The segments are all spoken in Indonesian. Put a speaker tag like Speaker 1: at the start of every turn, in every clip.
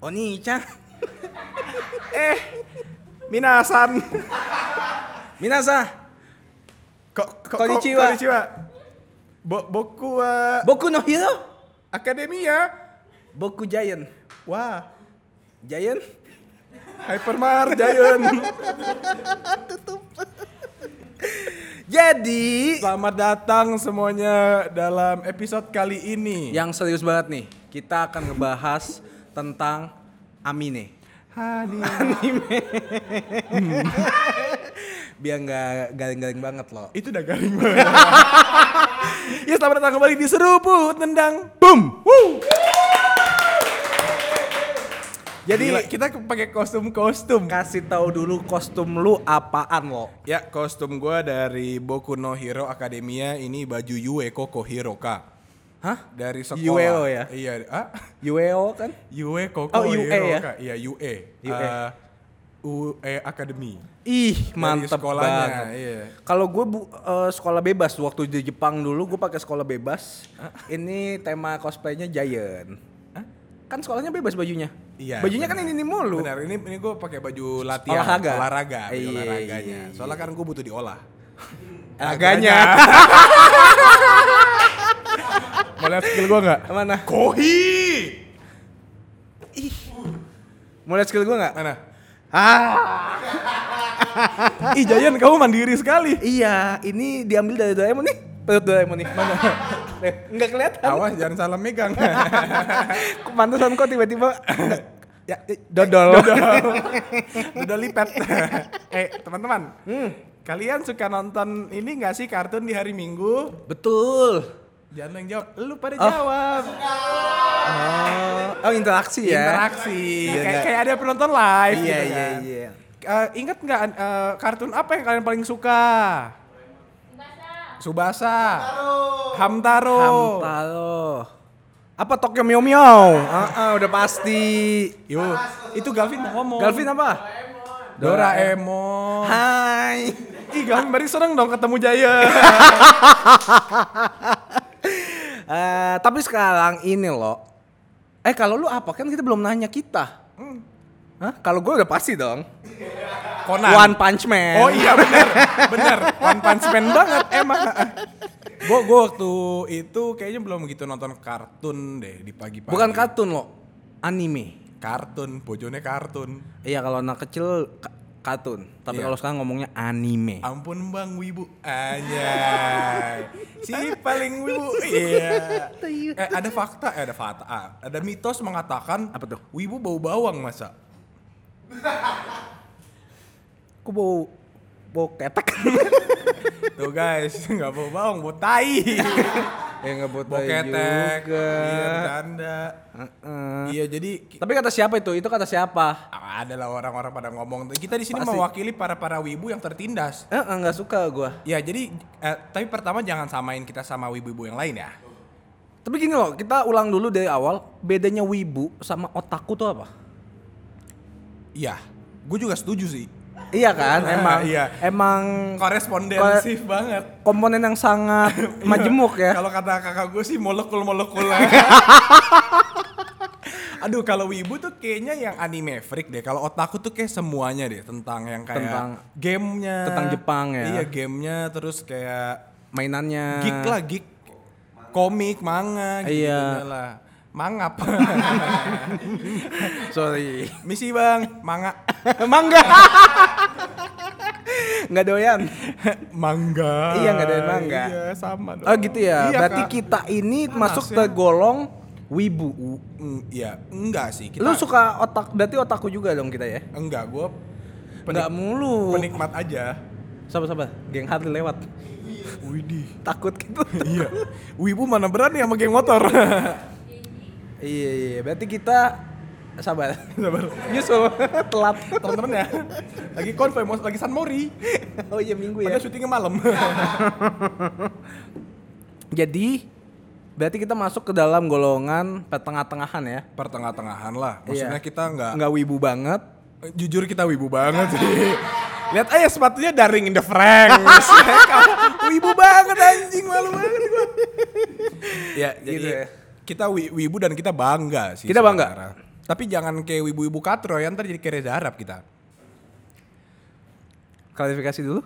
Speaker 1: お兄ちゃん
Speaker 2: Minasan.
Speaker 1: 皆さん
Speaker 2: Ko- ko- ko-
Speaker 1: Konnichiwa.
Speaker 2: konnichiwa. Bo- boku eh, wa
Speaker 1: 僕のヒーロー
Speaker 2: Academia.
Speaker 1: 僕ジャイアン
Speaker 2: Wah,
Speaker 1: ジャイアン
Speaker 2: Hypermart Giant.
Speaker 1: jadi
Speaker 2: Selamat datang semuanya dalam episode kali ini.
Speaker 1: yang serius banget nih kita akan ngebahas tentang Amine
Speaker 2: Hani.
Speaker 1: biar nggak garing-garing banget loh
Speaker 2: Itu udah garing banget. ya selamat datang kembali di seruput tendang. Boom. Woo. Jadi
Speaker 1: Gila.
Speaker 2: kita ke- pakai kostum-kostum.
Speaker 1: kasih tahu dulu kostum lu apaan lo
Speaker 2: Ya, kostum gua dari Boku no Hero Academia ini baju Yueko Kohiroka.
Speaker 1: hah
Speaker 2: Dari sekolah.
Speaker 1: Yueo ya?
Speaker 2: Iya, ah,
Speaker 1: UEO kan
Speaker 2: Yue Koko
Speaker 1: Oh, UE ya?
Speaker 2: Hiroka. Iya, UE.
Speaker 1: UE.
Speaker 2: Eh, UE Academy.
Speaker 1: ih mantep
Speaker 2: sekolahnya,
Speaker 1: banget
Speaker 2: iya.
Speaker 1: kalau gue bu- eh, sekolah bebas waktu di Jepang dulu gue pakai sekolah bebas ini tema cosplaynya Giant kan sekolahnya bebas bajunya
Speaker 2: Iya.
Speaker 1: bajunya kan
Speaker 2: benar.
Speaker 1: ini ini mulu
Speaker 2: Benar, ini ini gue pakai baju latihan
Speaker 1: Olahraga.
Speaker 2: olahraga, baju
Speaker 1: Iya,
Speaker 2: olahraganya.
Speaker 1: iya, iya.
Speaker 2: Soalnya kan gue butuh diolah.
Speaker 1: Agaknya.
Speaker 2: Mau lihat skill gue nggak?
Speaker 1: Mana?
Speaker 2: Kohi.
Speaker 1: Mau lihat skill gue nggak?
Speaker 2: Mana?
Speaker 1: Ah.
Speaker 2: Ih, Jayan kamu mandiri sekali.
Speaker 1: Iya, ini diambil dari Doraemon nih. Perut Doraemon nih. Mana? Nih, Nggak kelihatan.
Speaker 2: Awas jangan salah megang.
Speaker 1: Pantesan kok tiba-tiba nggak- ya, eh, dodol.
Speaker 2: Udah lipet. eh, teman-teman.
Speaker 1: Hmm.
Speaker 2: Kalian suka nonton ini nggak sih kartun di hari Minggu?
Speaker 1: Betul.
Speaker 2: Jangan lo yang jawab, lu pada
Speaker 1: Oh.
Speaker 2: jawab.
Speaker 1: Oh, oh interaksi ya. Iya,
Speaker 2: Interaksi. Kayak
Speaker 1: nggak?
Speaker 2: kayak ada penonton live
Speaker 1: Iya,
Speaker 2: gitu
Speaker 1: iya,
Speaker 2: kan.
Speaker 1: iya.
Speaker 2: Eh, ingat nggak eh, kartun apa yang kalian paling suka? Subasa. Hamtaro.
Speaker 1: Oh. Hamtaro. Apa Tokyo Mio Mio? Ah, ah, udah pasti.
Speaker 2: Yo, itu Galvin mau ngomong.
Speaker 1: Galvin apa?
Speaker 2: Doraemon.
Speaker 1: Hai.
Speaker 2: Ih, Galvin berarti seneng dong ketemu Jaya.
Speaker 1: Eh, tapi sekarang ini loh. Eh kalau lu apa kan kita belum nanya kita. Hah? Kalau gue udah pasti dong.
Speaker 2: Conan.
Speaker 1: One Punch Man.
Speaker 2: Oh iya bener, bener. One Punch Man banget emang. Gue gua waktu itu kayaknya belum gitu nonton kartun deh di pagi-pagi.
Speaker 1: Bukan kartun loh, anime.
Speaker 2: kartun, bojonya kartun.
Speaker 1: Iya kalau anak kecil ka- kartun, tapi
Speaker 2: Iya.
Speaker 1: kalau sekarang ngomongnya anime.
Speaker 2: Ampun bang wibu aja. si paling wibu. Iya. Eh, ada fakta, eh, ada fakta. ah, Ada mitos mengatakan
Speaker 1: Apa tuh?
Speaker 2: Wibu bau bawang masa?
Speaker 1: Aku bau bau ketek.
Speaker 2: Tuh guys, nggak bau bawang, bau tai. Iya,
Speaker 1: ya nggak buat
Speaker 2: bau ketek. Iya, bercanda. Iya, jadi ki-
Speaker 1: Tapi kata siapa itu? Itu kata siapa?
Speaker 2: ah, adalah orang-orang pada ngomong. Kita di sini
Speaker 1: Pasti.
Speaker 2: mewakili para-para wibu yang tertindas.
Speaker 1: Eh eh, nggak suka gua.
Speaker 2: Ya, jadi eh, tapi pertama jangan samain kita sama wibu-wibu yang lain ya.
Speaker 1: Tapi gini loh, kita ulang dulu dari awal. Bedanya wibu sama otaku tuh apa?
Speaker 2: Iya, gue juga setuju sih.
Speaker 1: Iya kan, emang
Speaker 2: Iya.
Speaker 1: emang
Speaker 2: Korespondensif banget.
Speaker 1: komponen yang sangat majemuk ya.
Speaker 2: Iya. Kalau kata kakak gue sih molekul-molekul. Aduh kalau wibu tuh kayaknya yang anime freak deh. Kalau otakku tuh kayak semuanya deh tentang yang kayak
Speaker 1: Tentang-
Speaker 2: gamenya.
Speaker 1: tentang Jepang ya.
Speaker 2: Iya gamenya terus kayak
Speaker 1: Mainannya.
Speaker 2: geek lah geek. Komik, manga gitu
Speaker 1: Iya.
Speaker 2: lah. Mangap.
Speaker 1: Sorry.
Speaker 2: Misi bang, manga.
Speaker 1: Mangga. Nggak doyan.
Speaker 2: mangga.
Speaker 1: Iya, nggak ada yang mangga.
Speaker 2: Iya sama dong.
Speaker 1: Oh gitu ya.
Speaker 2: Iya,
Speaker 1: Berarti
Speaker 2: Kak.
Speaker 1: kita ini
Speaker 2: Panas
Speaker 1: masuk
Speaker 2: ya.
Speaker 1: tergolong wibu.
Speaker 2: Mm, Iya, enggak sih kita.
Speaker 1: Lu suka otak, berarti otakku juga dong kita ya.
Speaker 2: Enggak, gue
Speaker 1: Enggak mulu.
Speaker 2: penikmat aja.
Speaker 1: Sabar-sabar, geng Harley lewat.
Speaker 2: Widih.
Speaker 1: Takut gitu.
Speaker 2: iya. Wibu mana berani sama geng motor.
Speaker 1: iya iya, berarti kita sabar.
Speaker 2: Sabar.
Speaker 1: Nyusul telat.
Speaker 2: Temen-temen ya. Lagi konvoy, mau- lagi San Mori.
Speaker 1: Oh iya minggu ya.
Speaker 2: Padahal syutingnya malam.
Speaker 1: Jadi berarti kita masuk ke dalam golongan pertengah-tengahan ya.
Speaker 2: Pertengah-tengahan lah. Maksudnya
Speaker 1: Iya.
Speaker 2: kita enggak,
Speaker 1: Nggak wibu banget.
Speaker 2: jujur kita wibu banget sih. Lihat aja sepatunya daring in the Franks. wibu banget anjing, malu banget gua. ya, jadi
Speaker 1: Gitu ya.
Speaker 2: kita wi- wibu dan kita bangga sih.
Speaker 1: Kita bangga.
Speaker 2: sebenarnya. Tapi jangan kayak wibu-wibu katro ya, ntar jadi kayak Reza Arab kita.
Speaker 1: Klarifikasi dulu.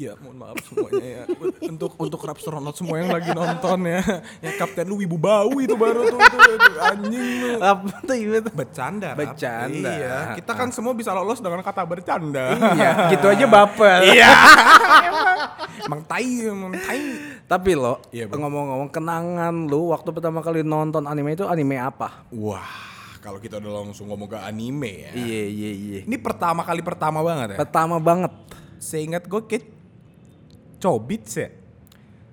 Speaker 2: Ya mohon maaf semuanya ya. Untuk untuk rapstronot semua yang lagi nonton ya. Ya kapten lu wibu bau itu baru tuh, tuh, tuh, anjing lu.
Speaker 1: Apa tuh itu?
Speaker 2: Bercanda. Rap.
Speaker 1: Bercanda.
Speaker 2: Iya, kita kan semua bisa lolos dengan kata bercanda.
Speaker 1: Iya, gitu aja baper.
Speaker 2: Iya.
Speaker 1: Iya.
Speaker 2: Emang tai, emang tai.
Speaker 1: Tapi lo,
Speaker 2: Iya, Bang.
Speaker 1: ngomong-ngomong kenangan lu waktu pertama kali nonton anime itu anime apa?
Speaker 2: Wah, kalau kita udah langsung ngomong ke anime ya.
Speaker 1: Iya, iya, iya.
Speaker 2: Ini pertama kali pertama banget ya.
Speaker 1: Pertama banget.
Speaker 2: Seingat gue kayak cobit ya.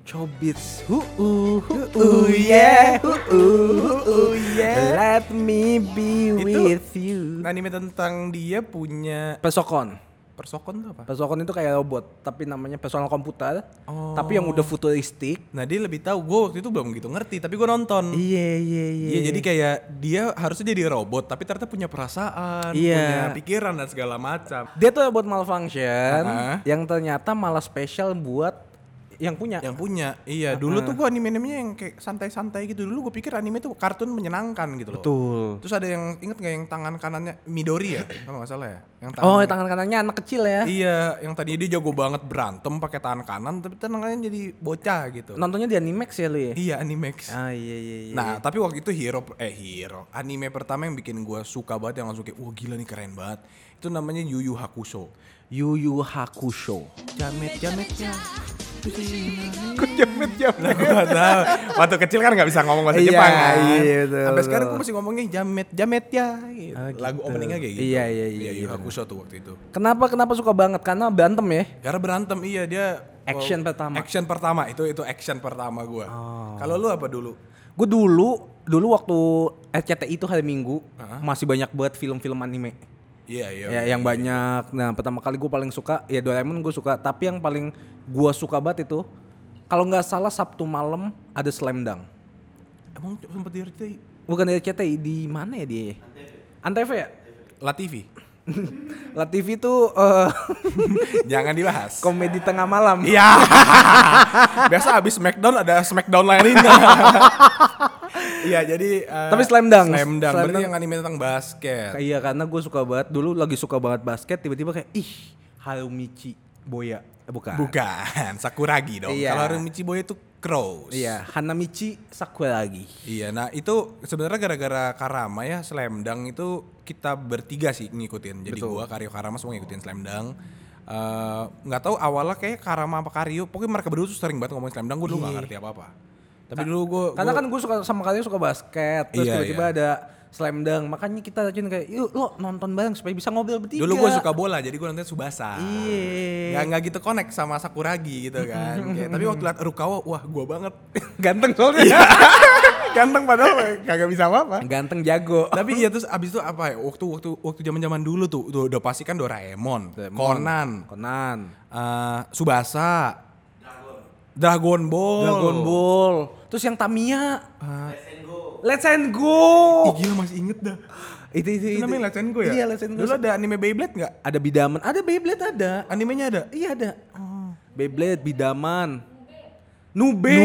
Speaker 1: Chobits. Hu uh, hu uh, yeah. Hu uh, hu uh, yeah. Nah, Let me be
Speaker 2: Itu-
Speaker 1: with you.
Speaker 2: Anime tentang dia punya
Speaker 1: Pesokon.
Speaker 2: persokon tuh apa?
Speaker 1: Pesokon itu kayak robot, tapi namanya personal komputer.
Speaker 2: Oh.
Speaker 1: Tapi yang udah futuristik.
Speaker 2: Nah dia lebih tahu. Gue waktu itu belum gitu ngerti, tapi gue nonton.
Speaker 1: Iya, iya, iya.
Speaker 2: Iya jadi kayak dia harusnya jadi robot, tapi ternyata punya perasaan,
Speaker 1: Iya.
Speaker 2: punya pikiran dan segala macam.
Speaker 1: Dia tuh buat malfunction
Speaker 2: Ah.
Speaker 1: yang ternyata malah spesial buat yang punya.
Speaker 2: Yang punya, iya. Dulu tuh gue anime-animenya yang kayak santai-santai gitu. Dulu gue pikir anime tuh kartun menyenangkan gitu loh.
Speaker 1: Betul.
Speaker 2: Terus ada yang inget gak yang tangan kanannya Midori ya? Kalau nggak salah ya. Yang tangan
Speaker 1: Oh, tangan kanannya anak kecil ya.
Speaker 2: Iya, yang tadinya dia jago banget berantem pakai tangan kanan, tapi tangan kanan jadi bocah gitu.
Speaker 1: Nontonnya di Animax ya lu ya?
Speaker 2: Iya, Animax.
Speaker 1: Ah iya iya iya.
Speaker 2: Nah, tapi waktu itu hero eh hero anime pertama yang bikin gua suka banget yang langsung kayak wah gila nih keren banget. Itu namanya Yu Yu Hakusho.
Speaker 1: Yu Yu Hakusho.
Speaker 2: Jamet jamet ya.
Speaker 1: Kok jamet jamet?
Speaker 2: Gua tahu. Waktu kecil kan nggak bisa ngomong bahasa
Speaker 1: Iya,
Speaker 2: Jepang kan.
Speaker 1: iya, betul,
Speaker 2: Sampai sekarang
Speaker 1: betul.
Speaker 2: gua masih ngomongnya jamet jamet ya. Gitu.
Speaker 1: Oh, gitu.
Speaker 2: Lagu openingnya kayak gitu.
Speaker 1: Iya, iya, iya,
Speaker 2: Yu
Speaker 1: iya,
Speaker 2: Yu Hakusho tuh waktu itu.
Speaker 1: Kenapa kenapa suka banget? Karena berantem ya.
Speaker 2: Karena berantem iya dia
Speaker 1: Action pertama. Oh.
Speaker 2: Action pertama itu itu action pertama gua. Kalau lu apa dulu?
Speaker 1: Gue dulu dulu waktu RCTI itu hari Minggu masih banyak buat film-film anime.
Speaker 2: Iya iya.
Speaker 1: Ya, yang banyak. Nah, pertama kali gue paling suka ya Doraemon gue suka, tapi yang paling gue suka banget itu kalau nggak salah Sabtu malam ada Slam Dunk.
Speaker 2: Emang sempet di RCTI?
Speaker 1: Bukan dari RCTI di mana ya dia? Antv ya?
Speaker 2: Latifi.
Speaker 1: Latifi tuh eh,
Speaker 2: Jangan dibahas.
Speaker 1: komedi tengah malam.
Speaker 2: Iya. Biasa abis Smackdown ada Smackdown lainnya. Iya jadi. eh,
Speaker 1: Tapi Slam Dunk.
Speaker 2: Slam Dunk.
Speaker 1: Slam
Speaker 2: Berarti
Speaker 1: Dunk.
Speaker 2: yang anime tentang basket.
Speaker 1: Iya karena gue suka banget dulu lagi suka banget basket tiba-tiba kayak ih Harumichi Boya Eh, bukan.
Speaker 2: Bukan Sakuragi dong.
Speaker 1: Iya.
Speaker 2: Kalau Rumichi Boy itu Crows.
Speaker 1: Iya Hanamichi Sakuragi.
Speaker 2: Iya, nah itu sebenarnya gara-gara Karama ya Slam Dunk itu kita bertiga sih ngikutin. Jadi gua Karyo Karama semua ngikutin Slam Dunk. Eh, nggak tahu awalnya kayak Karama apa Karyo, pokoknya mereka berdua tuh sering banget ngomongin Slam Dunk, gue dulu
Speaker 1: Iya.
Speaker 2: nggak ngerti apa-apa. Nah, Tapi dulu gue
Speaker 1: Karena kan gue suka sama kalian suka basket terus
Speaker 2: Iya,
Speaker 1: tiba-tiba ada slam dunk makanya kita rajin kayak yuk lo nonton bareng supaya bisa ngobrol bertiga.
Speaker 2: dulu gue suka bola, jadi gue nonton Subasa.
Speaker 1: Iya.
Speaker 2: Nggak nggak gitu connect sama Sakuragi gitu kan. Kayak, tapi waktu liat Rukawa, wah gua banget.
Speaker 1: ganteng soalnya.
Speaker 2: Ganteng padahal kagak bisa apa-apa.
Speaker 1: ganteng jago.
Speaker 2: Tapi iya terus abis itu apa ya? Waktu waktu waktu zaman-zaman dulu tuh udah, udah pasti kan Doraemon, Conan,
Speaker 1: Konan.
Speaker 2: eh, Subasa, Dragon Ball.
Speaker 1: Dragon Ball. Oh. Ah. Terus yang Tamiya. Let's and go.
Speaker 2: Ih, gila masih inget dah.
Speaker 1: Itu itu
Speaker 2: Itu
Speaker 1: itu.
Speaker 2: namanya Let's Go ya?
Speaker 1: Iya Let's and Go.
Speaker 2: Dulu ada anime Beyblade nggak?
Speaker 1: Ada bidaman, ada Beyblade ada.
Speaker 2: Animenya ada?
Speaker 1: Iya ada. Beyblade, Bidaman. Nube.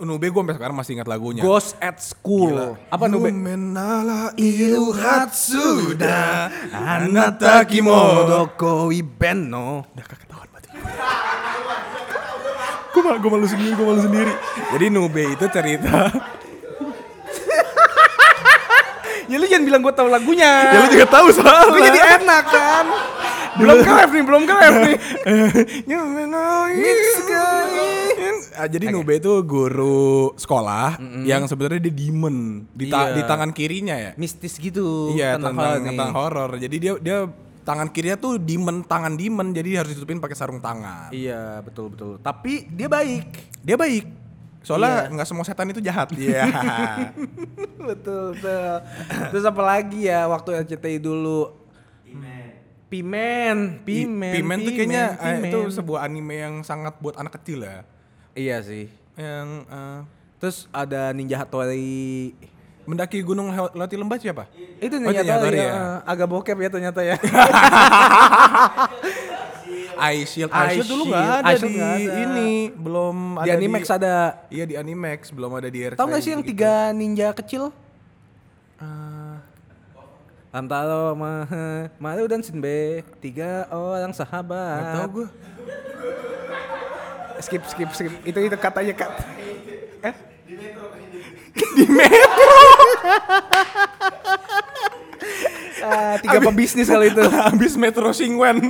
Speaker 2: Nube gue sampai sekarang masih ingat lagunya.
Speaker 1: Ghost at School. Apa Nube?
Speaker 2: Numenala iruhatsu da anata kimono.
Speaker 1: Doko Ibeno.
Speaker 2: Udah kakak ketahuan berarti. gue malu, gue malu sendiri, gue malu sendiri. Jadi Nube itu cerita
Speaker 1: Ya lu jangan bilang gue tahu lagunya.
Speaker 2: Ya lu juga tahu soalnya.
Speaker 1: Tapi jadi enak kan. belum kerap nih, belum kerap nih.
Speaker 2: Ah, jadi Nube itu guru sekolah yang sebenarnya dia demon di, ta-
Speaker 1: Iya.
Speaker 2: di tangan kirinya ya.
Speaker 1: Mistis gitu.
Speaker 2: Iya
Speaker 1: tentang
Speaker 2: tentang
Speaker 1: hal
Speaker 2: tentang,
Speaker 1: nih.
Speaker 2: horor. Jadi dia dia tangan kirinya tuh demon tangan demon jadi dia harus ditutupin pakai sarung tangan.
Speaker 1: Iya betul betul. Tapi dia baik.
Speaker 2: Dia baik. Soalnya
Speaker 1: Iya.
Speaker 2: nggak semua setan itu jahat. Iya.
Speaker 1: betul betul. Terus apa lagi ya waktu RCTI dulu? Pimen.
Speaker 2: I-
Speaker 1: Pimen.
Speaker 2: Pimen tuh kayaknya eh,
Speaker 1: Pimen.
Speaker 2: itu sebuah anime yang sangat buat anak kecil ya.
Speaker 1: Iya sih.
Speaker 2: Yang eh,
Speaker 1: Terus ada Ninja Hattori.
Speaker 2: mendaki gunung lew- lewati lembah siapa?
Speaker 1: Itu
Speaker 2: Oh,
Speaker 1: Ninja
Speaker 2: Ninja
Speaker 1: Hattori
Speaker 2: Hattori
Speaker 1: ya. Agak bokep ya ternyata ya.
Speaker 2: Ice Shield.
Speaker 1: Ice
Speaker 2: Ice Shield dulu
Speaker 1: Shield.
Speaker 2: nggak ada
Speaker 1: Ice Shield
Speaker 2: di
Speaker 1: nggak ada.
Speaker 2: ini, belum
Speaker 1: di Animax ada.
Speaker 2: Iya di Animax belum ada di RCTI.
Speaker 1: Ah. Tahu nggak sih yang tiga ninja kecil?
Speaker 2: Eh,
Speaker 1: Antara Maha, Malu dan Sinbe, tiga orang sahabat.
Speaker 2: Nggak tahu gue.
Speaker 1: Skip, skip, skip. Itu itu katanya kat. Eh? Di metro. Di metro. Ah, tiga pebisnis kali itu.
Speaker 2: Abis Metro Singwen.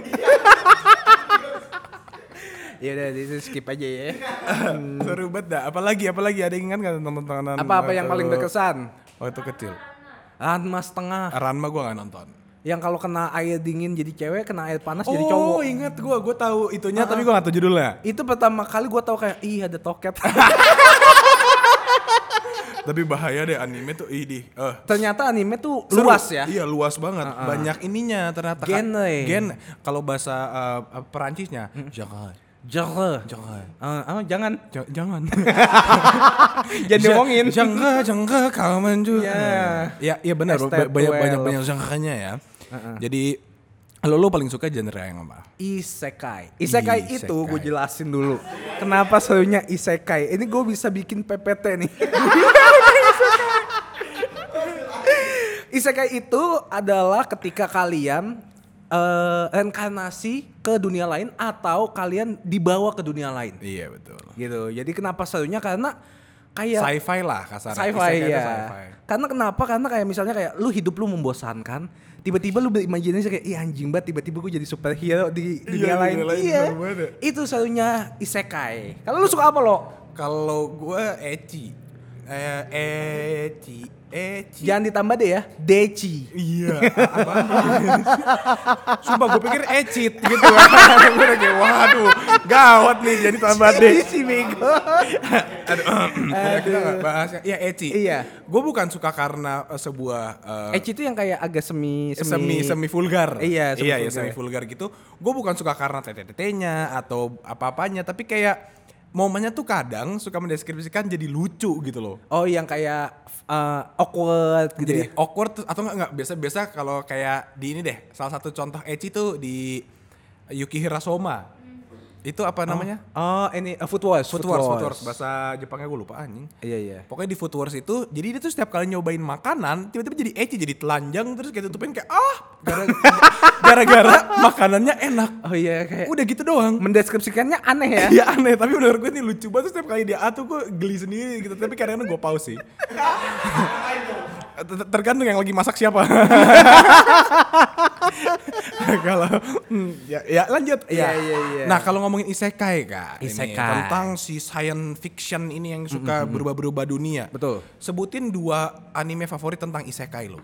Speaker 1: Ya udah, itu skip aja ya.
Speaker 2: Seru banget dah. Apalagi apalagi ada yang ingat nggak tentang tontonan?
Speaker 1: Apa-apa yang
Speaker 2: waktu-
Speaker 1: paling berkesan?
Speaker 2: Waktu kecil.
Speaker 1: Ranma setengah.
Speaker 2: Ranma gue nggak nonton.
Speaker 1: Ah, Yang kalau kena air dingin jadi cewek, kena air panas jadi cowok. Ah.
Speaker 2: Oh ingat gue, gue tahu itunya tapi gue nggak tahu judulnya.
Speaker 1: Itu pertama kali gue tahu kayak, ih ada toket.
Speaker 2: tapi bahaya deh anime tuh idih. Eh,
Speaker 1: Ternyata anime tuh
Speaker 2: Seru.
Speaker 1: luas ya.
Speaker 2: Iya luas banget. Banyak ininya ternyata.
Speaker 1: Genre.
Speaker 2: Gen. Kalau bahasa eh, apa, Perancisnya jangan,
Speaker 1: Genre.
Speaker 2: jangan,
Speaker 1: Ah, ah, jangan.
Speaker 2: ja- jangan.
Speaker 1: Jangan diomongin.
Speaker 2: Jangan, jangan kamu juga.
Speaker 1: Ya.
Speaker 2: Ya, iya benar.
Speaker 1: Hashtag
Speaker 2: Ba- Banyak
Speaker 1: twelve.
Speaker 2: banyak banyak jangkanya ya. Jadi lo lo paling suka genre yang apa?
Speaker 1: Isekai. Isekai,
Speaker 2: Isekai.
Speaker 1: itu gue jelasin dulu. Kenapa serunya isekai? Ini gue bisa bikin PPT nih. isekai itu adalah ketika kalian eh, reinkarnasi ke dunia lain atau kalian dibawa ke dunia lain.
Speaker 2: Iya betul.
Speaker 1: Gitu. Jadi kenapa serunya? Karena kayak
Speaker 2: Sci-fi lah kasarnya.
Speaker 1: Iya. sci-fi
Speaker 2: Isekai itu
Speaker 1: ya.
Speaker 2: sci-fi.
Speaker 1: Karena kenapa? Karena kayak misalnya kayak lu hidup lu membosankan, tiba-tiba lu berimajinasi kayak iya anjing banget tiba-tiba gue jadi superhero di dunia
Speaker 2: dunia
Speaker 1: lain.
Speaker 2: lain,
Speaker 1: iya.
Speaker 2: bener banget ya.
Speaker 1: Itu satunya isekai. Kalau lu suka apa lo?
Speaker 2: Kalau gue Eci, eh, Eci, Eci.
Speaker 1: Jangan ditambah deh ya, Deci.
Speaker 2: Iya, apaan tuh? Sumpah gue pikir ecit gitu. gue udah kayak waduh, gawat nih jadi tambah deh.
Speaker 1: Deci bego.
Speaker 2: Aduh, kita nggak bahas. yang- Iya eci.
Speaker 1: Iya.
Speaker 2: Gue bukan suka karena eh, sebuah eh,
Speaker 1: Eci itu yang kayak agak semi
Speaker 2: semi semi vulgar.
Speaker 1: Iya, semi
Speaker 2: iya, iya,
Speaker 1: vulgar.
Speaker 2: semi vulgar gitu. Gue bukan suka karena tete-tetenya atau apa-apanya, tapi kayak momennya tuh kadang suka mendeskripsikan jadi lucu gitu loh.
Speaker 1: Oh, yang kayak eh, awkward gitu
Speaker 2: jadi
Speaker 1: ya.
Speaker 2: awkward tuh- atau enggak enggak biasa-biasa kalau kayak di ini deh salah satu contoh ecchi tuh di Yuki Hirasoma itu apa namanya
Speaker 1: Oh, ini eh, Food Wars.
Speaker 2: Food Wars, Food Wars. bahasa Jepangnya gue lupa anjing
Speaker 1: Iya, iya.
Speaker 2: pokoknya di Food Wars itu jadi dia tuh setiap kali nyobain makanan tiba-tiba jadi ecchi jadi telanjang terus kayak tutupin kayak ah gara- gara-gara makanannya enak
Speaker 1: Oh iya kayak
Speaker 2: udah gitu doang
Speaker 1: mendeskripsikannya aneh ya.
Speaker 2: Iya aneh, tapi menurut gue ini lucu banget Terus setiap kali dia A tuh gue geli sendiri gitu Tapi kadang-kadang gue pause sih Ter- Tergantung yang lagi masak siapa Kalau hmm, ya, ya lanjut
Speaker 1: Iya, iya, iya.
Speaker 2: Nah kalau ngomongin isekai kak ini,
Speaker 1: Isekai.
Speaker 2: Tentang si science fiction ini yang suka berubah-berubah dunia
Speaker 1: Betul.
Speaker 2: Sebutin dua anime favorit tentang isekai lo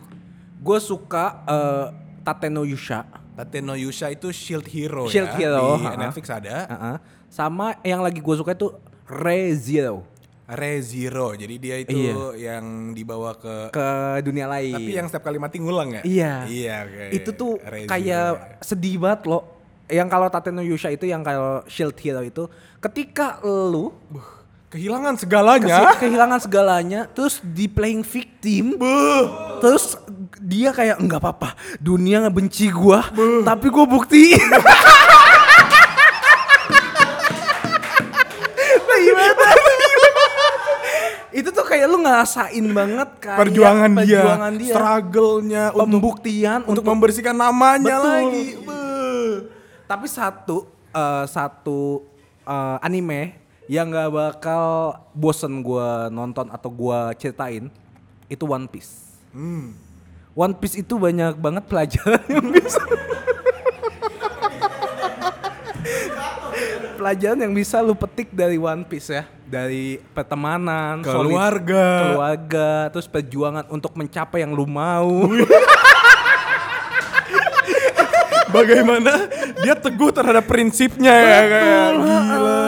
Speaker 1: Gue suka eh, Tate no Yusha.
Speaker 2: Tate no Yusha itu Shield Hero
Speaker 1: Shield
Speaker 2: ya
Speaker 1: Hero,
Speaker 2: Di
Speaker 1: ha-ha.
Speaker 2: Netflix ada
Speaker 1: Heeh. Sama yang lagi gue suka itu Re Zero
Speaker 2: Re Zero, jadi dia itu
Speaker 1: Iya.
Speaker 2: yang dibawa ke
Speaker 1: ke dunia lain.
Speaker 2: tapi yang setiap kali mati ngulang ya?
Speaker 1: Iya.
Speaker 2: Iya, oke.
Speaker 1: itu tuh
Speaker 2: Re Zero
Speaker 1: kayak
Speaker 2: ya.
Speaker 1: sedih banget loh. Yang kalau Tate no Yusha itu yang kalau Shield Hero itu ketika lu
Speaker 2: Buh, kehilangan
Speaker 1: kesi-
Speaker 2: segalanya.
Speaker 1: kehilangan segalanya terus di playing victim terus dia kayak nggak apa-apa dunia ngebenci gua tapi gua buktiin Nah, gimana? itu tuh kayak lu ngerasain banget kayak
Speaker 2: Perjuangan, dia,
Speaker 1: Iya, perjuangan dia
Speaker 2: struggle-nya untuk
Speaker 1: pembuktian
Speaker 2: untuk membersihkan namanya
Speaker 1: Betul.
Speaker 2: lagi. Beuh.
Speaker 1: tapi satu eh, satu eh, anime yang nggak bakal bosen gua nonton atau gua ceritain itu One Piece. One Piece itu banyak banget pelajaran yang bisa pelajaran yang bisa lu petik dari One Piece ya dari pertemanan, solid-
Speaker 2: Keluarga.
Speaker 1: keluarga, terus perjuangan untuk mencapai yang lu mau.
Speaker 2: Bagaimana dia teguh terhadap prinsipnya ya kayak
Speaker 1: Betul,
Speaker 2: gila.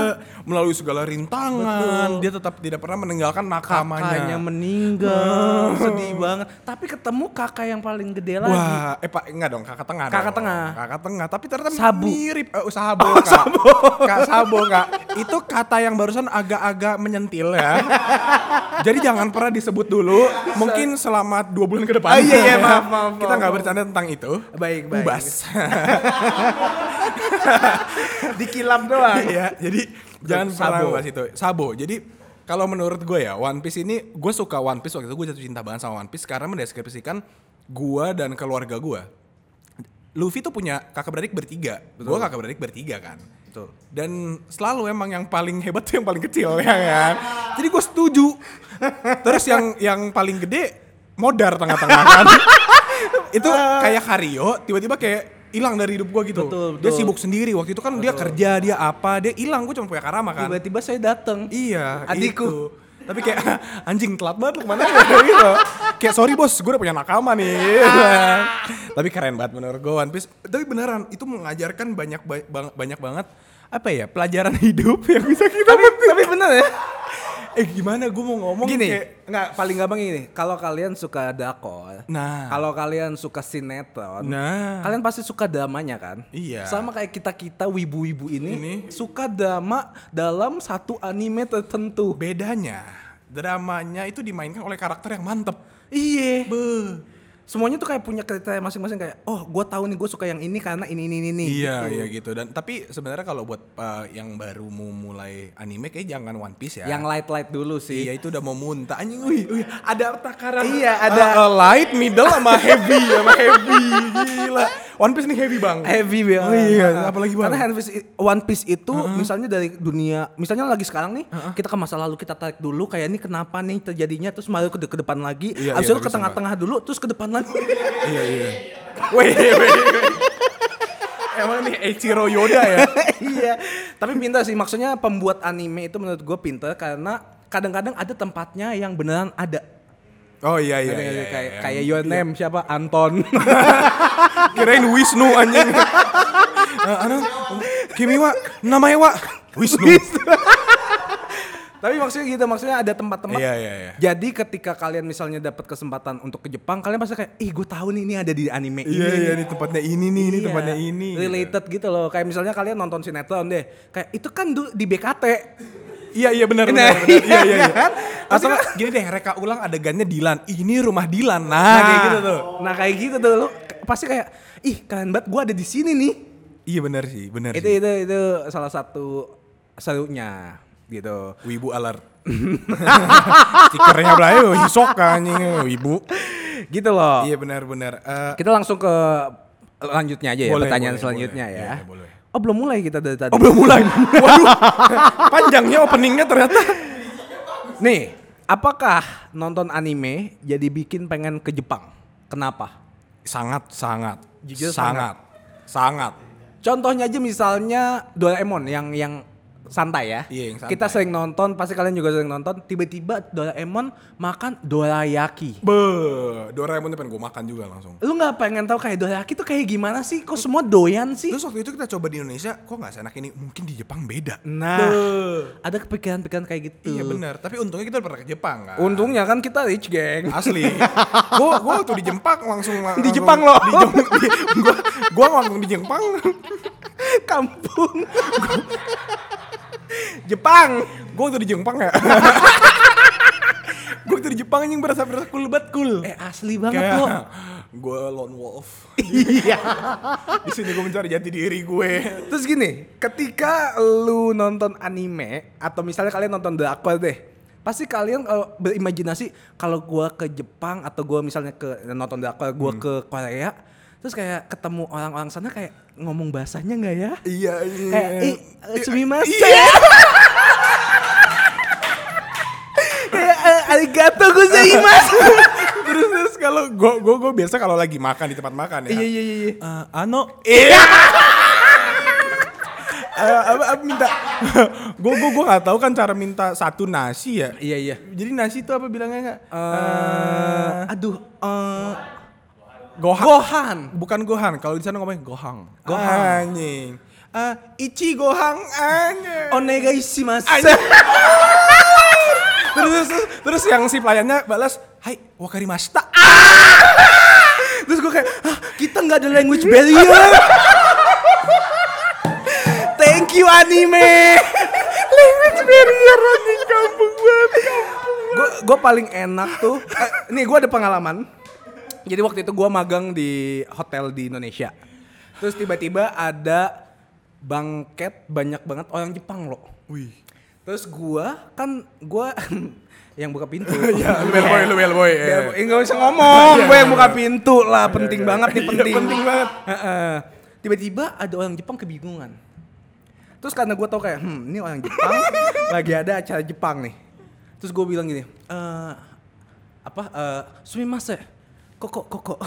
Speaker 2: Melalui segala rintangan, dia tetap tidak pernah meninggalkan
Speaker 1: kakaknya
Speaker 2: nakamanya.
Speaker 1: meninggal sedih banget tapi ketemu kakak yang paling gede lagi
Speaker 2: Wah, eh pak enggak dong kakak tengah.
Speaker 1: Kakak
Speaker 2: dong.
Speaker 1: tengah.
Speaker 2: Kakak tengah, tapi ternyata
Speaker 1: Sabu. Oh,
Speaker 2: mirip eh, sabo, kak. Kak sabo kak. Itu kata yang barusan agak-agak menyentil ya. Jadi jangan pernah disebut dulu. Mungkin selama dua bulan ke depan.
Speaker 1: Ah, iya, iya, maaf, maaf,
Speaker 2: Kita
Speaker 1: maaf,
Speaker 2: nggak
Speaker 1: maaf.
Speaker 2: bercanda tentang itu.
Speaker 1: baik baik
Speaker 2: Ubas.
Speaker 1: dikilap doang
Speaker 2: ya, jadi jangan
Speaker 1: Sabo.
Speaker 2: pernah bahas itu. Sabo. Jadi kalau menurut gue ya One Piece ini gue suka One Piece waktu itu gue jatuh cinta banget sama One Piece karena mendeskripsikan gua dan keluarga gua Luffy tuh punya kakak beradik bertiga gua kakak beradik bertiga kan
Speaker 1: Betul.
Speaker 2: dan selalu emang yang paling hebat tuh yang paling kecil ya kan jadi gue setuju terus yang yang paling gede modar tengah-tengah kan itu kayak Hario tiba-tiba kayak hilang dari hidup gue gitu
Speaker 1: Ah. Betul,
Speaker 2: dia
Speaker 1: betul.
Speaker 2: sibuk sendiri waktu itu kan dia kerja dia apa dia hilang gue cuma punya karama kan
Speaker 1: Tiba-tiba saya datang.
Speaker 2: iya
Speaker 1: Adikku.
Speaker 2: itu. tapi kayak anjing telat banget lu kemana ya?" gitu kayak sorry bos gue udah punya nakama nih tapi keren banget menurut gue One Piece tapi beneran itu mengajarkan banyak ba- bang- banyak banget apa ya pelajaran hidup yang bisa kita
Speaker 1: tapi, tapi bener ya.
Speaker 2: eh gimana gue mau ngomong
Speaker 1: Gini,
Speaker 2: kayak-
Speaker 1: nggak Eh, paling gampang ini. Kalau kalian suka drakor,
Speaker 2: Nah.
Speaker 1: kalau kalian suka sinetron,
Speaker 2: Nah.
Speaker 1: kalian pasti suka dramanya kan?
Speaker 2: Iya.
Speaker 1: Sama kayak kita-kita wibu-wibu ini,
Speaker 2: Ini.
Speaker 1: suka drama dalam satu anime tertentu.
Speaker 2: bedanya dramanya itu dimainkan oleh karakter yang mantep
Speaker 1: Iya.
Speaker 2: Be.
Speaker 1: Semuanya tuh kayak punya kriteria masing-masing kayak, "Oh, gua tahu nih gua suka yang ini karena ini ini ini." ini."
Speaker 2: Iya,
Speaker 1: Gitu.
Speaker 2: iya gitu. Dan tapi sebenarnya kalau buat uh, yang baru mau mulai anime kayak jangan One Piece ya.
Speaker 1: Yang light-light dulu sih.
Speaker 2: Iya itu udah mau muntah anjing. Wih, wih, ada takaran.
Speaker 1: Iya, ada-
Speaker 2: Uh, uh, light, middle sama heavy, sama heavy. Gila. One Piece nih heavy, Bang.
Speaker 1: Heavy banget.
Speaker 2: Oh iya, apalagi, Bang?
Speaker 1: Nah, Karena One Piece, One Piece itu misalnya dari dunia, misalnya lagi sekarang nih, kita ke masa lalu kita tarik dulu kayak ini kenapa nih terjadinya terus maju ke, de- ke depan lagi,
Speaker 2: Iya,
Speaker 1: abis
Speaker 2: iya,
Speaker 1: itu ke
Speaker 2: bagus,
Speaker 1: tengah-tengah dulu terus ke depan lagi.
Speaker 2: iya, iya. Wih, wih, wih. Emang nih Eiichiro Yoda ya?
Speaker 1: iya. Tapi pintar sih maksudnya pembuat anime itu menurut gue pintar karena kadang-kadang ada tempatnya yang beneran ada.
Speaker 2: Oh iya iya.
Speaker 1: Ada-
Speaker 2: iya,
Speaker 1: ada-
Speaker 2: iya,
Speaker 1: kayak
Speaker 2: iya.
Speaker 1: kayak Your Name siapa Anton.
Speaker 2: kirain Wisnu anjing. Eh, anu, Kimi wa, namanya wa Wisnu.
Speaker 1: Tapi maksudnya gitu, maksudnya ada tempat-tempat.
Speaker 2: Iya, iya, iya.
Speaker 1: Jadi ketika kalian misalnya dapat kesempatan untuk ke Jepang, kalian pasti kayak, ih gue tahu nih ini ada di anime ini.
Speaker 2: Iya iya ini tempatnya ini nih, ini
Speaker 1: Iya,
Speaker 2: tempatnya ini. gitu.
Speaker 1: Related gitu. loh. Kayak misalnya kalian nonton sinetron deh. Kayak itu kan du- di BKT.
Speaker 2: Iya iya benar
Speaker 1: Nah,
Speaker 2: benar. benar. Iya iya. iya.
Speaker 1: kan?
Speaker 2: Atau nggak, gini deh reka ulang adegannya Dilan. Ini rumah Dilan. Nah, kayak gitu tuh.
Speaker 1: Nah kayak gitu tuh lo k- pasti kayak ih keren banget gue ada di sini nih.
Speaker 2: Iya benar sih, benar
Speaker 1: Itu
Speaker 2: sih.
Speaker 1: itu itu salah satu serunya gitu.
Speaker 2: Wibu alert. Stikernya belah yo hisok anjing wibu.
Speaker 1: Gitu loh.
Speaker 2: Iya benar benar. Eh,
Speaker 1: Kita langsung ke lanjutnya aja ya,
Speaker 2: Boleh,
Speaker 1: pertanyaan
Speaker 2: boleh,
Speaker 1: selanjutnya
Speaker 2: boleh.
Speaker 1: ya.
Speaker 2: Iya, boleh.
Speaker 1: Oh belum mulai kita dari tadi.
Speaker 2: oh belum mulai. Waduh. Panjangnya openingnya ternyata.
Speaker 1: Nih, apakah nonton anime jadi bikin pengen ke Jepang? Kenapa?
Speaker 2: Sangat sangat.
Speaker 1: Jujur
Speaker 2: sangat. Sangat.
Speaker 1: Contohnya aja misalnya Doraemon yang yang santai ya.
Speaker 2: Iya, yang santai.
Speaker 1: Kita sering nonton, pasti kalian juga sering nonton. Tiba-tiba Doraemon makan dorayaki.
Speaker 2: Be, Doraemon tuh pengen gue makan juga langsung.
Speaker 1: Lu nggak pengen tahu kayak dorayaki tuh kayak gimana sih? Kok semua doyan sih?
Speaker 2: Terus waktu itu kita coba di Indonesia, kok nggak seenak ini? Mungkin di Jepang beda.
Speaker 1: Nah, ada kepikiran-pikiran kayak gitu.
Speaker 2: Iya benar, tapi untungnya kita pernah ke Jepang kan.
Speaker 1: Untungnya kan kita rich, geng.
Speaker 2: Asli. gua gua tuh di Jepang langsung
Speaker 1: Di Jepang loh.
Speaker 2: Di Jepang. Gua gua langsung di Jepang.
Speaker 1: Kampung. Jepang.
Speaker 2: Gua tuh di Jepang ya. gua tuh di Jepang anjing berasa berasa cool banget cool.
Speaker 1: Eh asli banget
Speaker 2: Kayak
Speaker 1: lo.
Speaker 2: gua lone wolf.
Speaker 1: Iya.
Speaker 2: Di sini gua mencari jati diri gue.
Speaker 1: Terus gini, ketika lu nonton anime atau misalnya kalian nonton drakor deh, pasti kalian kalau berimajinasi kalau gua ke Jepang atau gua misalnya ke nonton drakor, gua ke Korea, terus kayak ketemu orang-orang sana kayak ngomong bahasanya nggak ya?
Speaker 2: Iya, iya.
Speaker 1: Kayak eh eh, sumimasen. Kayak eh, arigato gozaimasu.
Speaker 2: terus terus kalau gua gua gua biasa kalau lagi makan di tempat makan ya.
Speaker 1: Iya iya iya. iya.
Speaker 2: Eh, ano iya Eh, apa, apa minta gue gue gue nggak tahu kan cara minta satu nasi ya
Speaker 1: Iya iya.
Speaker 2: jadi nasi itu apa bilangnya nggak
Speaker 1: Eh, aduh, eh,
Speaker 2: gohan
Speaker 1: gohan.
Speaker 2: bukan gohan kalau di sana ngomongnya gohang Ah,
Speaker 1: Gohang.
Speaker 2: anjing Eh, ichi gohang anjing
Speaker 1: Onegaishimasu.
Speaker 2: Anjing. terus, terus terus terus yang si pelayannya balas hai wakarimashita Ah,
Speaker 1: Terus gue kayak, "Hah, kita nggak ada language barrier. Thank you anime. language barrier anjing kampung banget, Gue paling enak tuh. eh, nih gue ada pengalaman. Jadi waktu itu gue magang di hotel di Indonesia. Terus tiba-tiba ada bangket banyak banget orang Jepang loh.
Speaker 2: wih
Speaker 1: Terus gua kan gua yang buka pintu.
Speaker 2: Ya, bellboy lu bellboy. eh. Iya,
Speaker 1: Ya, enggak bisa ngomong, gue yang buka pintu lah, penting banget nih, penting.
Speaker 2: penting banget.
Speaker 1: Heeh. Tiba-tiba ada orang Jepang kebingungan. Terus karena gue tau kayak, hmm ini orang Jepang lagi ada acara Jepang nih. Terus gue bilang gini, eh apa, eh sumimase, koko, koko.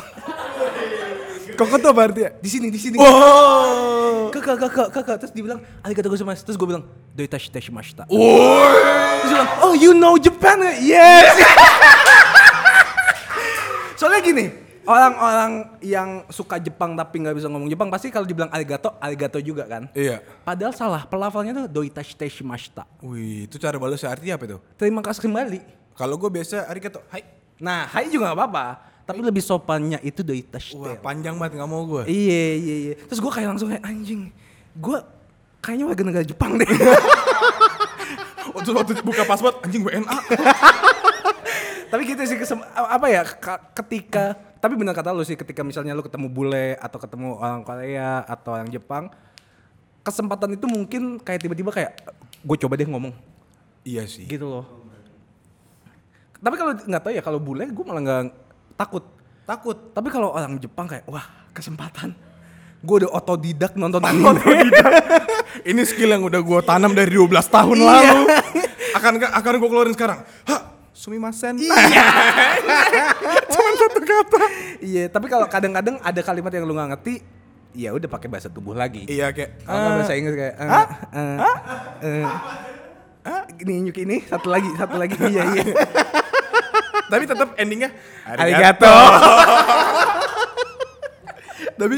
Speaker 2: Koko tuh apa artinya? Oh.
Speaker 1: Di sini, di sini.
Speaker 2: Wow.
Speaker 1: Kakak, kakak, kakak. Terus dibilang, arigato gozaimasu. Terus gue bilang, doitashi mashita.
Speaker 2: Woi.
Speaker 1: Terus dia bilang, oh you know Japan? Yes! Soalnya gini, orang-orang yang suka Jepang tapi nggak bisa ngomong Jepang pasti kalau dibilang arigato, arigato juga kan?
Speaker 2: Iya.
Speaker 1: Padahal salah, pelafalnya tuh doitashi teshimashita.
Speaker 2: Wih, itu cara balasnya artinya apa itu?
Speaker 1: Terima kasih kembali.
Speaker 2: Kalau gue biasa arigato, hai.
Speaker 1: Nah, hai juga nggak apa-apa. Tapi lebih sopannya itu doitashi
Speaker 2: Wah, panjang banget nggak mau gue.
Speaker 1: Iya, iya, iya. Terus gue kayak langsung kayak anjing. Gue kayaknya warga negara Jepang deh.
Speaker 2: Waktu Oh, waktu buka password, anjing WNA.
Speaker 1: tapi gitu sih kesem- apa ya ka- ketika tapi benar kata lu sih ketika misalnya lu ketemu bule atau ketemu orang Korea atau orang Jepang kesempatan itu mungkin kayak tiba-tiba kayak gue coba deh ngomong
Speaker 2: iya sih.
Speaker 1: gitu loh tapi kalau nggak tahu ya kalau bule gue malah nggak takut
Speaker 2: Takut.
Speaker 1: tapi kalau orang Jepang kayak wah kesempatan gue udah otodidak nonton anime
Speaker 2: Ini skill yang udah gue tanam dari 12 tahun
Speaker 1: Iya.
Speaker 2: lalu. Akan akan gue keluarin sekarang. Hah, sumimasen. Cuman satu kata.
Speaker 1: iya tapi kalau kadang-kadang ada kalimat yang lu nggak ngerti ya udah pakai bahasa tubuh lagi
Speaker 2: Iya kayak.
Speaker 1: Kalau nggak bahasa Inggris kayak eh eh, eh, eh, ini nyuk ini satu lagi satu lagi iya iya.
Speaker 2: Tapi tetap endingnya
Speaker 1: Arigato.
Speaker 2: Tapi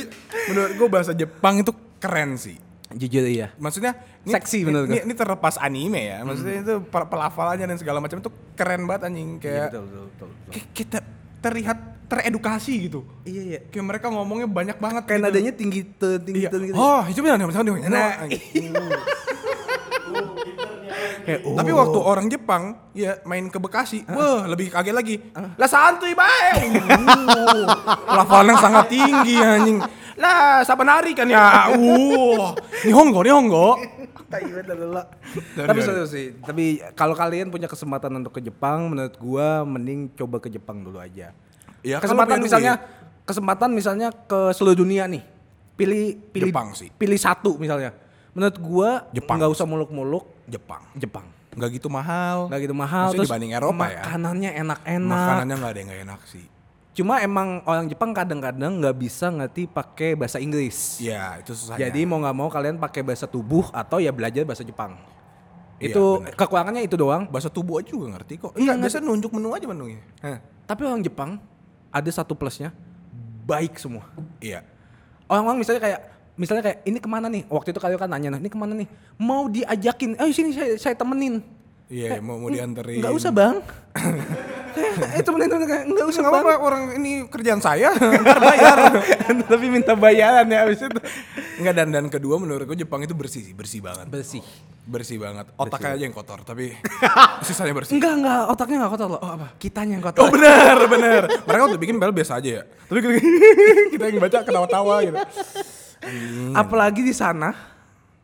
Speaker 2: menurut gue bahasa Jepang itu keren sih.
Speaker 1: Jujur iya.
Speaker 2: Maksudnya
Speaker 1: Seksi menurut Hmm.
Speaker 2: ini, ini terlepas anime ya. Maksudnya itu per- pelafalannya dan segala macam itu keren banget anjing kayak
Speaker 1: Iya, Betul betul betul. betul.
Speaker 2: kayak kita terlihat teredukasi gitu.
Speaker 1: Iya iya.
Speaker 2: Kayak mereka ngomongnya banyak banget
Speaker 1: Kayak nadanya tinggi te- tinggi
Speaker 2: Iya.
Speaker 1: te- tinggi.
Speaker 2: Oh, itu benar sama dong.
Speaker 1: ya? Nah, Kayak, oh.
Speaker 2: Tapi waktu orang Jepang ya main ke Bekasi, wah lebih kaget lagi. Lah santuy bae. Uh, Pelafalannya sangat tinggi anjing. Lah sabanari kan ya. Uh, nihongo, nihongo.
Speaker 1: Tai banget dah lelah.
Speaker 2: Dari-
Speaker 1: Tapi
Speaker 2: dari.
Speaker 1: serius sih. Tapi kalau kalian punya kesempatan untuk ke Jepang, menurut gua mending coba ke Jepang dulu aja.
Speaker 2: Ya, kalau iya.
Speaker 1: kesempatan
Speaker 2: punya
Speaker 1: misalnya kesempatan misalnya ke seluruh dunia nih. Pilih pilih
Speaker 2: Jepang sih.
Speaker 1: Pilih satu misalnya. Menurut gua
Speaker 2: Jepang.
Speaker 1: nggak usah muluk-muluk
Speaker 2: iya. Jepang.
Speaker 1: Jepang.
Speaker 2: Nggak gitu mahal. Nah.
Speaker 1: Nggak gitu mahal
Speaker 2: Maksudnya dibanding Eropa ya.
Speaker 1: Makanannya enak-enak.
Speaker 2: Makanannya nggak ada yang nggak enak sih.
Speaker 1: Cuma emang orang Jepang kadang-kadang nggak bisa ngerti pakai bahasa Inggris.
Speaker 2: Ya itu susah.
Speaker 1: Jadi mau nggak mau kalian pakai bahasa tubuh atau ya belajar bahasa Jepang.
Speaker 2: Iya,
Speaker 1: Itu
Speaker 2: bener.
Speaker 1: kekurangannya itu doang.
Speaker 2: bahasa tubuh aja juga ngerti kok. Enggak, biasa nunjuk menu aja menunya. Hah.
Speaker 1: Tapi orang Jepang ada satu plusnya baik semua.
Speaker 2: Iya.
Speaker 1: Orang-orang misalnya kayak misalnya kayak ini kemana nih? Waktu itu kalian kan nanya nah ini kemana nih? Mau diajakin? Eh sini saya, saya temenin.
Speaker 2: Iya, mau mau dianterin.
Speaker 1: Nggak usah bang. Kayak, eh temenin temenin kayak nggak usah
Speaker 2: Nggak
Speaker 1: bang.
Speaker 2: apa-apa orang ini kerjaan saya.
Speaker 1: Tapi minta bayaran ya abis itu.
Speaker 2: Enggak dan dan kedua menurutku Jepang itu bersih sih, bersih banget.
Speaker 1: Bersih.
Speaker 2: Bersih banget. Otaknya aja yang kotor, tapi sisanya bersih.
Speaker 1: Enggak, enggak, otaknya enggak kotor loh. Oh, apa? Kitanya yang
Speaker 2: Oh
Speaker 1: kotor.
Speaker 2: benar, benar. Mereka waktu bikin bel biasa aja ya. Tapi kita, kita yang baca ketawa-tawa gitu.
Speaker 1: Apalagi di sana.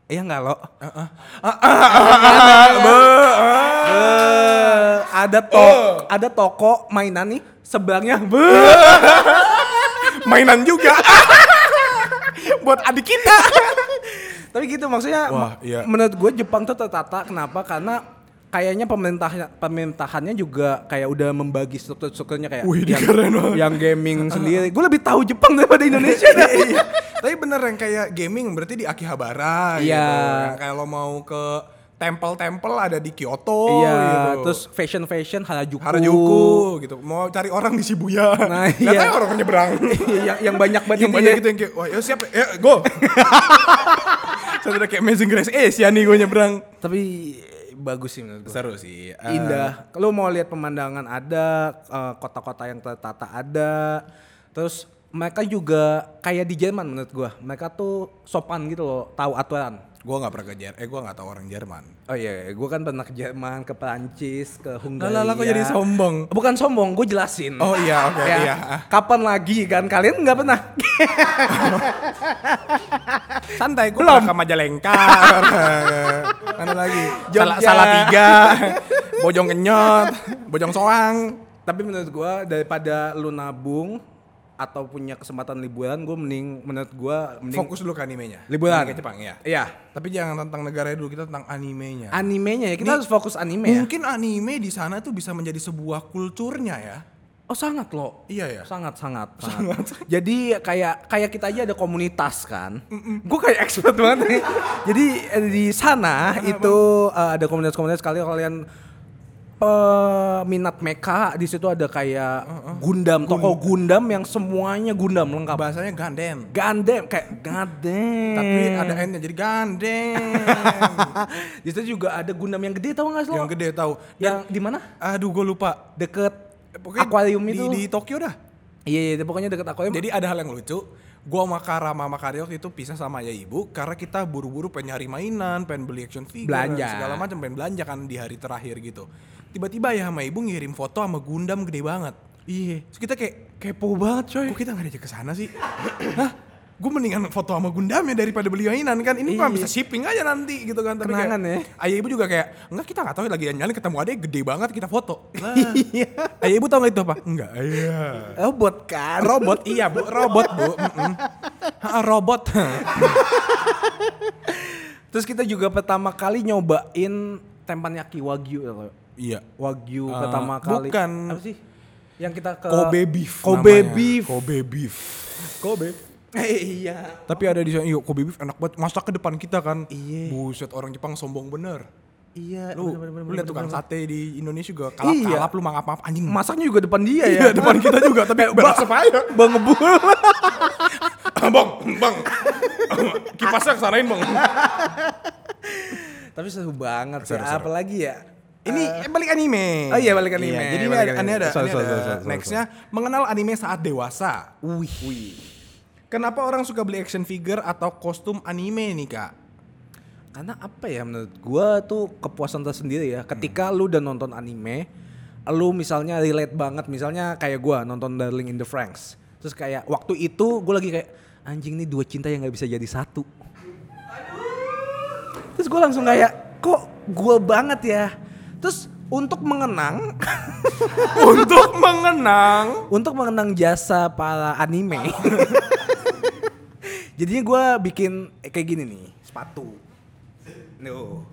Speaker 1: Iya enggak lo? Eh, ada toko, ada toko mainan nih sebelahnya. Be.
Speaker 2: Mainan juga. Buat adik kita.
Speaker 1: Tapi gitu maksudnya
Speaker 2: Wah,
Speaker 1: ma-
Speaker 2: iya.
Speaker 1: menurut gue Jepang tuh tertata kenapa? Karena kayaknya pemerintahnya pemerintahannya juga kayak udah membagi struktur-strukturnya kayak
Speaker 2: Wih, ini
Speaker 1: yang,
Speaker 2: keren banget.
Speaker 1: yang gaming sendiri. Gue lebih tahu Jepang daripada Indonesia.
Speaker 2: Iya. Tapi bener yang kayak gaming berarti di Akihabara gitu.
Speaker 1: Iya.
Speaker 2: Yang kayak lo mau ke tempel-tempel ada di Kyoto
Speaker 1: Iya,
Speaker 2: gitu.
Speaker 1: terus fashion-fashion Harajuku.
Speaker 2: Harajuku gitu. Mau cari orang di Shibuya.
Speaker 1: Oh. Nah,
Speaker 2: Nggak
Speaker 1: iya.
Speaker 2: tahu orang nyebrang.
Speaker 1: yang, Iya, yang banyak banget
Speaker 2: yang
Speaker 1: itu
Speaker 2: banyak
Speaker 1: ya.
Speaker 2: gitu yang kayak, wah ya siap ya, go. Saya udah kayak Amazing Grace, eh si Ani gue nyebrang.
Speaker 1: Tapi eh, bagus sih menurut gue.
Speaker 2: Seru sih. eh,
Speaker 1: Indah. Lu mau lihat pemandangan ada, eh, kota-kota yang tertata ada. Terus mereka juga kayak di Jerman menurut gua. Mereka tuh sopan gitu loh, tahu aturan.
Speaker 2: Gua nggak pernah ke Jerman. Eh gua nggak tahu orang Jerman.
Speaker 1: Oh iya, gue kan pernah ke Jerman, ke Perancis, ke Hungaria.
Speaker 2: Lah, lah, lah, kok jadi sombong?
Speaker 1: Bukan sombong, gue jelasin.
Speaker 2: Oh iya, oke,
Speaker 1: Ya,
Speaker 2: iya.
Speaker 1: Kapan lagi kan kalian nggak pernah?
Speaker 2: Santai, gue
Speaker 1: Belum.
Speaker 2: Eh, ke Majalengka. Mana lagi?
Speaker 1: Anu
Speaker 2: Salah,
Speaker 1: Jogja.
Speaker 2: salah tiga. Bojong kenyot, Bojong soang.
Speaker 1: Tapi menurut gue daripada lu nabung atau punya kesempatan liburan, gue mending menurut gue mending
Speaker 2: Fokus dulu ke animenya.
Speaker 1: Liburan.
Speaker 2: Ke Jepang ya.
Speaker 1: Iya.
Speaker 2: Tapi jangan tentang negaranya dulu, kita tentang animenya.
Speaker 1: Animenya ya, kita
Speaker 2: Ini-
Speaker 1: harus fokus anime ya.
Speaker 2: Mungkin anime di sana tuh bisa menjadi sebuah kulturnya ya.
Speaker 1: Oh sangat loh.
Speaker 2: Iya ya.
Speaker 1: Sangat sangat sangat. Jadi kayak kayak kita aja ada komunitas kan. Gue kayak expert banget nih. Jadi eh, di sana itu eh, ada komunitas-komunitas kalian kalian peminat mecha di situ ada kayak Gundam, toko Gundam yang semuanya Gundam lengkap.
Speaker 2: Bahasanya ganden.
Speaker 1: Gundam kayak Gundam.
Speaker 2: Tapi ada N-nya jadi ganden.
Speaker 1: di situ juga ada Gundam yang gede tau gak sih lo?
Speaker 2: Yang
Speaker 1: Yang,
Speaker 2: gede tahu.
Speaker 1: di mana?
Speaker 2: Aduh, gue lupa.
Speaker 1: Deket
Speaker 2: Eh, pokoknya
Speaker 1: akuarium
Speaker 2: di,
Speaker 1: itu.
Speaker 2: di Tokyo dah.
Speaker 1: Iya, iya, pokoknya deket akuarium.
Speaker 2: Jadi ada hal yang lucu. Gua sama Kara sama Karyo waktu itu pisah sama ayah ibu karena kita buru-buru pengen nyari mainan, pengen beli action figure,
Speaker 1: Belanja.
Speaker 2: dan segala macam, pengen belanja kan di hari terakhir gitu. Tiba-tiba ya sama ibu ngirim foto sama Gundam gede banget.
Speaker 1: Iya.
Speaker 2: Terus kita kayak
Speaker 1: Kepo banget coy.
Speaker 2: kok kita nggak diajak ke sana sih? Hah? Gue mendingan foto sama Gundamnya daripada beli mainan kan. Ini
Speaker 1: Iya.
Speaker 2: mah bisa shipping aja nanti gitu kan. Tapi
Speaker 1: Kenangan ya.
Speaker 2: kayak, Ayah ibu juga kayak, enggak kita nggak tahu lagi jalan-jalan ketemu adanya gede banget kita foto. Lah.
Speaker 1: Iya.
Speaker 2: ayah ibu tahu nggak itu apa? Enggak. Iya.
Speaker 1: Robot kan.
Speaker 2: Robot, iya bu, robot bu. Mm-mm. Ha, robot.
Speaker 1: Terus kita juga pertama kali nyobain tempanyaki wagyu tau nggak?
Speaker 2: iya.
Speaker 1: Wagyu
Speaker 2: Eh,
Speaker 1: pertama kali.
Speaker 2: bukan.
Speaker 1: Apa sih? Yang kita ke
Speaker 2: Eh, Kobe beef.
Speaker 1: Ah. Kobe
Speaker 2: namanya.
Speaker 1: beef.
Speaker 2: Kobe beef. Kobe.
Speaker 1: Eh, iya.
Speaker 2: Tapi ada di sana, yuk Kobe beef enak banget. Masak ke depan kita kan.
Speaker 1: Iya.
Speaker 2: Buset orang Jepang sombong bener.
Speaker 1: Iya.
Speaker 2: Lu,
Speaker 1: bener, bener,
Speaker 2: lu
Speaker 1: bener,
Speaker 2: lihat tukang
Speaker 1: bener,
Speaker 2: sate di Indonesia juga kalap kalap lu maaf maaf anjing.
Speaker 1: bener. Masaknya juga depan dia ya.
Speaker 2: Iya, depan kita juga tapi berasa aja.
Speaker 1: Bang ngebul.
Speaker 2: Ah, bang, bang. Kipasnya kesanain bang.
Speaker 1: Tapi seru banget sih.
Speaker 2: Seru, seru.
Speaker 1: Apalagi ya.
Speaker 2: Ini eh, balik anime.
Speaker 1: Oh iya, balik anime,
Speaker 2: jadi ini
Speaker 1: balik
Speaker 2: ada,
Speaker 1: anime.
Speaker 2: ini ada,
Speaker 1: Sorry,
Speaker 2: ini
Speaker 1: sorry,
Speaker 2: ada
Speaker 1: sorry, sorry, sorry.
Speaker 2: nextnya mengenal anime saat dewasa.
Speaker 1: Wih.
Speaker 2: Kenapa orang suka beli action figure atau kostum anime nih kak?
Speaker 1: Karena apa ya menurut gua tuh kepuasan tersendiri ya. Ketika lu udah nonton anime, lu misalnya relate banget, misalnya kayak gua nonton Darling in the Franxx. Terus kayak waktu itu gua lagi kayak anjing nih dua cinta yang nggak bisa jadi satu. Terus gua langsung kayak kok gua banget ya. Terus untuk mengenang,
Speaker 2: Untuk mengenang.
Speaker 1: untuk mengenang jasa para anime. Jadinya gua bikin eh, kayak gini nih, sepatu. Nuh.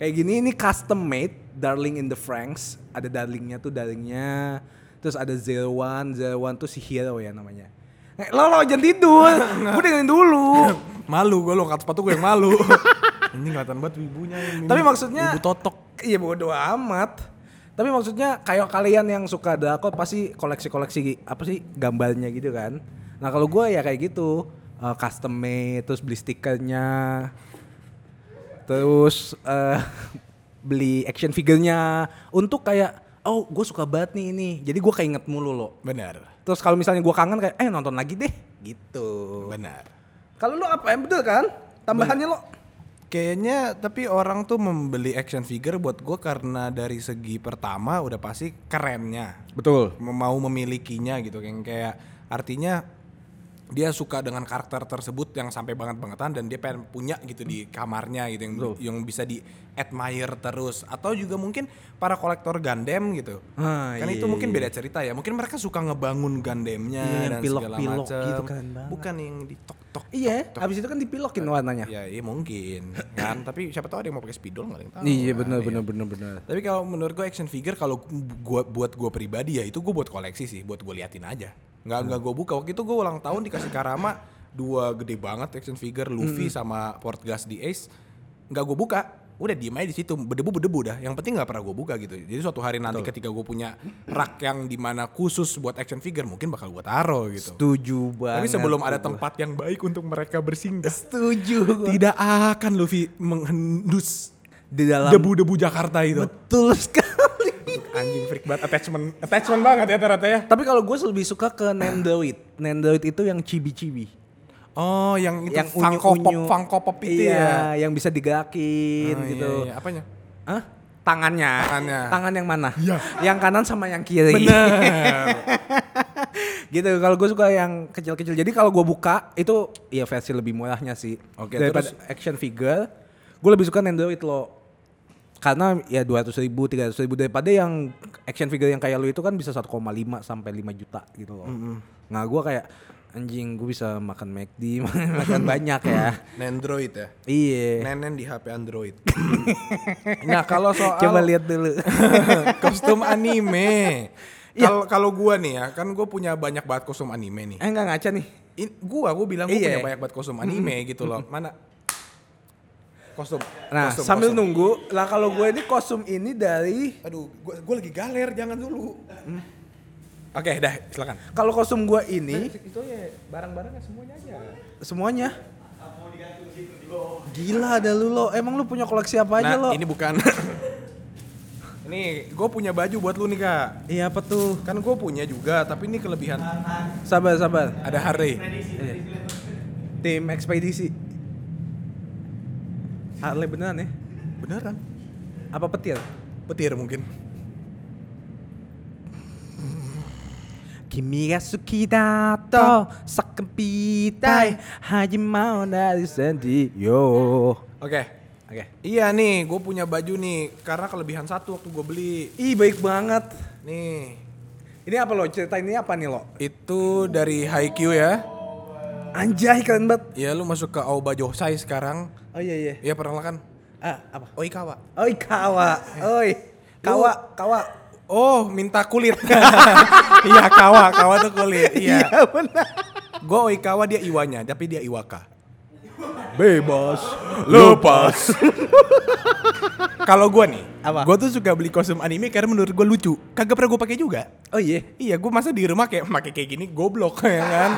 Speaker 1: Kayak gini ini custom made Darling in the Franks. Ada darlingnya tuh darlingnya. Terus ada Zero One, Zero One tuh si hero ya namanya. Eh, Lo lo jangan tidur. Gue dengerin dulu.
Speaker 2: Malu gue lo angkat sepatu gue yang malu. Ini kelihatan banget wibunya. ini.
Speaker 1: Tapi maksudnya
Speaker 2: Wibu totok.
Speaker 1: Iya bodo amat. Tapi maksudnya kayak kalian yang suka drakor pasti koleksi-koleksi apa sih gambarnya gitu kan. Nah kalau gue ya kayak gitu eh, custom made terus beli stikernya terus eh, beli action figurnya untuk kayak oh gue suka banget nih ini jadi gue keinget mulu loh
Speaker 2: Benar.
Speaker 1: terus kalau misalnya gue kangen kayak eh nonton lagi deh gitu
Speaker 2: Benar.
Speaker 1: kalau lo apa yang betul kan tambahannya lo
Speaker 2: Kayaknya tapi orang tuh membeli action figure buat gue karena dari segi pertama udah pasti kerennya.
Speaker 1: betul
Speaker 2: mau memilikinya gitu yang kayak artinya dia suka dengan karakter tersebut yang sampai banget bangetan dan dia pengen punya gitu di kamarnya gitu yang yang bisa di admire terus atau juga mungkin para kolektor Gundam gitu
Speaker 1: Ah,
Speaker 2: kan
Speaker 1: iya,
Speaker 2: itu mungkin beda cerita ya mungkin mereka suka ngebangun Gundamnya
Speaker 1: Iya, yang
Speaker 2: dan segala
Speaker 1: pilok-pilok
Speaker 2: macam
Speaker 1: gitu, keren banget.
Speaker 2: bukan yang ditok-tok
Speaker 1: iya habis itu kan dipilokin warnanya
Speaker 2: ya iya mungkin kan tapi siapa tahu ada yang mau pakai spidol nggak ada yang tahu
Speaker 1: Iya
Speaker 2: kan.
Speaker 1: benar benar benar benar.
Speaker 2: Tapi kalau menurut gue action figure kalau gua buat gue pribadi ya itu gue buat koleksi sih, buat gue liatin aja. Nggak nggak gue buka. Waktu itu gue ulang tahun dikasih Karama dua gede banget action figure Luffy sama Portgas di Ace. Nggak gue buka. Udah diem aja di situ, berdebu-berdebu dah. Yang penting nggak pernah gue buka gitu. Jadi suatu hari nanti ketika gue punya rak yang dimana khusus buat action figure mungkin bakal gue taro gitu.
Speaker 1: Setuju banget.
Speaker 2: Tapi sebelum ada tempat yang baik untuk mereka bersinggah,
Speaker 1: setuju gua.
Speaker 2: tidak akan Luffy menghendus
Speaker 1: di dalam
Speaker 2: debu-debu Jakarta itu.
Speaker 1: betul sekali.
Speaker 2: Anjing freak banget attachment attachment banget ya ternyata ya.
Speaker 1: Tapi kalau gue lebih suka ke Nendoid. Nendoid itu yang cibi-cibi.
Speaker 2: Oh, yang itu
Speaker 1: yang
Speaker 2: Funko Pop,
Speaker 1: unyu-unyu.
Speaker 2: Funko Pop itu
Speaker 1: iya,
Speaker 2: ya.
Speaker 1: yang bisa digerakin
Speaker 2: Oh, iya,
Speaker 1: gitu.
Speaker 2: iya. Apanya?
Speaker 1: Hah? Tangannya.
Speaker 2: Tangannya.
Speaker 1: Tangan yang mana?
Speaker 2: Iya.
Speaker 1: Yang kanan sama yang kiri. gitu. Kalau gue suka yang kecil-kecil. Jadi kalau gue buka itu ya versi lebih murahnya sih.
Speaker 2: Oke,
Speaker 1: Daripada action figure, gue lebih suka Nintendo itu loh. Karena ya 200 ribu, 300 ribu daripada yang action figure yang kayak lu itu kan bisa 1,5 sampai 5 juta gitu loh. Nah gue kayak anjing gue bisa makan McD, makan banyak ya.
Speaker 2: Nendroid ya.
Speaker 1: Iya.
Speaker 2: Nenen di HP Android. nah, kalau soal
Speaker 1: Coba lihat dulu.
Speaker 2: kostum anime. Kalau kalau gua nih ya, kan gua punya banyak banget kostum anime nih.
Speaker 1: eh enggak ngaca nih.
Speaker 2: In, gua gua bilang gua
Speaker 1: Iya.
Speaker 2: punya banyak banget kostum anime gitu loh. Mana kostum?
Speaker 1: Nah,
Speaker 2: kostum,
Speaker 1: sambil
Speaker 2: kostum.
Speaker 1: nunggu, lah kalau gue ini kostum ini dari
Speaker 2: Aduh, gua, gua lagi galer, jangan dulu. Oke, dah, silakan.
Speaker 1: kalau kostum gue ini
Speaker 2: Itu ya barang-barangnya semuanya aja.
Speaker 1: semuanya Gila ada lu lo. Emang lu punya koleksi apa aja
Speaker 2: Nah,
Speaker 1: lo?
Speaker 2: ini bukan. ini gua punya baju buat lu nih, Kak.
Speaker 1: Iya apa tuh?
Speaker 2: Kan gua punya juga, tapi ini kelebihan
Speaker 1: Sabar sabar.
Speaker 2: ada Harley.
Speaker 1: Tim ekspedisi. Harley beneran ya?
Speaker 2: Beneran?
Speaker 1: Apa petir?
Speaker 2: Petir mungkin.
Speaker 1: Kimi ga suki dato sakepitai hajimau dari sendi yo.
Speaker 2: Oke.
Speaker 1: Oke.
Speaker 2: Iya nih, gue punya baju nih karena kelebihan satu waktu gue beli.
Speaker 1: Ih baik banget.
Speaker 2: Nih,
Speaker 1: Ini apa lo? Cerita ini apa nih lo?
Speaker 2: itu dari Haikyuu ya.
Speaker 1: Anjay keren banget.
Speaker 2: Ya lu masuk ke Aoba Josai sekarang.
Speaker 1: Oh iya iya.
Speaker 2: Ya pernah lah kan?
Speaker 1: Ah, apa?
Speaker 2: Oikawa.
Speaker 1: Oi kawa. Oi. Kawa, kawa.
Speaker 2: Oh, minta kulit. Iya, kawa, kawa tuh kulit. Iya.
Speaker 1: benar.
Speaker 2: Gue Oikawa dia Iwanya, tapi dia Iwaka.
Speaker 1: Bebas.
Speaker 2: Lepas. Kalau gue nih,
Speaker 1: Apa?
Speaker 2: gue tuh suka beli kostum anime karena menurut gue lucu. Kagak pernah gue pakai juga.
Speaker 1: Oh iya.
Speaker 2: Iya, gue masa di rumah kayak pakai kayak gini goblok ya kan.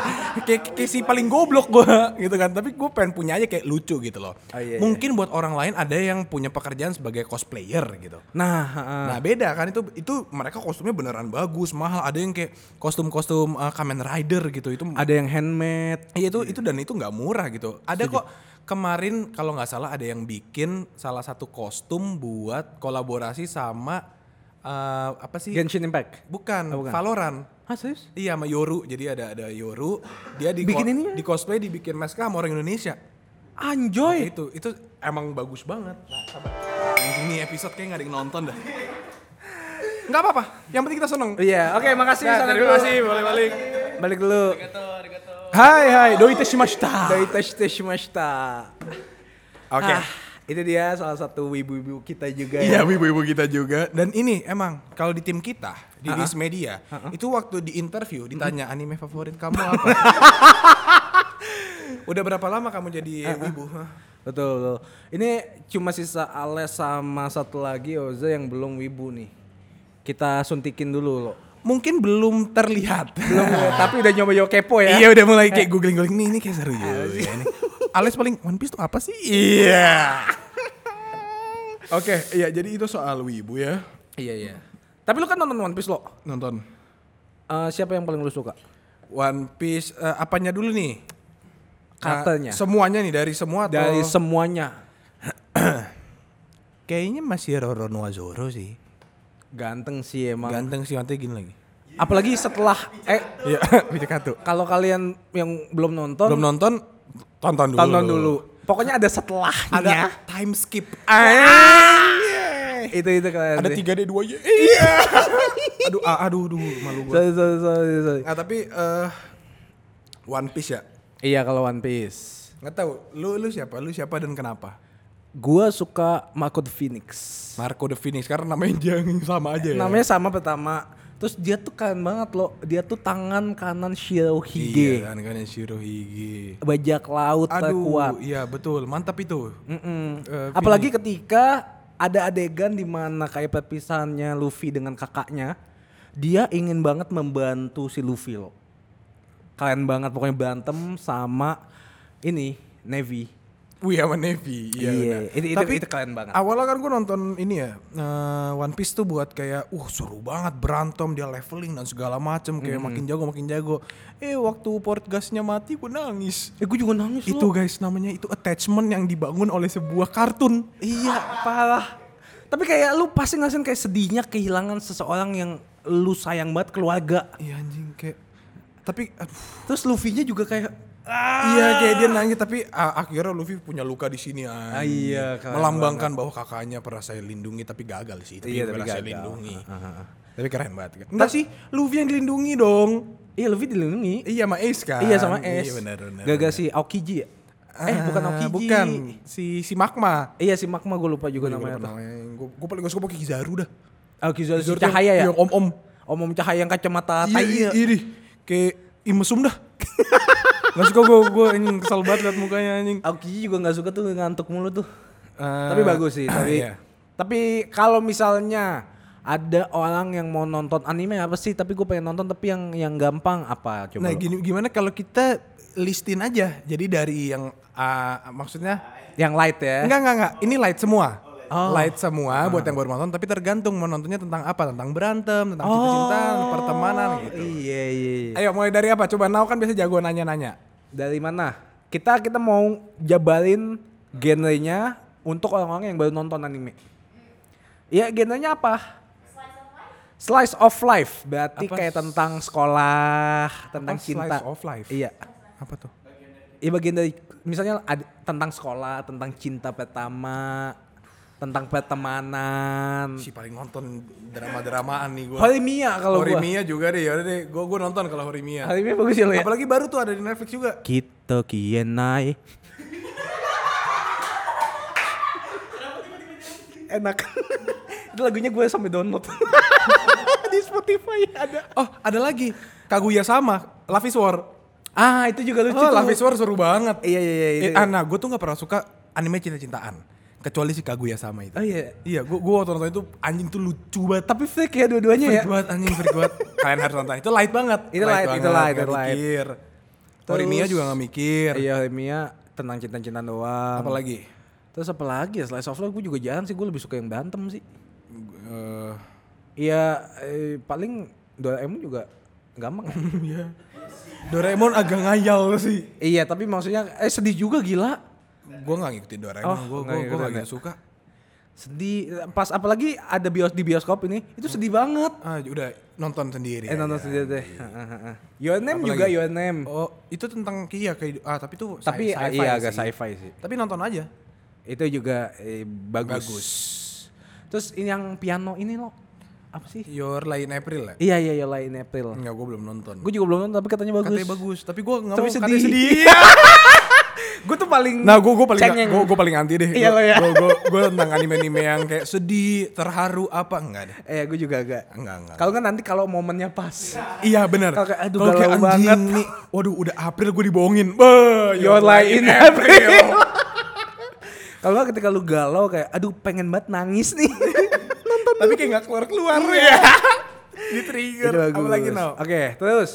Speaker 2: kayak, kayak si paling goblok gua gitu kan. Tapi gue pengen punya aja kayak lucu gitu loh.
Speaker 1: Oh, iya, iya.
Speaker 2: Mungkin buat orang lain ada yang punya pekerjaan sebagai cosplayer gitu.
Speaker 1: Nah,
Speaker 2: Nah beda kan itu itu mereka kostumnya beneran bagus mahal ada yang kayak kostum-kostum uh, Kamen Rider gitu itu
Speaker 1: ada yang handmade.
Speaker 2: Iya itu itu dan itu nggak murah gitu. Ada kok kemarin kalau nggak salah ada yang bikin salah satu kostum buat kolaborasi sama eh, apa sih?
Speaker 1: Genshin Impact.
Speaker 2: bukan,
Speaker 1: Oh, bukan.
Speaker 2: Valorant.
Speaker 1: Ah serius?
Speaker 2: Iya sama Yoru. Jadi ada ada Yoru, dia di
Speaker 1: Bikin ini ya?
Speaker 2: di cosplay dibikin masker sama orang Indonesia. Ya
Speaker 1: Anjoy.
Speaker 2: Itu itu emang bagus banget. Nah, sabar. Ini episode kayak nggak ada yang nonton dah. Nggak apa-apa. Yang penting kita seneng.
Speaker 1: Iya, oke makasih
Speaker 2: Nah,
Speaker 1: sangat
Speaker 2: terima
Speaker 1: dulu.
Speaker 2: kasih. Boleh balik.
Speaker 1: Balik dulu.
Speaker 2: Hai hai. Do itashimashita.
Speaker 1: Dari tes tes mashita.
Speaker 2: Ah. Oke.
Speaker 1: Ah, itu dia salah satu ibu-ibu kita juga.
Speaker 2: Iya,
Speaker 1: ya.
Speaker 2: ibu-ibu kita juga. Dan ini emang kalau di tim kita di Dis Media itu waktu di interview ditanya anime favorit kamu apa. Udah berapa lama kamu jadi ibu?
Speaker 1: Betul, betul. Ini cuma sisa Ales sama satu lagi Oza yang belum wibu nih. Kita suntikin dulu loh.
Speaker 2: Mungkin belum terlihat.
Speaker 1: Belum, tapi udah nyoba-nyoba kepo ya.
Speaker 2: Iya udah mulai kayak googling googling nih ini kayak seru juga. ya, ini. Alex paling One Piece tuh apa sih? Iya. Oke, iya jadi itu soal wibu ya.
Speaker 1: Iya iya. Tapi lu kan nonton One Piece lo.
Speaker 2: Nonton
Speaker 1: Eh, siapa yang paling lu suka?
Speaker 2: One Piece eh, apanya dulu nih?
Speaker 1: Katanya.
Speaker 2: Nah, semuanya nih dari semua atau-
Speaker 1: Dari semuanya.
Speaker 2: Kayaknya masih Roro Noa Zoro sih.
Speaker 1: Ganteng sih emang.
Speaker 2: Ganteng sih nanti gini lagi.
Speaker 1: Apalagi setelah eh
Speaker 2: Iya, Wijakato.
Speaker 1: kalau kalian yang belum nonton,
Speaker 2: Belum nonton tonton dulu.
Speaker 1: tonton dulu. Pokoknya ada setelahnya. Ah,
Speaker 2: Ada time skip.
Speaker 1: iya. Itu itu kalian.
Speaker 2: Ada
Speaker 1: sih.
Speaker 2: 3D 2 Iya. aduh,
Speaker 1: Iya.
Speaker 2: ah, aduh, aduh, malu gua.
Speaker 1: Sorry, sorry, sorry, sorry.
Speaker 2: Nah, tapi eh One Piece ya.
Speaker 1: Iya kalau One Piece.
Speaker 2: Nggak tahu lu lu siapa? Lu siapa dan kenapa?
Speaker 1: Gua suka Marco the Phoenix.
Speaker 2: Marco the Phoenix karena namanya jangan sama aja ya.
Speaker 1: Namanya sama pertama. Terus dia tuh keren banget loh. Dia tuh tangan kanan Shirohige.
Speaker 2: Iya, kan kan Shirohige.
Speaker 1: Bajak laut
Speaker 2: Aduh,
Speaker 1: terkuat.
Speaker 2: iya betul. Mantap itu.
Speaker 1: Mm-mm.
Speaker 2: Eh,
Speaker 1: Apalagi ketika ada adegan di mana kayak perpisahannya Luffy dengan kakaknya, dia ingin banget membantu si Luffy loh. Keren banget pokoknya berantem sama ini Navy.
Speaker 2: Wii sama Nevi. Iya.
Speaker 1: Iya,
Speaker 2: benar.
Speaker 1: itu- itu-
Speaker 2: Tapi
Speaker 1: itu keren banget.
Speaker 2: Awalnya kan gue nonton ini ya eh, One Piece tuh buat kayak, uh seru banget berantem dia leveling dan segala macem kayak makin jago makin jago. Eh waktu port gasnya mati gue nangis.
Speaker 1: Eh gue juga nangis
Speaker 2: Itu guys namanya itu attachment yang dibangun oleh sebuah kartun.
Speaker 1: Iya, parah. Tapi kayak lu pasti ngerasain kayak sedihnya kehilangan seseorang yang lu sayang banget keluarga.
Speaker 2: Iya anjing kayak. Tapi aduh.
Speaker 1: Terus Luffy-nya juga kayak "Ah."
Speaker 2: Iya kayak dia nangis tapi a- akhirnya Luffy punya luka di sini
Speaker 1: Ah,
Speaker 2: ah.
Speaker 1: iya, keren
Speaker 2: melambangkan bahwa kakaknya pernah saya lindungi tapi gagal sih. Tapi
Speaker 1: Iya,
Speaker 2: pernah
Speaker 1: tapi
Speaker 2: saya
Speaker 1: gagal. Ah,
Speaker 2: lindungi. Tapi keren banget. kan. Enggak sih, Luffy yang dilindungi dong.
Speaker 1: Iya Luffy dilindungi.
Speaker 2: Iya sama Ace kan.
Speaker 1: Iya sama S.
Speaker 2: Iya benar benar.
Speaker 1: Gagal si Aokiji ya?
Speaker 2: benar.
Speaker 1: eh bukan
Speaker 2: Ah,
Speaker 1: Aokiji.
Speaker 2: Bukan si si Magma.
Speaker 1: Iya si Magma gue lupa juga namanya. tuh.
Speaker 2: Gue paling gak suka pakai Kizaru dah.
Speaker 1: Aokiji si
Speaker 2: Kizaru tuh
Speaker 1: cahaya ya?
Speaker 2: yang- Yang om-om.
Speaker 1: Om-om cahaya yang kacamata
Speaker 2: Iya,
Speaker 1: tai.
Speaker 2: iya, iya. dih. Kayak imesum dah. gak suka gue, gue anjing kesel banget liat mukanya anjing.
Speaker 1: Aokiji juga nggak suka tuh ngantuk mulu tuh.
Speaker 2: Eh,
Speaker 1: tapi bagus sih. Tapi
Speaker 2: iya.
Speaker 1: tapi kalau misalnya ada orang yang mau nonton anime apa sih? Tapi gue pengen nonton tapi yang yang gampang apa coba?
Speaker 2: Nah,
Speaker 1: lu?
Speaker 2: gini gimana kalau kita listin aja. Jadi dari yang ah, maksudnya
Speaker 1: yang light ya?
Speaker 2: enggak enggak enggak, ini light semua.
Speaker 1: Oh.
Speaker 2: Light semua buat yang baru nonton tapi tergantung mau nontonnya tentang apa, tentang berantem, tentang cinta-cintaan, pertemanan gitu.
Speaker 1: Oh. Iya iya. iya.
Speaker 2: Ayo mulai dari apa? Coba Nau kan biasa jago nanya-nanya.
Speaker 1: Dari mana? Kita kita mau jabarin genrenya untuk orang-orang yang baru nonton anime. Ya genrenya apa? Slice of life berarti
Speaker 2: Apa
Speaker 1: kayak
Speaker 2: s-
Speaker 1: tentang sekolah, tentang
Speaker 2: slice
Speaker 1: cinta.
Speaker 2: of life?
Speaker 1: Iya.
Speaker 2: Apa tuh?
Speaker 1: Ya bagian dari misalnya ad- tentang sekolah, tentang cinta pertama, tentang pertemanan.
Speaker 2: Si paling nonton drama-dramaan nih gua.
Speaker 1: Horimiya Hmm. kalau gua.
Speaker 2: Horimiya juga deh, yaudah deh. Gua gua nonton kalau Horimiya.
Speaker 1: Horimiya bagus ya lo ya.
Speaker 2: Apalagi baru tuh ada di Netflix juga.
Speaker 1: Kita kienai. Enak. Itu lagunya gue sampai download. Di Spotify ada.
Speaker 2: Oh, ada lagi. Kaguya sama, Love is War.
Speaker 1: Ah, itu juga lucu. tuh.
Speaker 2: Oh, Love is War seru banget.
Speaker 1: Iya, iya, iya.
Speaker 2: Eh,
Speaker 1: itu.
Speaker 2: ah, nah, gue tuh nggak pernah suka anime cinta-cintaan, kecuali si Kaguya sama itu.
Speaker 1: Oh iya.
Speaker 2: Iya, gue gue waktu nonton itu anjing tuh lucu banget.
Speaker 1: Tapi fake ya dua-duanya ya.
Speaker 2: Freak banget anjing freak banget. Kalian harus nonton. Itu light banget.
Speaker 1: Itu light, itu light,
Speaker 2: nggak
Speaker 1: itu light.
Speaker 2: mikir.
Speaker 1: Terus-
Speaker 2: Horimiya juga gak mikir.
Speaker 1: Iya, Mia tenang cinta-cintaan doang.
Speaker 2: Apalagi?
Speaker 1: Terus apa lagi ya? Slice of life gue juga jarang sih. Gue lebih suka yang berantem sih.
Speaker 2: Eh,
Speaker 1: Iya, eh, paling Doraemon juga gampang ya.
Speaker 2: Iya. Doraemon agak ngayal sih.
Speaker 1: iya, tapi maksudnya eh sedih juga gila.
Speaker 2: Gue gak ngikutin Doraemon.
Speaker 1: Oh,
Speaker 2: Gue
Speaker 1: nggak
Speaker 2: gue gue
Speaker 1: ngikutin
Speaker 2: gak
Speaker 1: ya.
Speaker 2: gitu suka.
Speaker 1: sedih pas apalagi ada bios di bioskop ini itu sedih banget
Speaker 2: Ah, udah nonton sendiri.
Speaker 1: eh nonton
Speaker 2: aja.
Speaker 1: sedih deh your name
Speaker 2: Apalagi?
Speaker 1: juga your name
Speaker 2: iya. Oh, itu tentang iya kayak ah tapi itu sci-
Speaker 1: tapi
Speaker 2: sci-fi
Speaker 1: iya agak
Speaker 2: sih.
Speaker 1: sci-fi sih
Speaker 2: Tapi nonton aja.
Speaker 1: itu juga eh, bagus.
Speaker 2: Bagus.
Speaker 1: terus ini yang piano ini loh apa sih
Speaker 2: Your Lie in April ya? lah.
Speaker 1: iya iya iya lain April
Speaker 2: Enggak, gue belum nonton.
Speaker 1: gue juga belum nonton tapi katanya bagus
Speaker 2: Hmm. Katanya bagus, tapi gue nggak mau
Speaker 1: Tapi
Speaker 2: katanya
Speaker 1: sedih.
Speaker 2: sedih.
Speaker 1: gue tuh paling
Speaker 2: Nah, gue gue paling
Speaker 1: Cengeng.
Speaker 2: gue gue paling anti deh.
Speaker 1: Iya, lo ya.
Speaker 2: Gue gue gue tentang anime-anime yang kayak sedih, terharu apa enggak deh.
Speaker 1: eh gue juga agak
Speaker 2: Enggak, enggak.
Speaker 1: kalau kan nanti kalau momennya pas
Speaker 2: Iya benar.
Speaker 1: Kalau kayak, aduh,
Speaker 2: Kalau
Speaker 1: galau
Speaker 2: anjing
Speaker 1: banget.
Speaker 2: nih, waduh udah April gue dibohongin. Bah,
Speaker 1: your lie in
Speaker 2: April.
Speaker 1: April kalau nggak ketika lu galau kayak aduh pengen banget nangis nih nonton
Speaker 2: Tapi kayak nggak keluar keluar ya. Di trigger.
Speaker 1: Itu
Speaker 2: Apa
Speaker 1: Iya. bagus.
Speaker 2: lagi now?
Speaker 1: Oke, terus.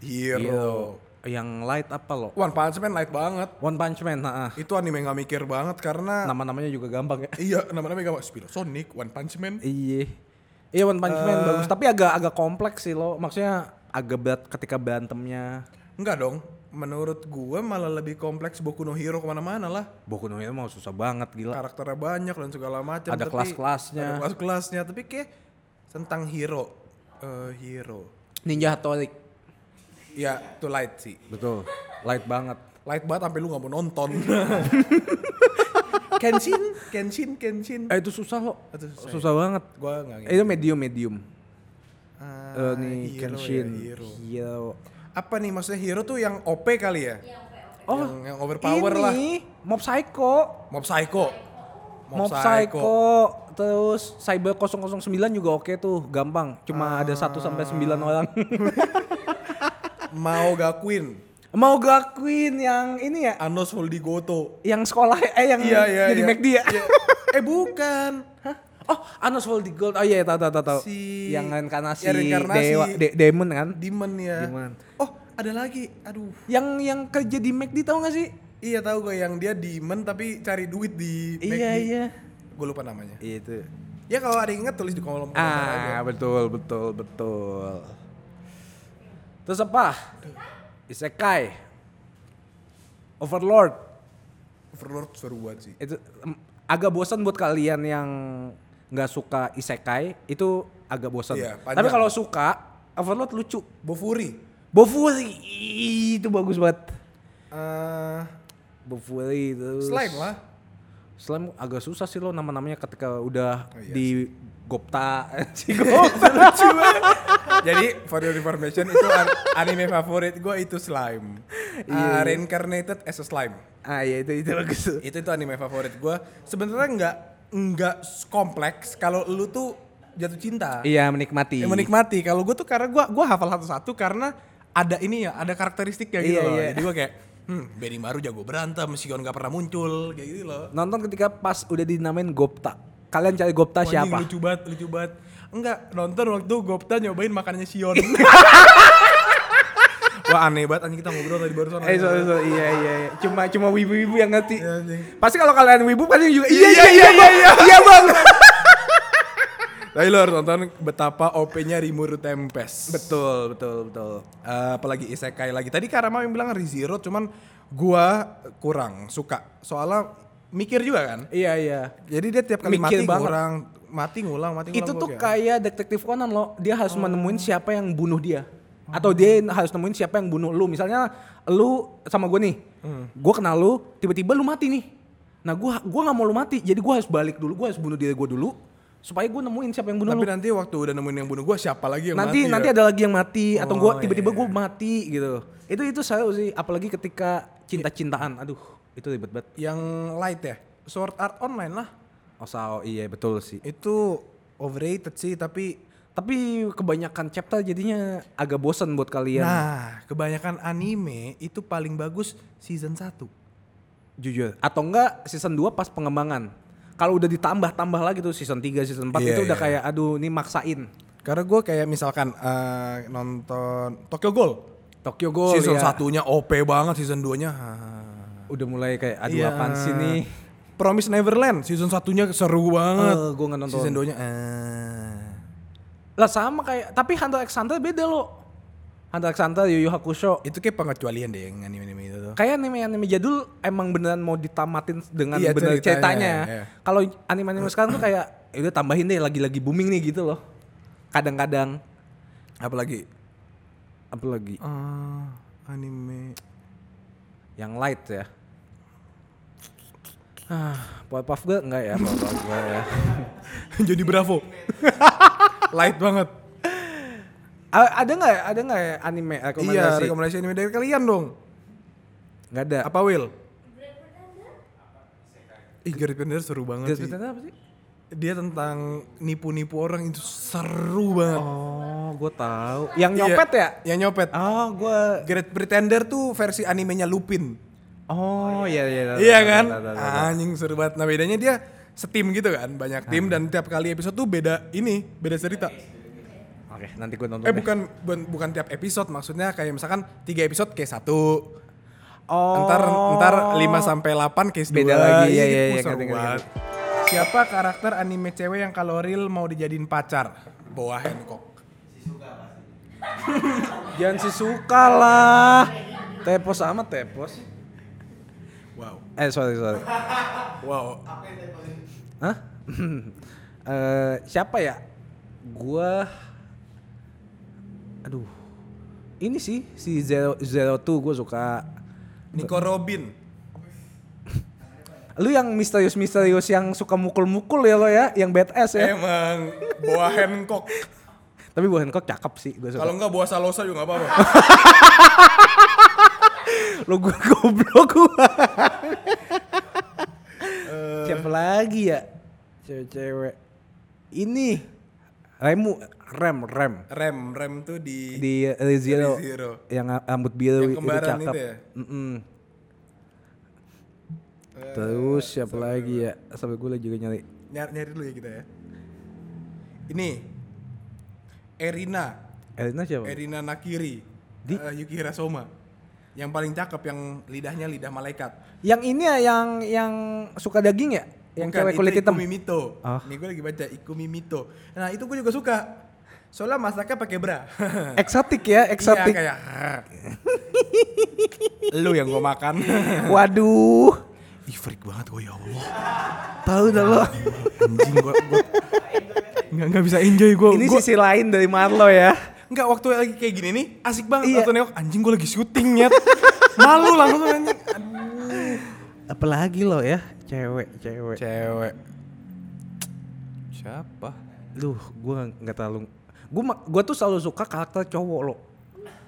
Speaker 2: Iya. Hero.
Speaker 1: Yang light apa lo?
Speaker 2: One Punch Man light banget.
Speaker 1: One Punch Man, ha-ha.
Speaker 2: Itu anime nggak mikir banget karena
Speaker 1: Nama-namanya juga gampang ya.
Speaker 2: iya namanya gak Spiro Sonic, One Punch Man.
Speaker 1: Iya. Iya One Punch
Speaker 2: Eh.
Speaker 1: Man bagus, tapi agak agak kompleks sih lo. Maksudnya agak berat ketika berantemnya.
Speaker 2: Enggak dong. Menurut gue malah lebih kompleks Boku no Hero kemana-mana lah.
Speaker 1: Boku no Hero mau susah banget gila.
Speaker 2: Karakternya banyak dan segala macam.
Speaker 1: Ada
Speaker 2: tapi-
Speaker 1: kelas-kelasnya.
Speaker 2: Ada kelas-kelasnya. Tapi kayak tentang hero. Eh, hero.
Speaker 1: Ninja Hattori.
Speaker 2: Ya, itu light sih.
Speaker 1: Betul. Light banget.
Speaker 2: Light banget sampai lu gak mau nonton. Kenshin, Kenshin, Kenshin.
Speaker 1: Eh itu susah lo.
Speaker 2: Itu susah iya.
Speaker 1: Susah, banget.
Speaker 2: Gue gak
Speaker 1: Eh, itu medium medium. Eh,
Speaker 2: Ah,
Speaker 1: nih
Speaker 2: hero ya,
Speaker 1: Kenshin. Iya.
Speaker 2: hero.
Speaker 1: Hero.
Speaker 2: Apa nih maksudnya hero tuh yang OP kali ya?
Speaker 1: Oh,
Speaker 2: Yang- yang overpower
Speaker 1: ini,
Speaker 2: lah.
Speaker 1: Mob Psycho.
Speaker 2: Mob Psycho.
Speaker 1: Mob Psycho. terus Cyber 009 juga oke tuh, gampang.
Speaker 2: Ah.
Speaker 1: Cuma ada 1 sampai 9 orang.
Speaker 2: Mau Gakuin.
Speaker 1: Mau gakuin yang ini ya,
Speaker 2: Anos Holdigoto.
Speaker 1: yang sekolah eh yang
Speaker 2: Iya, iya,
Speaker 1: jadi
Speaker 2: iya.
Speaker 1: McD ya.
Speaker 2: Iya. Eh bukan.
Speaker 1: Hah? Oh, Anos Holy Gold. Oh iya, tahu tahu tahu tahu.
Speaker 2: Si-
Speaker 1: yang reinkarnasi,
Speaker 2: Ya, reinkarnasi.
Speaker 1: dewa de- demon kan.
Speaker 2: Demon ya.
Speaker 1: Demon.
Speaker 2: Oh, ada lagi. Aduh.
Speaker 1: Yang yang kerja di McD tahu gak sih?
Speaker 2: Iya tahu gue yang dia demon tapi cari duit di
Speaker 1: Iya, iya.
Speaker 2: Gue lupa namanya.
Speaker 1: Itu.
Speaker 2: Ya kalau ada yang ingat tulis di kolom komentar aja.
Speaker 1: Ah, betul, betul, betul. Terus apa? Isekai. Overlord.
Speaker 2: Overlord seru banget sih.
Speaker 1: Itu em, agak bosan buat kalian yang nggak suka isekai, itu agak bosan.
Speaker 2: Iya, panjang.
Speaker 1: Tapi kalau suka, Overlord lucu.
Speaker 2: Bofuri.
Speaker 1: Bofuri itu bagus banget.
Speaker 2: eh
Speaker 1: Bofuri itu.
Speaker 2: slime lah.
Speaker 1: Slime agak susah sih lo nama-namanya ketika udah
Speaker 2: Oh, iya
Speaker 1: di Gopta. Si Gopta.
Speaker 2: Jadi for your information itu an- anime favorit gue itu slime. Ah, reincarnated as a slime.
Speaker 1: ah ya itu itu bagus.
Speaker 2: itu itu anime favorit gue sebenarnya nggak nggak s- kompleks kalau lu tuh jatuh cinta
Speaker 1: Iya menikmati.
Speaker 2: Yang menikmati kalau gue tuh karena gue gua hafal satu-satu karena ada ini ya ada karakteristiknya gitu
Speaker 1: Iya,
Speaker 2: loh
Speaker 1: iya.
Speaker 2: jadi gue kayak hmm Benny Maru jago berantem Shion nggak pernah muncul kayak gitu loh
Speaker 1: Nonton ketika pas udah dinamain Gopta. Kalian cari Gopta Ah,
Speaker 2: Wah,
Speaker 1: siapa?
Speaker 2: anjing, lucu banget lucu banget enggak nonton waktu Gopta nyobain makanannya Shion wah aneh banget anjing kita ngobrol tadi barusan
Speaker 1: Eh sorry sorry iya iya iya. cuma cuma wibu-wibu yang ngerti.
Speaker 2: Iya, anjing.
Speaker 1: Pasti kalau kalian wibu pasti juga iya
Speaker 2: Iya,
Speaker 1: iya
Speaker 2: iya,
Speaker 1: iya
Speaker 2: iya,
Speaker 1: bang
Speaker 2: iya.
Speaker 1: iya bang.
Speaker 2: tapi lo harus nonton betapa OP-nya Rimuru Tempest
Speaker 1: betul betul betul.
Speaker 2: Eh, apalagi isekai lagi. Tadi Karama yang bilang ReZero cuman gua kurang suka. Soalnya mikir juga kan.
Speaker 1: Iya iya.
Speaker 2: Jadi dia tiap kali
Speaker 1: Mikir
Speaker 2: mati
Speaker 1: banget.
Speaker 2: ngulang, mati ngulang, mati ngulang.
Speaker 1: Itu
Speaker 2: gua
Speaker 1: tuh
Speaker 2: kayak,
Speaker 1: kayak detektif Conan loh. Dia harus
Speaker 2: Oh.
Speaker 1: menemuin siapa yang bunuh dia. Atau dia harus nemuin siapa yang bunuh lu. Misalnya lu sama gue nih.
Speaker 2: Hmm.
Speaker 1: Gue kenal lu, tiba-tiba lu mati nih. Nah, gua gua nggak mau lu mati. Jadi gua harus balik dulu, gua harus bunuh diri gua dulu supaya gue nemuin siapa yang bunuh
Speaker 2: Tapi
Speaker 1: lu.
Speaker 2: nanti waktu udah nemuin yang bunuh gua siapa lagi yang
Speaker 1: nanti
Speaker 2: mati?
Speaker 1: nanti
Speaker 2: ya?
Speaker 1: ada lagi yang mati atau gue
Speaker 2: Oh,
Speaker 1: tiba-tiba
Speaker 2: iya,
Speaker 1: gue mati gitu itu itu seru sih apalagi ketika cinta-cintaan aduh itu ribet banget
Speaker 2: yang light ya. Sword Art Online lah.
Speaker 1: osao iya betul sih
Speaker 2: Itu overrated sih tapi
Speaker 1: tapi kebanyakan chapter jadinya agak bosen buat kalian
Speaker 2: nah, kebanyakan anime itu paling bagus season 1.
Speaker 1: jujur atau enggak season 2 pas pengembangan kalau udah ditambah-tambah lagi tuh season 3 season 4
Speaker 2: Iya,
Speaker 1: itu udah
Speaker 2: iya.
Speaker 1: kayak aduh ini maksain
Speaker 2: Karena gua kayak misalkan eh, nonton Tokyo Ghoul
Speaker 1: Tokyo Ghoul ya.
Speaker 2: season satunya OP banget, season 2-nya. Ah.
Speaker 1: udah mulai kayak aduh apaan sih nih
Speaker 2: Promise Neverland season satunya seru banget.
Speaker 1: Eh, gua nggak nonton.
Speaker 2: Season eh. 2-nya
Speaker 1: lah sama kayak tapi Hunter x Hunter beda loh Hunter x Hunter Yu Yu Hakusho
Speaker 2: itu kayak pengecualian deh yang anime-anime itu tuh.
Speaker 1: kayak anime anime jadul emang beneran mau ditamatin dengan
Speaker 2: Iya,
Speaker 1: bener
Speaker 2: ceritanya,
Speaker 1: ceritanya.
Speaker 2: iya.
Speaker 1: Kalau anime anime sekarang tuh kayak "Ya udah tambahin deh lagi-lagi booming nih gitu loh. Kadang-kadang
Speaker 2: Apalagi
Speaker 1: apalagi
Speaker 2: eh, anime
Speaker 1: yang light ya. Ah, Powerpuff Girl enggak ya, Powerpuff Girl ya.
Speaker 2: jadi Bravo. Light banget.
Speaker 1: A- ada nggak ya- ada nggak ya anime
Speaker 2: Iya,
Speaker 1: rekomendasi?
Speaker 2: rekomendasi anime dari kalian dong.
Speaker 1: Nggak ada.
Speaker 2: Apa Will? Ih, Great Pretender seru banget
Speaker 1: Great
Speaker 2: sih.
Speaker 1: Pretender apa sih?
Speaker 2: Dia tentang nipu-nipu orang itu seru banget.
Speaker 1: Oh, gue tahu. Yang
Speaker 2: Iya,
Speaker 1: nyopet ya?
Speaker 2: Yang nyopet.
Speaker 1: Oh, gue.
Speaker 2: Great Pretender tuh versi animenya Lupin.
Speaker 1: Oh, iya iya. Ah.
Speaker 2: Iya kan?
Speaker 1: Tahu, tahu, tahu.
Speaker 2: Anjing seru banget. Nah bedanya dia setim gitu kan, banyak tim
Speaker 1: Ah.
Speaker 2: dan tiap kali episode tuh beda ini, beda cerita.
Speaker 1: Oke, nanti gue nonton.
Speaker 2: Eh
Speaker 1: deh.
Speaker 2: bukan bukan, bukan tiap episode, maksudnya kayak misalkan tiga episode case satu,
Speaker 1: Oh.
Speaker 2: ntar ntar 5 sampai 8 case
Speaker 1: Beda
Speaker 2: dua.
Speaker 1: lagi, iya,
Speaker 2: Ih,
Speaker 1: iya,
Speaker 2: wah,
Speaker 1: iya,
Speaker 2: seru
Speaker 1: ngerti, ngerti,
Speaker 2: banget. Siapa karakter anime cewek yang kalau real mau dijadiin pacar? Boa Hancock.
Speaker 1: Jangan si suka lah. Tepos sama tepos.
Speaker 2: Wow.
Speaker 1: Eh sorry sorry.
Speaker 2: Wow.
Speaker 1: Hah? Eh, siapa ya? Gua. Aduh. Ini sih si zero zero two gue suka.
Speaker 2: Nico Robin.
Speaker 1: Lu yang misterius misterius yang suka mukul mukul ya lo ya, yang badass ya.
Speaker 2: Eh. Emang Boa Hancock.
Speaker 1: Tapi Bu Hancock cakep sih gue suka.
Speaker 2: Kalau enggak Boa Salosa juga nggak apa-apa.
Speaker 1: Lo gue goblok gua.
Speaker 2: Eh.
Speaker 1: Siapa lagi ya? Cewek-cewek. Ini Remu Rem Rem
Speaker 2: Rem, Rem tuh di
Speaker 1: di Rizero
Speaker 2: Rizero.
Speaker 1: yang ra- rambut biru itu
Speaker 2: Yang kembaran
Speaker 1: cakep.
Speaker 2: itu ya?
Speaker 1: Mm-mm. Terus siapa lagi ya? Sampai gue lagi juga nyari.
Speaker 2: nyari, nyari dulu ya kita ya. Ini Erina,
Speaker 1: Elena siapa?
Speaker 2: Eh. Erina Nakiri,
Speaker 1: Di?
Speaker 2: eh, Yuki Hirasoma. Yang paling cakep yang lidahnya lidah malaikat.
Speaker 1: Yang ini ya yang yang suka daging ya? Yang
Speaker 2: Bukan,
Speaker 1: cewek
Speaker 2: itu
Speaker 1: kulit hitam.
Speaker 2: Ikumi Mito.
Speaker 1: Ah.
Speaker 2: Ini gue lagi baca Ikumi Mito. Nah itu gue juga suka. Soalnya masaknya pakai bra.
Speaker 1: Eksotik ya, eksotik.
Speaker 2: Iya, kayak. Lu yang gue makan.
Speaker 1: Waduh.
Speaker 2: Ih freak banget gue ya Allah.
Speaker 1: Tahu dah lo.
Speaker 2: Anjing gue. Nggak, nggak bisa enjoy gue.
Speaker 1: Ini sisi lain dari Marlo ya.
Speaker 2: Enggak waktu lagi kayak gini nih asik banget
Speaker 1: Iya.
Speaker 2: waktu nengok anjing gue lagi syuting nyet. Malu langsung anjing. Aduh.
Speaker 1: Apalagi lo ya, cewek, cewek.
Speaker 2: Cewek. Siapa?
Speaker 1: Duh, gua nggak terlalu gua ma- gua tuh selalu suka karakter cowok lo.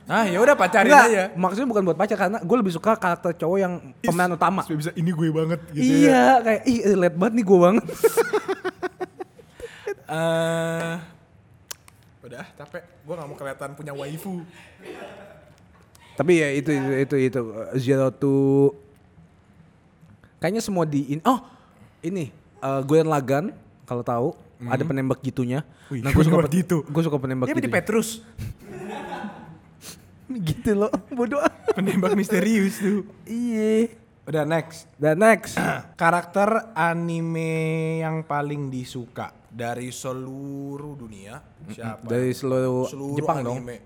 Speaker 2: Ah ya udah pacarin
Speaker 1: Nggak,
Speaker 2: aja.
Speaker 1: Maksudnya bukan buat pacar karena gua lebih suka karakter cowok yang pemeran utama.
Speaker 2: Supaya bisa ini gue banget gitu ya.
Speaker 1: iya, kayak ih relate banget nih gua banget.
Speaker 2: Eh, udah capek. Gue gak mau kelihatan punya waifu.
Speaker 1: Tapi ya itu itu itu itu uh, zero to kayaknya semua di in- oh ini uh, Gwen Lagan kalau tahu ada penembak gitunya. Nah,
Speaker 2: Wih,
Speaker 1: gua
Speaker 2: penembak
Speaker 1: pen-
Speaker 2: gitu.
Speaker 1: Gua suka Hmm. penembak
Speaker 2: Dia
Speaker 1: gitu.
Speaker 2: jadi Petrus.
Speaker 1: Gitu loh, bodoh.
Speaker 2: Penembak misterius tuh.
Speaker 1: Iya.
Speaker 2: Udah next.
Speaker 1: Dan next.
Speaker 2: Karakter anime yang paling disuka dari seluruh dunia siapa?
Speaker 1: Dari seluruh,
Speaker 2: seluruh
Speaker 1: Jepang dong.
Speaker 2: anime.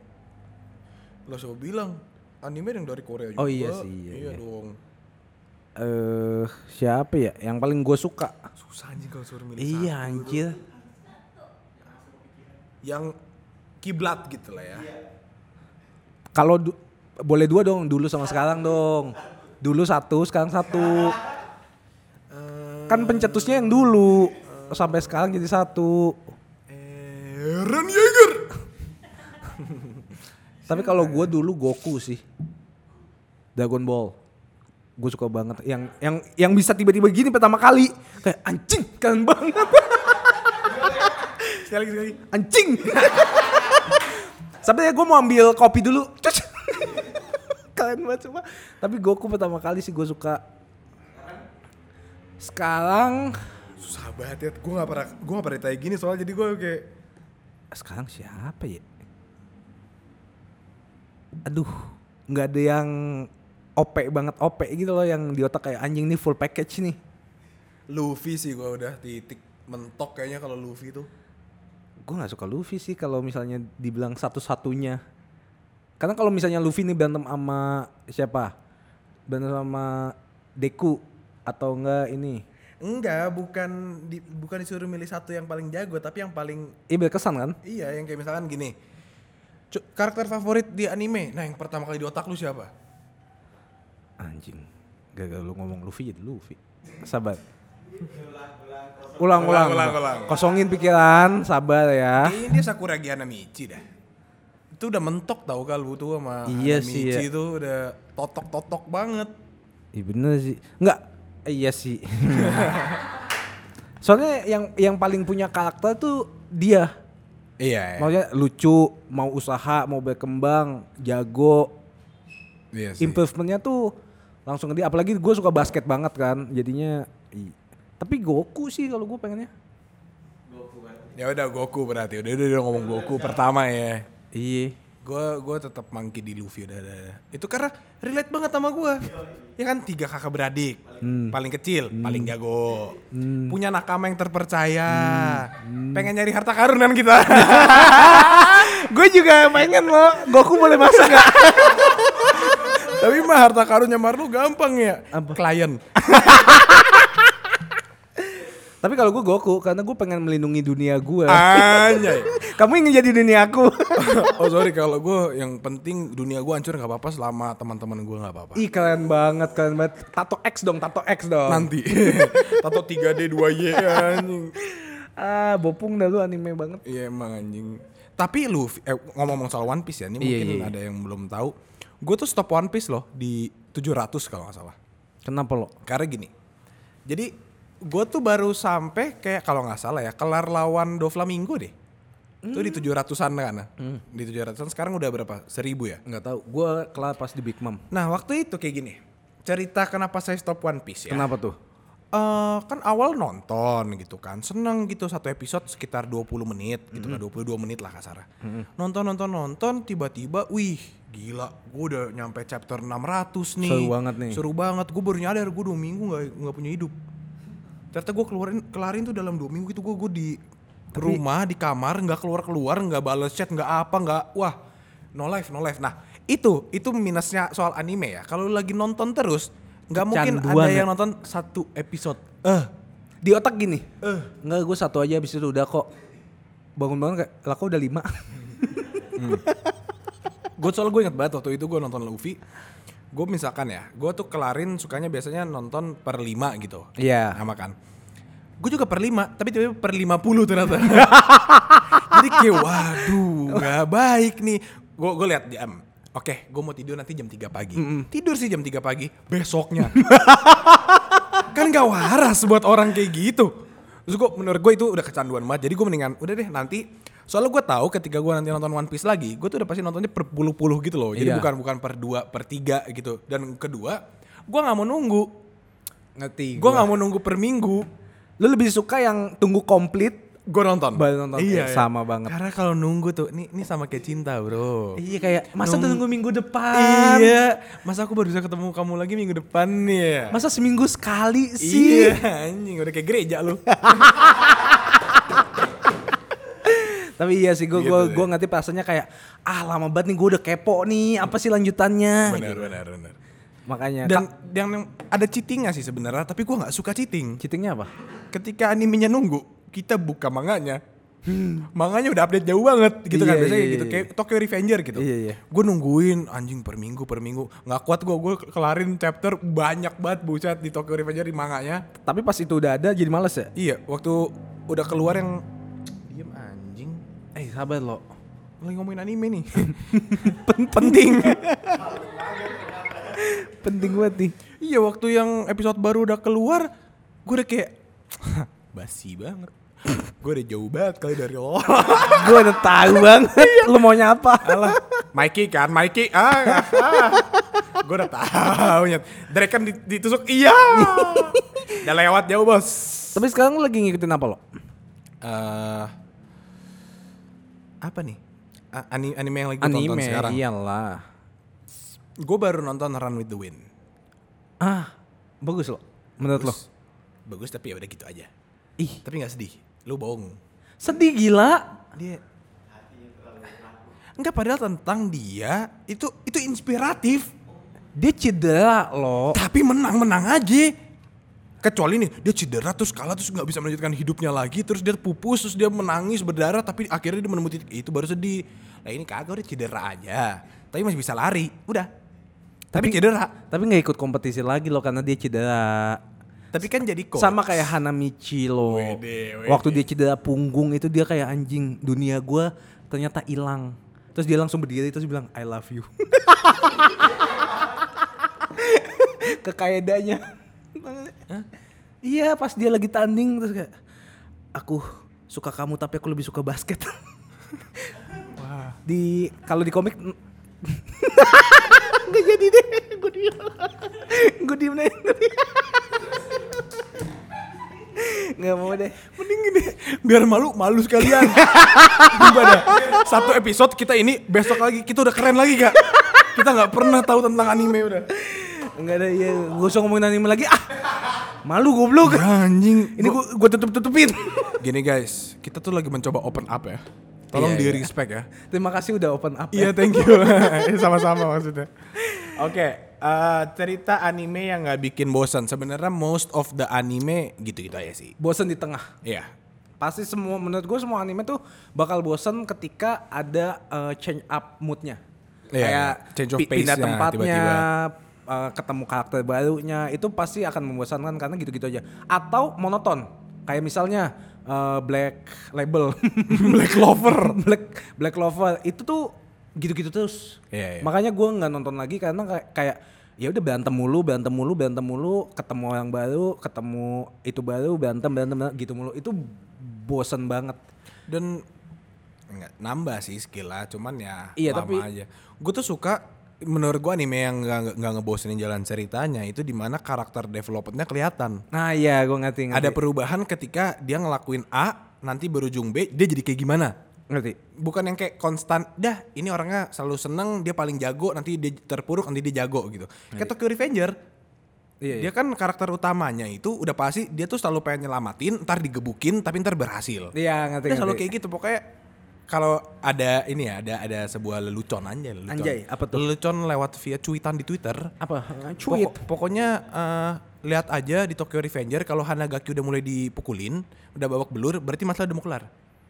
Speaker 2: Lo siapa bilang anime yang dari Korea juga.
Speaker 1: Oh iya sih, iya,
Speaker 2: Iya,
Speaker 1: iya.
Speaker 2: dong.
Speaker 1: Eh siapa ya yang paling gue suka?
Speaker 2: Susah anjing kalau suruh milih. satu.
Speaker 1: Iya anjir.
Speaker 2: Yang kiblat gitu lah ya.
Speaker 1: Kalau du- boleh dua dong, dulu sama sekarang dong. Dulu satu, sekarang satu.
Speaker 2: Eh,
Speaker 1: Kan pencetusnya yang dulu sampai sekarang jadi satu.
Speaker 2: Eren Yeager.
Speaker 1: Tapi kalau gue
Speaker 2: ya?
Speaker 1: dulu Goku sih. Dragon Ball. Gue suka banget yang yang yang bisa tiba-tiba gini pertama kali kayak anjing keren banget.
Speaker 2: Sekali lagi, sekali. lagi.
Speaker 1: anjing. Sampai gue mau ambil kopi dulu. Cus. Keren banget cuma. Tapi Goku pertama kali sih gue suka. Sekarang,
Speaker 2: Susah banget ya. Gue gak pernah gue gak pernah ditanya gini soalnya jadi gue kayak
Speaker 1: sekarang siapa ya? Aduh, nggak ada yang OP banget OP gitu loh yang di otak kayak anjing nih full package nih.
Speaker 2: Luffy sih gue udah titik mentok kayaknya kalau Luffy tuh.
Speaker 1: Gue nggak suka Luffy sih kalau misalnya dibilang satu-satunya. Karena kalau misalnya Luffy nih berantem sama siapa? Berantem sama Deku atau enggak ini?
Speaker 2: Enggak, bukan di, bukan disuruh milih satu yang paling jago, tapi yang paling
Speaker 1: Iya berkesan kan?
Speaker 2: iya yang kayak misalkan gini. Cu- karakter favorit di anime. Nah, yang pertama kali di otak lu siapa?
Speaker 1: Anjing. Gagal lu ngomong Luffy jadi Luffy. Sabar. Ulang, ulang,
Speaker 2: Ulang, ulang, ulang.
Speaker 1: Kosongin pikiran, sabar ya.
Speaker 2: Kayaknya dia Sakuragi Hanamichi dah. Itu udah mentok tau kalau tuh sama
Speaker 1: Iya sih,
Speaker 2: Hanamichi
Speaker 1: ya.
Speaker 2: tuh udah totok-totok banget.
Speaker 1: Iya bener sih. Enggak. Eh, Iya sih. Soalnya yang yang paling punya karakter tuh dia.
Speaker 2: Iya.
Speaker 1: Maksudnya lucu, mau usaha, mau berkembang, jago.
Speaker 2: Iya
Speaker 1: Improvementnya tuh langsung ke dia. Apalagi gue suka basket banget kan. Jadinya. i- Tapi Goku sih kalau gue pengennya.
Speaker 2: Ya udah Goku berarti. Udah udah, udah ngomong Goku pertama ya.
Speaker 1: Iya.
Speaker 2: Gue gue tetap mangki di Luffy udah, udah, udah. Itu karena relate banget sama gue. Ya kan tiga kakak beradik, paling kecil, paling jago, punya nakama yang terpercaya, pengen nyari harta karun kan kita.
Speaker 1: Gue juga pengen lo. Goku boleh masuk gak?
Speaker 2: Tapi mah harta karunnya Marlo gampang ya.
Speaker 1: Apa?
Speaker 2: Klien.
Speaker 1: Tapi kalau gue Goku karena gue pengen melindungi dunia gue.
Speaker 2: Anjay.
Speaker 1: Kamu ingin jadi dunia aku.
Speaker 2: oh sorry kalau gue yang penting dunia gue hancur nggak apa-apa selama teman-teman gue nggak apa-apa.
Speaker 1: Ih keren banget, keren banget. Tato X dong, tato X dong.
Speaker 2: Nanti tato 3D 2Y anjing.
Speaker 1: Ah, bopung dah lu anime banget.
Speaker 2: Iya emang anjing. Tapi Luffy, eh, ngomong-ngomong soal One Piece ya, ini
Speaker 1: Iya,
Speaker 2: mungkin
Speaker 1: iya, iya.
Speaker 2: ada yang belum tahu. Gue tuh stop One Piece loh di 700 kalau nggak salah.
Speaker 1: Kenapa lo?
Speaker 2: Karena gini, jadi gue tuh baru sampai kayak kalau nggak salah ya kelar lawan Doflamingo deh. Itu
Speaker 1: Hmm.
Speaker 2: di 700-an kan. nah. Di 700-an sekarang udah berapa? 1000 ya?
Speaker 1: Nggak tahu. Gue kelar pas di Big Mom.
Speaker 2: Nah waktu itu kayak gini, cerita kenapa saya stop One Piece ya.
Speaker 1: Kenapa tuh?
Speaker 2: Eh eh, kan awal nonton gitu kan. Seneng gitu satu episode sekitar 20 menit gitu kan, 22 menit lah kasar. Nonton nonton nonton tiba-tiba wih gila gue udah nyampe chapter 600 nih.
Speaker 1: Seru banget nih.
Speaker 2: Seru banget. Gue baru nyadar gue dua minggu nggak nggak punya hidup. Ternyata gue keluarin kelarin tuh dalam dua minggu itu gue gue di rumah di kamar nggak keluar keluar nggak bales chat nggak apa nggak wah no life no life. Nah itu itu minusnya soal anime ya. Kalau lu lagi nonton terus nggak mungkin ada
Speaker 1: Kecanduan ya.
Speaker 2: yang nonton satu episode.
Speaker 1: Eh, di otak gini.
Speaker 2: Eh.
Speaker 1: Enggak, gue satu aja abis itu udah kok. Bangun-bangun kayak, lah kok udah lima?
Speaker 2: gue soal gue inget banget waktu itu gue nonton Luffy gue misalkan ya gue tuh kelarin sukanya biasanya nonton per lima gitu
Speaker 1: Iya.
Speaker 2: sama kan gue juga per lima tapi tiba-tiba per lima puluh ternyata jadi kayak waduh nggak baik nih gue gue lihat jam oke gue mau tidur nanti jam 3 pagi tidur sih jam 3 pagi besoknya kan gak waras buat orang kayak gitu terus gue menurut gue itu udah kecanduan banget jadi gue mendingan udah deh nanti soalnya gue tahu ketika gue nanti nonton One Piece lagi gue tuh udah pasti nontonnya per puluh-puluh gitu loh jadi
Speaker 1: Iya.
Speaker 2: bukan bukan per dua per tiga gitu dan kedua gue nggak mau nunggu
Speaker 1: Ngerti.
Speaker 2: gue
Speaker 1: Gue
Speaker 2: nggak mau nunggu per minggu
Speaker 1: Lu lebih suka yang tunggu komplit.
Speaker 2: gue nonton Iya,
Speaker 1: Baru nonton. Eh, sama banget.
Speaker 2: karena kalau nunggu tuh ini ini sama kayak cinta bro
Speaker 1: Iya kayak, masa
Speaker 2: Oh. Nung-
Speaker 1: tunggu minggu depan?
Speaker 2: iya masa aku baru bisa ketemu kamu lagi minggu depan nih ya
Speaker 1: Masa seminggu sekali sih?
Speaker 2: iya anjing udah kayak gereja lu
Speaker 1: Iya. Tapi iya sih gue
Speaker 2: Gitu
Speaker 1: gua
Speaker 2: deh.
Speaker 1: gua ngerti perasaannya kayak ah lama banget nih gue udah kepo nih apa sih lanjutannya
Speaker 2: benar benar benar
Speaker 1: makanya
Speaker 2: dan yang yang ada cheatingnya sih sebenarnya tapi gua nggak suka cheating
Speaker 1: cheatingnya apa?
Speaker 2: ketika animenya nunggu kita buka manganya manganya udah update jauh banget gitu kan
Speaker 1: Hmm. Iya,
Speaker 2: biasanya
Speaker 1: iya,
Speaker 2: gitu
Speaker 1: iya.
Speaker 2: kayak Tokyo Revenger gitu
Speaker 1: Iya, iya.
Speaker 2: gue nungguin anjing per minggu per minggu nggak kuat gua gue kelarin chapter banyak banget buset di Tokyo Revenger di manganya
Speaker 1: Tapi pas itu udah ada jadi males ya?
Speaker 2: iya waktu udah keluar yang diem anjing
Speaker 1: Eh sabar lo.
Speaker 2: lagi ngomongin anime nih
Speaker 1: penting. penting banget nih.
Speaker 2: Iya waktu yang episode baru udah keluar Gue udah kayak Basi banget Gue udah jauh banget kali dari lo
Speaker 1: gue udah tahu banget lu mau nyapa.
Speaker 2: Alah Mikey kan Mikey ah, ah. Gue udah tau nyet Drake kan di- ditusuk Iya Udah lewat jauh bos
Speaker 1: Tapi sekarang lu lagi ngikutin apa lo?
Speaker 2: Eh, Apa nih? A- ani- anime iya. yang lagi gue tonton
Speaker 1: Anime
Speaker 2: sekarang
Speaker 1: iyalah.
Speaker 2: Gue baru nonton Run With The Wind
Speaker 1: Ah, bagus lo. Menurut lo?
Speaker 2: Bagus. Bagus tapi ya udah gitu aja
Speaker 1: Ih,
Speaker 2: Tapi gak sedih Lu bohong
Speaker 1: sedih gila.
Speaker 2: dia enggak padahal tentang dia itu itu inspiratif
Speaker 1: Dia cedera lo.
Speaker 2: tapi menang-menang aja kecuali nih dia cedera terus kalah terus nggak bisa melanjutkan hidupnya lagi terus dia pupus terus dia menangis berdarah tapi akhirnya dia menemukan titik itu baru sedih lah ini kagak udah cedera aja tapi masih bisa lari udah tapi, cedera
Speaker 1: Tapi nggak ikut kompetisi lagi lo karena dia cedera.
Speaker 2: tapi kan jadi coach
Speaker 1: Sama kayak Hanamichi lo.
Speaker 2: Wede, wede.
Speaker 1: Waktu dia cedera punggung itu dia kayak anjing dunia gue ternyata hilang. Terus dia langsung berdiri terus bilang I love you. Kekaedanya. Iya pas dia lagi tanding terus kayak aku suka kamu tapi aku lebih suka basket. Di kalau di komik Gak jadi deh, gue diem Gue diem deh Gak mau deh
Speaker 2: mending ini biar malu malu sekalian gimana satu episode kita ini besok lagi kita udah keren lagi kak kita nggak pernah tahu tentang anime udah
Speaker 1: Enggak ada ya, gue usah ngomongin anime lagi ah Malu goblok
Speaker 2: Ya, anjing
Speaker 1: Ini gue gua tutup-tutupin
Speaker 2: gini guys kita tuh lagi mencoba open up ya
Speaker 1: Iya,
Speaker 2: tolong di
Speaker 1: iya.
Speaker 2: respect ya
Speaker 1: Terima kasih udah open up ya.
Speaker 2: iya thank you Iya, sama-sama maksudnya oke eh, cerita anime yang nggak bikin bosan sebenarnya most of the anime gitu gitu aja sih
Speaker 1: Bosen di tengah
Speaker 2: iya
Speaker 1: Pasti semua, menurut gue semua anime tuh bakal bosen ketika ada eh, change up moodnya
Speaker 2: Iya,
Speaker 1: Kayak
Speaker 2: iya. Change of
Speaker 1: pi- pindah
Speaker 2: pace-nya
Speaker 1: tempatnya
Speaker 2: tiba-tiba.
Speaker 1: eh, ketemu karakter barunya itu pasti akan membosankan karena gitu-gitu aja atau monoton kayak misalnya eh, Black Label Black Clover Black Black Clover itu tuh gitu-gitu terus
Speaker 2: Iya, iya.
Speaker 1: makanya gue nggak nonton lagi karena kayak, kayak ya udah berantem mulu berantem mulu berantem mulu ketemu orang baru ketemu itu baru berantem berantem, berantem gitu mulu itu bosen banget
Speaker 2: dan nggak nambah sih skill lah cuman ya
Speaker 1: Iya,
Speaker 2: lama
Speaker 1: tapi-
Speaker 2: aja gue tuh suka menurut gua anime yang nggak nggak- nggak ngebosenin jalan ceritanya itu dimana karakter developmentnya kelihatan.
Speaker 1: Nah iya gue ngerti ngerti.
Speaker 2: Ada perubahan ketika dia ngelakuin A, nanti berujung B, dia jadi kayak gimana?
Speaker 1: ngerti.
Speaker 2: bukan yang kayak konstan dah ini orangnya selalu seneng dia paling jago nanti dia terpuruk nanti dia jago gitu kayak Tokyo Revenger
Speaker 1: Iya,
Speaker 2: dia kan karakter utamanya itu udah pasti dia tuh selalu pengen nyelamatin ntar digebukin tapi ntar berhasil
Speaker 1: Iya ngerti.
Speaker 2: udah selalu
Speaker 1: ngerti.
Speaker 2: kayak gitu pokoknya kalau ada ini ya ada ada sebuah lelucon aja lelucon
Speaker 1: Anjay, apa tuh?
Speaker 2: lelucon lewat via cuitan di Twitter
Speaker 1: apa?
Speaker 2: Pokok- pokoknya eh, lihat aja di Tokyo Revenger kalau Hanagaki udah mulai dipukulin udah babak belur berarti masalah udah mau kelar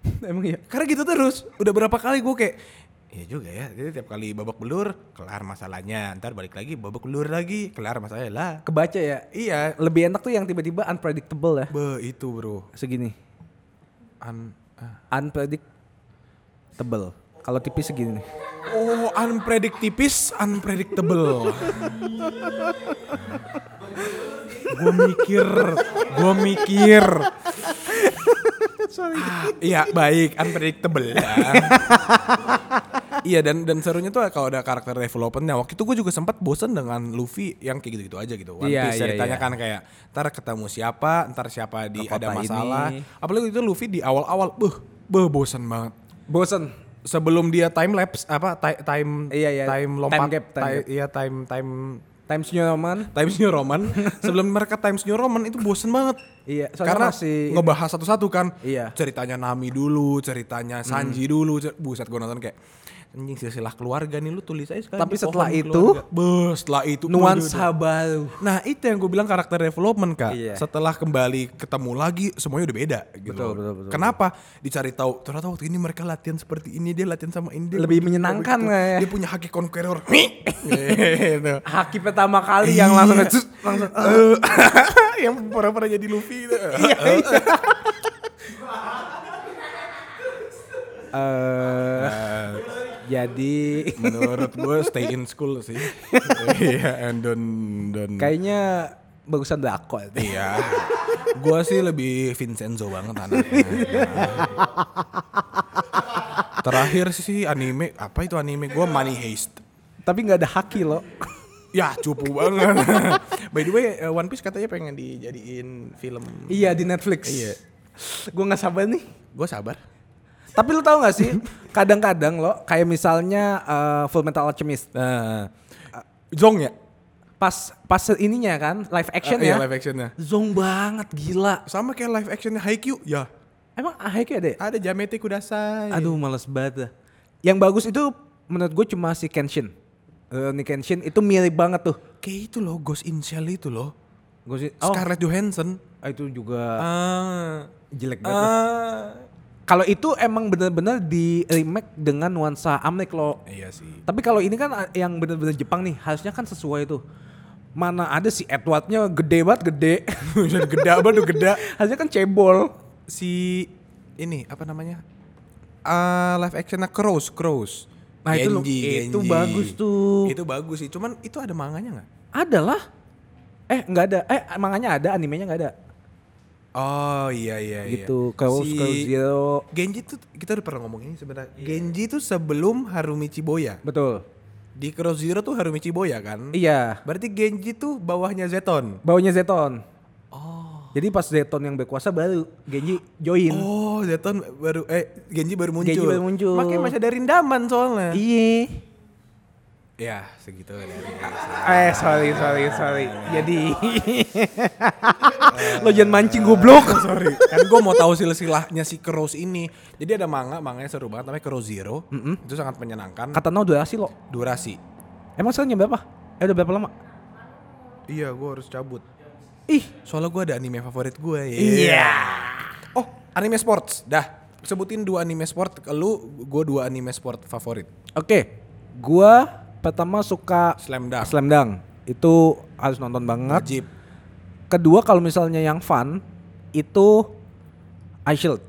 Speaker 1: Emang iya.
Speaker 2: karena gitu terus. Udah berapa kali gue kayak Iya juga ya, jadi tiap kali babak belur, kelar masalahnya. Ntar balik lagi, babak belur lagi, kelar masalahnya lah.
Speaker 1: Kebaca ya.
Speaker 2: Iya,
Speaker 1: Lebih enak tuh yang tiba-tiba unpredictable ya.
Speaker 2: be itu bro.
Speaker 1: Segini.
Speaker 2: Un- ah.
Speaker 1: Unpredictable. Kalau tipis segini nih.
Speaker 2: oh, unpredict tipis, unpredictable. gue mikir, gue mikir. Ah, iya baik, unpredictable. ya. Iya dan dan serunya tuh kalau ada karakter developmentnya. Waktu itu gue juga sempat bosen dengan Luffy yang kayak gitu-gitu aja gitu. One
Speaker 1: Iya,
Speaker 2: Piece
Speaker 1: iya,
Speaker 2: ceritanya kan kayak ntar ketemu siapa, ntar siapa di
Speaker 1: Ke kota
Speaker 2: ada masalah.
Speaker 1: ini.
Speaker 2: Apalagi itu Luffy di awal-awal, beh, beh bosen banget.
Speaker 1: Bosen.
Speaker 2: Sebelum dia time lapse apa ti- time
Speaker 1: Iya, iya.
Speaker 2: time
Speaker 1: Time
Speaker 2: lompat
Speaker 1: gap, time
Speaker 2: ti-
Speaker 1: gap.
Speaker 2: iya time time
Speaker 1: Times New Roman.
Speaker 2: Times New Roman sebelum mereka Times New Roman itu bosen banget
Speaker 1: Iya, soalnya
Speaker 2: karena
Speaker 1: masih-
Speaker 2: ngebahas satu-satu kan
Speaker 1: Iya. Hmm.
Speaker 2: ceritanya Nami dulu ceritanya Sanji dulu cer- buset gue nonton kayak anjing silsilah keluarga nih lu tulis aja sekarang
Speaker 1: Tapi
Speaker 2: di
Speaker 1: setelah
Speaker 2: pohon
Speaker 1: itu,
Speaker 2: keluarga." Beuh, setelah itu
Speaker 1: Nuansa baru.
Speaker 2: nah itu yang gue bilang karakter development kak
Speaker 1: Iya.
Speaker 2: setelah kembali ketemu lagi semuanya udah beda gitu
Speaker 1: Betul,
Speaker 2: loh.
Speaker 1: betul, betul,
Speaker 2: kenapa dicari tahu ternyata waktu ini mereka latihan seperti ini dia latihan sama ini dia
Speaker 1: Lebih
Speaker 2: begitu,
Speaker 1: menyenangkan
Speaker 2: begitu.
Speaker 1: nggak ya?
Speaker 2: dia punya haki conqueror gitu
Speaker 1: Haki pertama kali yang langsung
Speaker 2: Iya.
Speaker 1: nge- langsung
Speaker 2: Eh, yang pura-pura jadi Luffy gitu.
Speaker 1: eh jadi
Speaker 2: Menurut gue stay in school sih. Iya, and don't don't.
Speaker 1: Kan kayaknya bagusan Dako ya.
Speaker 2: Iya. Gue sih lebih Vincenzo banget anaknya. Terakhir sih anime apa itu anime gue Money Heist.
Speaker 1: Tapi nggak ada haki loh.
Speaker 2: Ya cupu banget. By the way, eh, One Piece katanya pengen dijadiin film.
Speaker 1: iya di Netflix.
Speaker 2: Iya.
Speaker 1: Gue nggak sabar nih.
Speaker 2: Gue sabar.
Speaker 1: Tapi lu tahu nggak sih? Kadang-kadang lo kayak misalnya eh, Full Metal Alchemist
Speaker 2: Nah, Zong ya?
Speaker 1: pas pas ininya kan live action
Speaker 2: Eh, iya,
Speaker 1: ya.
Speaker 2: live actionnya.
Speaker 1: Zong banget gila.
Speaker 2: Sama kayak live actionnya Haikyuu. Ya,
Speaker 1: Emang haki ada ya?
Speaker 2: Ada Jamete Kudasai.
Speaker 1: Aduh males banget. dah. Yang bagus itu menurut gue cuma si Kenshin. Eh, Ni Kenshin itu mirip banget tuh.
Speaker 2: Kayak itu loh, Ghost in Shell itu loh.
Speaker 1: Gua sih- oh,
Speaker 2: Scarlett Johansson.
Speaker 1: itu juga
Speaker 2: Ah.
Speaker 1: jelek banget. lah.
Speaker 2: Ah.
Speaker 1: Kalau itu emang bener-bener di remake dengan nuansa Amrik lo.
Speaker 2: Iya sih.
Speaker 1: Tapi kalau ini kan a- yang bener-bener Jepang nih, harusnya kan sesuai tuh. Mana ada si Edwardnya gede banget gede.
Speaker 2: Dan geda banget tuh geda.
Speaker 1: harusnya kan cebol.
Speaker 2: Si ini apa namanya? Ah, live actionnya Crows, Crows.
Speaker 1: Nah, itu lo- itu bagus tuh.
Speaker 2: Itu bagus sih. Cuman itu ada manganya nggak?
Speaker 1: Adalah. Eh nggak ada. Eh manganya ada, animenya nggak ada.
Speaker 2: Oh iya iya iya.
Speaker 1: Gitu. Crows, Crows Iya. Zero.
Speaker 2: Genji tuh kita udah pernah ngomong ini sebenarnya. Genji tuh sebelum Harumi Chiboya.
Speaker 1: Betul.
Speaker 2: Di Cross Zero tuh Harumi Chiboya kan?
Speaker 1: Iya.
Speaker 2: Berarti Genji tuh bawahnya Zeton.
Speaker 1: Baunya Zeton. Oh. Jadi pas Zeton yang berkuasa baru Genji join.
Speaker 2: Oh, Zeton baru eh Genji baru muncul.
Speaker 1: Iya. Genji baru muncul.
Speaker 2: Makanya masih ada rindaman soalnya.
Speaker 1: Iya.
Speaker 2: Iya, segitu dari.
Speaker 1: Eh sorry sorry sorry. Jadi lo jangan mancing goblok.
Speaker 2: Eh. Sorry, kan gue mau tahu silsilahnya si Cross ini. Jadi ada manga, manganya seru banget namanya Cross Zero. Itu sangat menyenangkan.
Speaker 1: Kata no durasi lo.
Speaker 2: Durasi.
Speaker 1: Emang sekarang jam berapa? Eh udah berapa lama?
Speaker 2: Iya, gue harus cabut.
Speaker 1: Ih,
Speaker 2: Soalnya gue ada anime favorit gue ya.
Speaker 1: Iya.
Speaker 2: Oh, anime sports. Dah, sebutin dua anime sport. Lu, gue dua anime sport favorit.
Speaker 1: oke. Gua pertama suka
Speaker 2: Slam Dunk.
Speaker 1: Slam Dunk. Itu harus nonton banget.
Speaker 2: Wajib.
Speaker 1: Kedua kalau misalnya yang fun itu Ice Shield.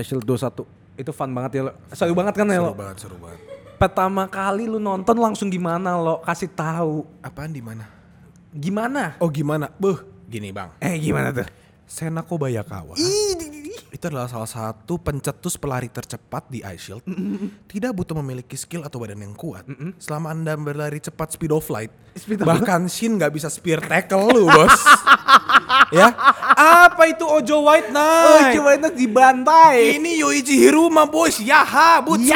Speaker 1: Ice Shield 21. Itu fun banget ya lo. Seru banget kan ya
Speaker 2: Seru
Speaker 1: lo.
Speaker 2: banget, seru banget.
Speaker 1: Pertama kali lu nonton langsung gimana lo? Kasih tahu.
Speaker 2: Apaan di mana?
Speaker 1: Gimana?
Speaker 2: Oh gimana? Beuh, gini bang.
Speaker 1: Eh gimana tuh?
Speaker 2: Senako Bayakawa.
Speaker 1: Ih, di- di- di.
Speaker 2: Itu itu adalah salah satu pencetus pelari tercepat di Ice Shield. Tidak butuh memiliki skill atau badan yang kuat. Selama Anda berlari cepat speed of light,
Speaker 1: Speed of
Speaker 2: bahkan Shin nggak bisa spear tackle lu, Bos. ya. Apa itu Ojo White
Speaker 1: Oh,
Speaker 2: Knight?
Speaker 1: cuma itu dibantai.
Speaker 2: Ini Yoichi Hiruma boys, yaha, butsubas.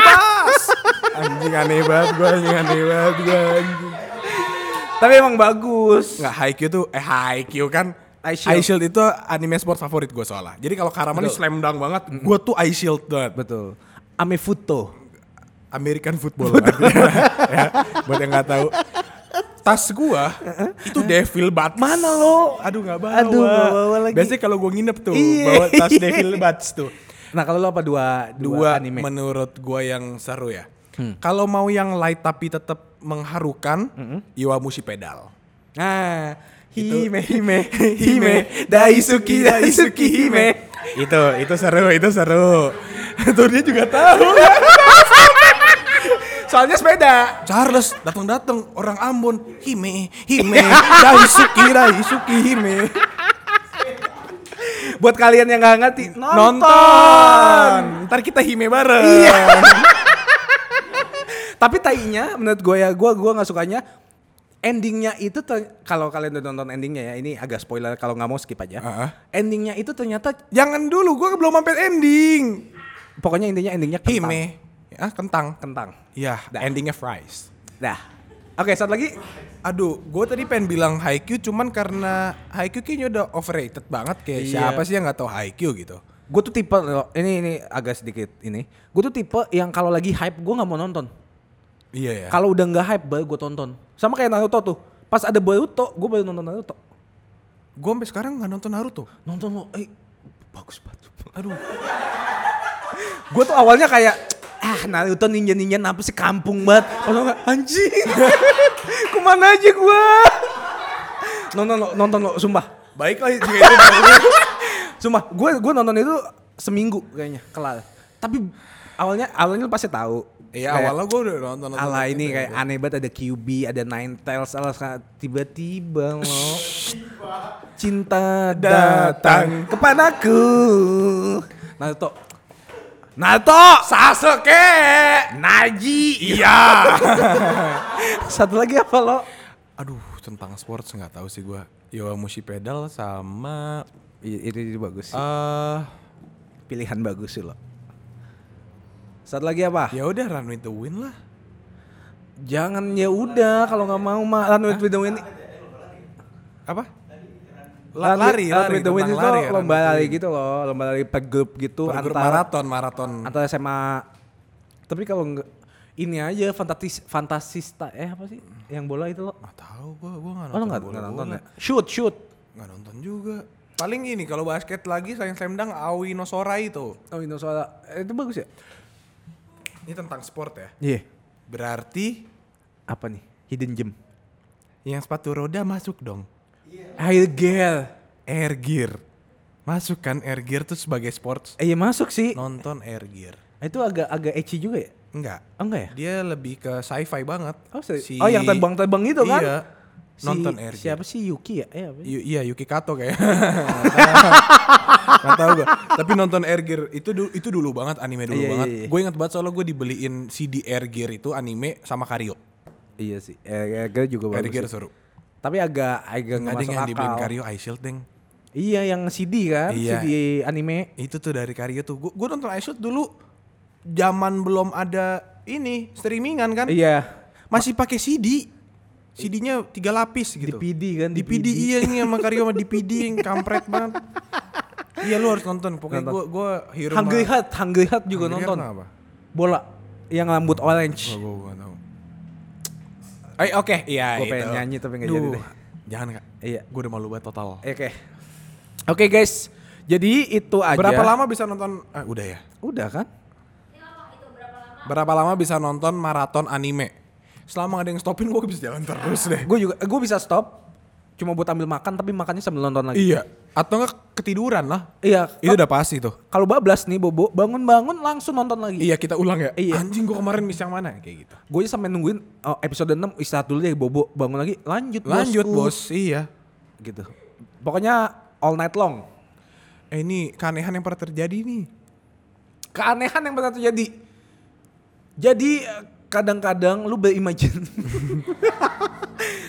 Speaker 2: Ya. anjing aneh banget gue, anjing aneh banget gue.
Speaker 1: Tapi emang bagus.
Speaker 2: Nggak Haikyuu tuh, eh Haikyuu kan.
Speaker 1: Ice Shield.
Speaker 2: Ice Shield itu anime sport favorit gue soalnya. Jadi kalau Karama nih
Speaker 1: Betul.
Speaker 2: slam dunk banget, gue tuh Ice Shield banget.
Speaker 1: Betul. Amefuto.
Speaker 2: American football artinya. ya, buat yang nggak tahu. Tas gue itu Devil Buds.
Speaker 1: Mana Nah, lo?
Speaker 2: Aduh nggak bawa.
Speaker 1: Aduh, nggak bawa lagi.
Speaker 2: Biasanya kalau gue nginep tuh
Speaker 1: Iya.
Speaker 2: bawa tas Devil Buds tuh.
Speaker 1: Nah kalau lo apa dua dua,
Speaker 2: dua
Speaker 1: anime? Hmm.
Speaker 2: menurut gua yang seru ya. Kalau mau yang light tapi tetap mengharukan, Iwamushi Pedal.
Speaker 1: nah,
Speaker 2: Itu-
Speaker 1: hime hime hime daisuki daisuki hime.
Speaker 2: itu itu seru, itu seru. itu dia juga tahu.
Speaker 1: Soalnya sepeda.
Speaker 2: Charles datang-datang orang Ambon, Hime, Hime, Daisuki, Daisuki, Hime.
Speaker 1: Buat kalian yang nggak ngerti, nonton.
Speaker 2: Ntar kita Hime bareng.
Speaker 1: Tapi tainya menurut gue ya, gue gua nggak sukanya endingnya itu ter- kalau kalian udah nonton endingnya ya, ini agak spoiler kalau nggak mau skip aja.
Speaker 2: Heeh.
Speaker 1: Endingnya itu ternyata
Speaker 2: Jangan dulu, gua belum sampai ending.
Speaker 1: pokoknya intinya endingnya kentang.
Speaker 2: Hime, ah kentang.
Speaker 1: Kentang.
Speaker 2: Iya,
Speaker 1: Dah.
Speaker 2: endingnya fries.
Speaker 1: Dah. Oke, satu lagi.
Speaker 2: Aduh, gue tadi pengen bilang Haikyuu cuman karena Haikyuu kayaknya udah overrated banget kayak
Speaker 1: Iya.
Speaker 2: siapa sih yang nggak tahu Haikyuu gitu.
Speaker 1: Gue tuh tipe loh, ini ini agak sedikit ini. Gue tuh tipe yang kalau lagi hype gue nggak mau nonton.
Speaker 2: Iya ya.
Speaker 1: Kalau udah nggak hype baru gue tonton. Sama kayak Naruto tuh. Pas ada Boruto, gue baru nonton Naruto.
Speaker 2: Gue sampai sekarang nggak nonton Naruto.
Speaker 1: Nonton lo, eh bagus banget.
Speaker 2: Aduh.
Speaker 1: Gue tuh awalnya kayak ah Naruto ninja ninja apa sih kampung banget. Kalau nggak anjing, kemana aja gue? Nonton lo, nonton lo, sumpah,
Speaker 2: Baiklah jika itu jawabannya.
Speaker 1: sumpah. Gue gue nonton itu seminggu kayaknya kelar. Tapi awalnya awalnya lo pasti tahu.
Speaker 2: Iya
Speaker 1: Kayak,
Speaker 2: awalnya gue udah nonton. nonton
Speaker 1: Ala ini
Speaker 2: gitu.
Speaker 1: kayak aneh banget ada QB, ada Nine Tails, ala sa- tiba-tiba lo cinta datang kepadaku. Naruto. Naruto,
Speaker 2: Sasuke.
Speaker 1: Naji.
Speaker 2: Iya.
Speaker 1: Satu lagi apa lo?
Speaker 2: Aduh, tentang sports nggak tahu sih gue. Yowamushi Pedal sama
Speaker 1: I- Itu, itu bagus.
Speaker 2: eh
Speaker 1: sih. Oh, Pilihan bagus sih lo. Satu lagi apa?
Speaker 2: ya udah Run with the Wind lah.
Speaker 1: Jangan ya udah kalau nggak mau mah Run with the Wind.
Speaker 2: Apa? La-
Speaker 1: Run with-
Speaker 2: lari, lari,
Speaker 1: Run with the Wind
Speaker 2: tentang
Speaker 1: itu
Speaker 2: lari, kan? Run
Speaker 1: lomba
Speaker 2: with the
Speaker 1: lari
Speaker 2: Wind.
Speaker 1: gitu loh, lomba lari per grup gitu
Speaker 2: Per grup
Speaker 1: antara
Speaker 2: maraton, maraton.
Speaker 1: antara SMA tapi kalau nggak ini aja fantasis fantasista eh apa sih yang bola itu lo
Speaker 2: Nggak tahu gue, gue
Speaker 1: oh,
Speaker 2: nggak nonton.
Speaker 1: lo nggak
Speaker 2: bola-bola.
Speaker 1: nggak nonton ya shoot shoot
Speaker 2: Nggak nonton juga. Paling ini kalau basket lagi selain slam dunk Aoi no Sorai itu.
Speaker 1: oh itu soal eh, itu bagus ya
Speaker 2: Ini tentang sport ya.
Speaker 1: iya
Speaker 2: Berarti
Speaker 1: apa nih hidden gem
Speaker 2: yang sepatu roda masuk dong.
Speaker 1: air girl
Speaker 2: Air gear. Masuk kan air gear tuh sebagai sports.
Speaker 1: eh iya masuk sih
Speaker 2: Nonton air gear.
Speaker 1: itu agak agak ecchi juga ya
Speaker 2: Enggak.
Speaker 1: oh enggak ya
Speaker 2: Dia lebih ke sci-fi banget.
Speaker 1: oh, se- oh yang terbang-terbang itu kan
Speaker 2: Iya.
Speaker 1: Si-
Speaker 2: Nonton air gear.
Speaker 1: siapa sih Yuki ya eh apa sih?
Speaker 2: Yu- iya Yuki Kato kayak. Gak tau gue. Tapi nonton Air Gear itu du- itu dulu banget anime dulu
Speaker 1: Iya, iya,
Speaker 2: banget.
Speaker 1: iya.
Speaker 2: Gue inget banget soalnya gue dibeliin CD Air Gear itu anime sama Karyo.
Speaker 1: iya sih eh, air girl juga
Speaker 2: Air
Speaker 1: bagus
Speaker 2: Gear
Speaker 1: sih.
Speaker 2: seru.
Speaker 1: tapi agak agak nggak
Speaker 2: Nggak ada
Speaker 1: masuk
Speaker 2: yang dibeliin
Speaker 1: akal
Speaker 2: Karyo Eye Shield deng.
Speaker 1: iya yang CD kan
Speaker 2: Iya.
Speaker 1: CD anime
Speaker 2: Itu tuh dari Karyo tuh. Gue nonton Eye Shield dulu zaman belum ada ini streamingan kan.
Speaker 1: iya
Speaker 2: Masih pakai CD. CD-nya tiga lapis gitu.
Speaker 1: DPD kan
Speaker 2: DPD iya nih sama Karyo sama DPD yang kampret banget. Iya lu harus nonton. Pokoknya
Speaker 1: Nonton.
Speaker 2: gue gue hero
Speaker 1: Hungry Heart Hungry Heart juga
Speaker 2: Hungry Heart
Speaker 1: nonton
Speaker 2: Oh. mah apa?
Speaker 1: bola yang rambut orange
Speaker 2: gue gak tau. Eh oke, iya
Speaker 1: Gua pengen nyanyi tapi nggak
Speaker 2: Duh,
Speaker 1: jadi deh.
Speaker 2: Jangan kak.
Speaker 1: Iya.
Speaker 2: Gue udah malu banget total.
Speaker 1: oke oke guys jadi itu aja
Speaker 2: Berapa lama bisa nonton? eh, udah ya.
Speaker 1: udah kan
Speaker 2: Berapa lama bisa nonton maraton anime? Selama ada yang stopin gue bisa jalan terus deh.
Speaker 1: gue juga gue bisa stop cuma buat ambil makan tapi makannya sambil nonton lagi
Speaker 2: Iya. Atau nggak ketiduran lah?
Speaker 1: iya
Speaker 2: Itu udah pasti tuh.
Speaker 1: kalau bablas nih bobo bangun-bangun langsung nonton lagi
Speaker 2: Iya kita ulang ya.
Speaker 1: Iya.
Speaker 2: Anjing gue kemarin miss yang mana kayak gitu.
Speaker 1: gue aja sampai nungguin oh, episode 6 istirahat dulu deh bobo bangun lagi lanjut
Speaker 2: Lanjut
Speaker 1: bosku.
Speaker 2: bos. Iya.
Speaker 1: gitu pokoknya all night long
Speaker 2: eh ini keanehan yang pernah terjadi nih.
Speaker 1: keanehan yang pernah terjadi. Jadi eh, kadang-kadang lu berimagine.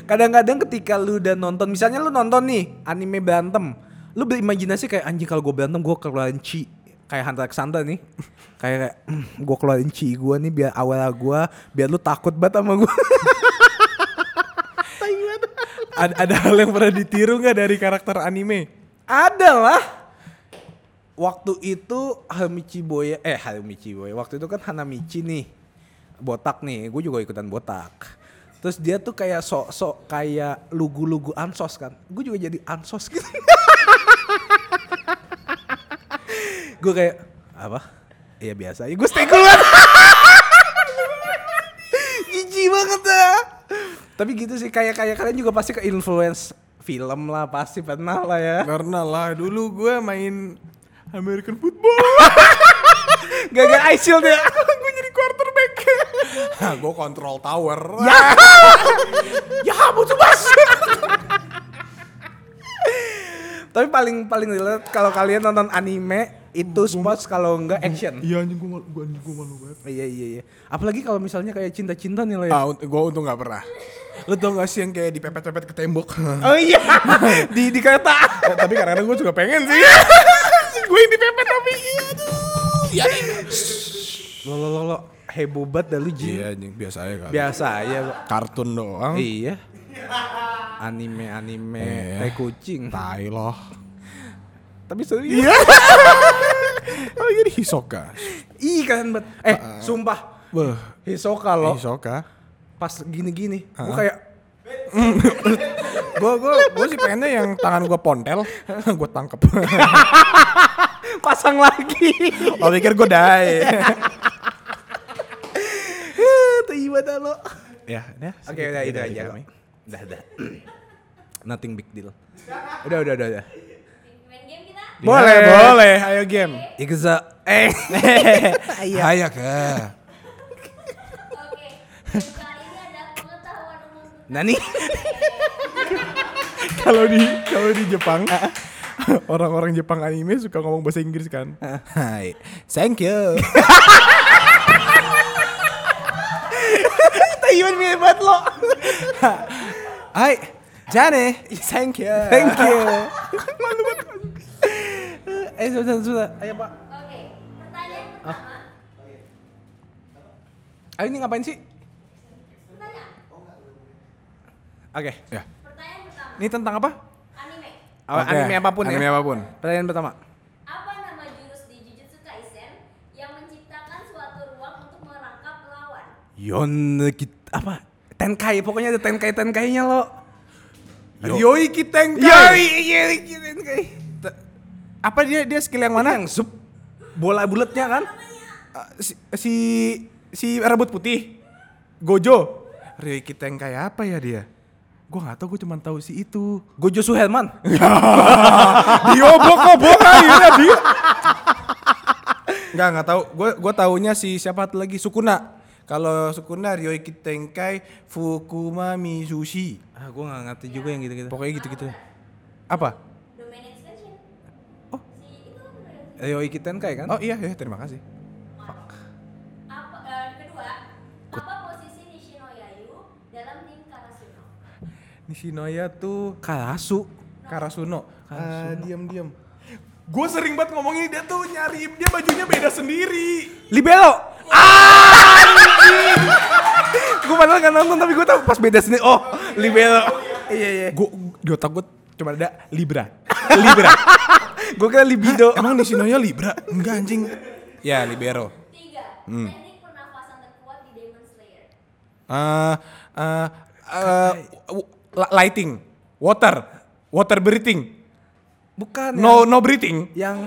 Speaker 1: kadang-kadang ketika lu udah nonton, misalnya lu nonton nih anime berantem, lu berimajinasi kayak anjing kalau gue berantem gue keluarin chi kayak Hunter x Hunter nih kayak, kayak gue keluarin chi gue nih biar awal gue biar lu takut banget sama gue
Speaker 2: Ada, ada hal yang pernah ditiru nggak dari karakter anime?
Speaker 1: adalah waktu itu Hamichi Boya eh Hamichi Boya waktu itu kan Hanamichi nih botak nih gue juga ikutan botak terus dia tuh kayak sok-sok kayak lugu-lugu ansos kan gue juga jadi ansos gitu gue kayak apa iya biasa ya gue stay cool banget jijik banget ah. tapi gitu sih kayak kayak kalian juga pasti ke influence film lah pasti pernah lah ya
Speaker 2: Karena lah dulu gue main American football.
Speaker 1: Gagal ISIL deh.
Speaker 2: gue jadi quarterback. gue kontrol tower.
Speaker 1: ya butuh bas. Tapi paling paling relate kalau kalian nonton anime itu sports kalau enggak action.
Speaker 2: Iya anjing gue gue anjing gue malu banget.
Speaker 1: Iya iya iya. Apalagi kalau misalnya kayak cinta-cinta nih lo ya.
Speaker 2: Ah, gue untung nggak pernah. Lo tau gak sih yang kayak dipepet-pepet ke tembok?
Speaker 1: Oh iya. di di kereta.
Speaker 2: Eh, tapi kadang-kadang gue juga pengen sih. gue yang dipepet tapi iya Ya.
Speaker 1: Lo lo lo lo heboh banget dah lu Jin.
Speaker 2: Iya anjing biasa aja kan.
Speaker 1: Biasa ya. lo.
Speaker 2: Kartun doang.
Speaker 1: Iya. Anime anime
Speaker 2: Iya.
Speaker 1: kayak kucing.
Speaker 2: Tai loh.
Speaker 1: Tapi seru ya.
Speaker 2: Iya. oh jadi Hisoka.
Speaker 1: Ih keren banget. Eh sumpah.
Speaker 2: Beuh.
Speaker 1: Hisoka lo.
Speaker 2: Oh. Hisoka.
Speaker 1: pas gini-gini gue kayak
Speaker 2: Gue gue gue sih pengennya yang tangan gue pontel, gue tangkep.
Speaker 1: pasang lagi
Speaker 2: Lo pikir gue dai.
Speaker 1: tiba lo oke
Speaker 2: ya, ya.
Speaker 1: udah itu aja
Speaker 2: kami.
Speaker 1: udah udah nothing big deal udah udah udah, udah.
Speaker 3: main game kita
Speaker 2: Boleh,
Speaker 1: Boleh.
Speaker 2: Iya, boleh. Ayo game.
Speaker 1: Ikeza eh Iya.
Speaker 2: Ayak ya.
Speaker 3: oke game kali ini ada pengetahuan umum
Speaker 1: nani
Speaker 2: kalau di kalau di Jepang orang-orang Jepang anime suka ngomong bahasa Inggris kan Hai thank you
Speaker 1: Taiwan mirip banget lo
Speaker 2: Hai Jane thank you
Speaker 1: thank you eh sudah sudah ayo pak
Speaker 3: oke pertanyaan
Speaker 2: Ah.
Speaker 3: pertama
Speaker 1: ayo ini ngapain sih
Speaker 3: pertanyaan
Speaker 1: oke
Speaker 2: ya
Speaker 3: pertanyaan pertama
Speaker 1: ini tentang apa
Speaker 3: anime
Speaker 1: Aw-
Speaker 2: Oke,
Speaker 1: anime apapun
Speaker 2: anime
Speaker 1: ya
Speaker 2: apapun
Speaker 1: pertanyaan pertama
Speaker 3: apa nama jurus di Jujutsu Kaisen yang menciptakan suatu ruang untuk merangkap lawan
Speaker 1: Yon apa Tenkai pokoknya ada Tenkai Tenkainya lo
Speaker 2: Yo. Yoi Kitenkai
Speaker 1: Yoi, yoi, iya, Tenkai.
Speaker 2: apa dia dia skill yang mana
Speaker 1: Yang sup bola bulatnya kan?
Speaker 2: Eh, si, si si rambut putih Gojo Ryoi Kitenkai apa ya dia Gue gak tau, gue cuma tahu si itu.
Speaker 1: Gojo Suherman.
Speaker 2: Diobok-obok akhirnya dia. Enggak, enggak tahu. Gue gue taunya si siapa tuh lagi Sukuna. Kalau Sukuna Ryoiki Tenkai Fukuma Mizushi.
Speaker 1: Ah, gue gak ngerti juga yang gitu-gitu.
Speaker 2: Pokoknya gitu-gitu. Apa?
Speaker 3: domain expansion
Speaker 2: Oh.
Speaker 3: si itu
Speaker 1: Ryoi Kitenkai kan?
Speaker 2: Oh iya, iya terima kasih.
Speaker 3: apa eh, kedua apa posisi Nishinoyayu dalam tim Karasuno
Speaker 2: Nishinoya tuh
Speaker 1: Karasu.
Speaker 2: Karasuno. Ah, diam-diam. Gue sering banget ngomongin dia tuh nyari dia bajunya beda sendiri.
Speaker 1: Libelo. Ah! gue padahal gak nonton tapi gue tau pas beda sini. Oh, Libelo. Iya, iya.
Speaker 2: Gue di otak gue cuma ada Libra. Libra.
Speaker 1: Gue kira libido.
Speaker 2: Emang Nishinoya Libra? Enggak anjing. Ya, Libero.
Speaker 3: tiga
Speaker 2: Hmm.
Speaker 3: teknik pernafasan terkuat di Demon Slayer
Speaker 2: eh eh, eh, w- la- lighting, water, water breathing,
Speaker 1: Bukan.
Speaker 2: no no breathing.
Speaker 1: Yang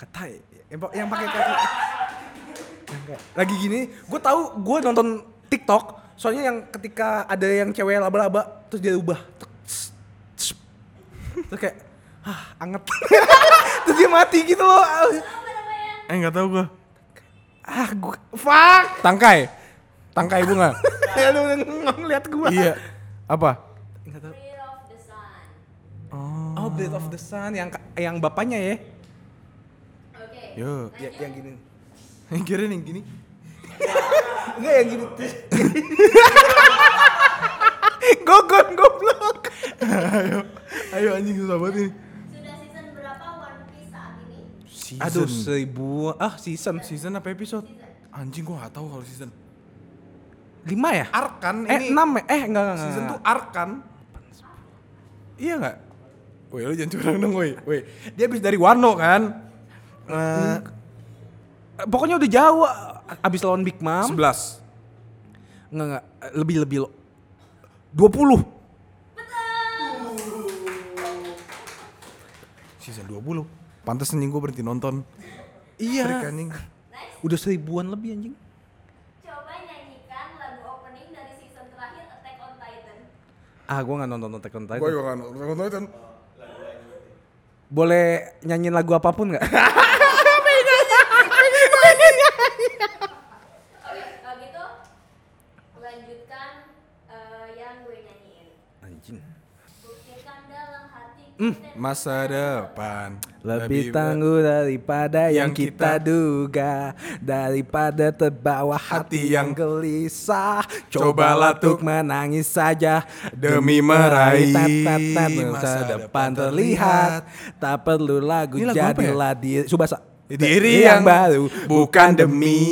Speaker 1: katai. Yang, pa- yang pakai kaki. Yang kayak- Lagi gini, gue tahu gue nonton TikTok. Soalnya yang ketika ada yang cewek laba-laba terus dia ubah. Terus kayak, ah anget. terus dia mati gitu loh.
Speaker 3: apa namanya
Speaker 2: Eh nggak tahu gua.
Speaker 1: Ah gue, fuck.
Speaker 2: Tangkai, tangkai bunga.
Speaker 1: Ya lu ngeliat gue.
Speaker 2: iya. Apa?
Speaker 1: Nggak tahu.
Speaker 3: Prayer of the Sun
Speaker 1: Oh, Blade of the Sun yang ka- yang bapaknya ya.
Speaker 3: Oke.
Speaker 2: Yo.
Speaker 1: Ya, yang gini.
Speaker 2: Kirain yang gini.
Speaker 1: Enggak yang gini. Gogon goblok.
Speaker 2: Ayo anjing susah banget ini.
Speaker 3: Sudah season berapa One Piece saat ini?
Speaker 2: Season.
Speaker 1: Aduh seribu ah season
Speaker 2: season apa episode? Anjing gua gak tahu kalau season.
Speaker 1: lima ya?
Speaker 2: Arc kan
Speaker 1: Eh
Speaker 2: ini.
Speaker 1: enam ya? Eh enggak enggak enggak.
Speaker 2: Season tuh arc kan. Iya gak? Woi lu jangan curang dong woi. Woi. Dia habis dari Wano kan. Eh,
Speaker 1: Eh, Pokoknya udah jauh abis lawan Big Mom.
Speaker 2: 11.
Speaker 1: Enggak enggak Eh, lebih lebih lo. 20.
Speaker 2: Season 20. Pantes anjing gua berhenti nonton. Freak,
Speaker 1: Iya.
Speaker 2: anjing.
Speaker 1: Udah seribuan lebih anjing.
Speaker 3: Coba nyanyikan lagu opening dari season terakhir Attack on Titan.
Speaker 1: Ah, gua nggak nonton Attack on Titan.
Speaker 2: Gua juga gak nonton nonton.
Speaker 1: Boleh nyanyiin lagu apapun nggak?
Speaker 3: Oke, kalau gitu lanjutkan eh, yang gue nyanyiin.
Speaker 1: Anjing. Hmm.
Speaker 3: Buktikan dalam hati kita-
Speaker 2: Masa depan
Speaker 1: Lebih tangguh daripada yang
Speaker 2: ya. yang
Speaker 1: kita
Speaker 2: kita
Speaker 1: duga Daripada terbawa hati
Speaker 2: Hati
Speaker 1: yang
Speaker 2: yang
Speaker 1: gelisah Cobalah
Speaker 2: cobalah
Speaker 1: untuk
Speaker 2: tuk
Speaker 1: menangis saja
Speaker 2: demi meraih
Speaker 1: tat, tat, tat, Masa
Speaker 2: masa
Speaker 1: depan
Speaker 2: depan
Speaker 1: terlihat Tak perlu lagu
Speaker 2: Ini lagu apa ya?
Speaker 1: jadilah diri Subasa
Speaker 2: Diri yang baru bukan demi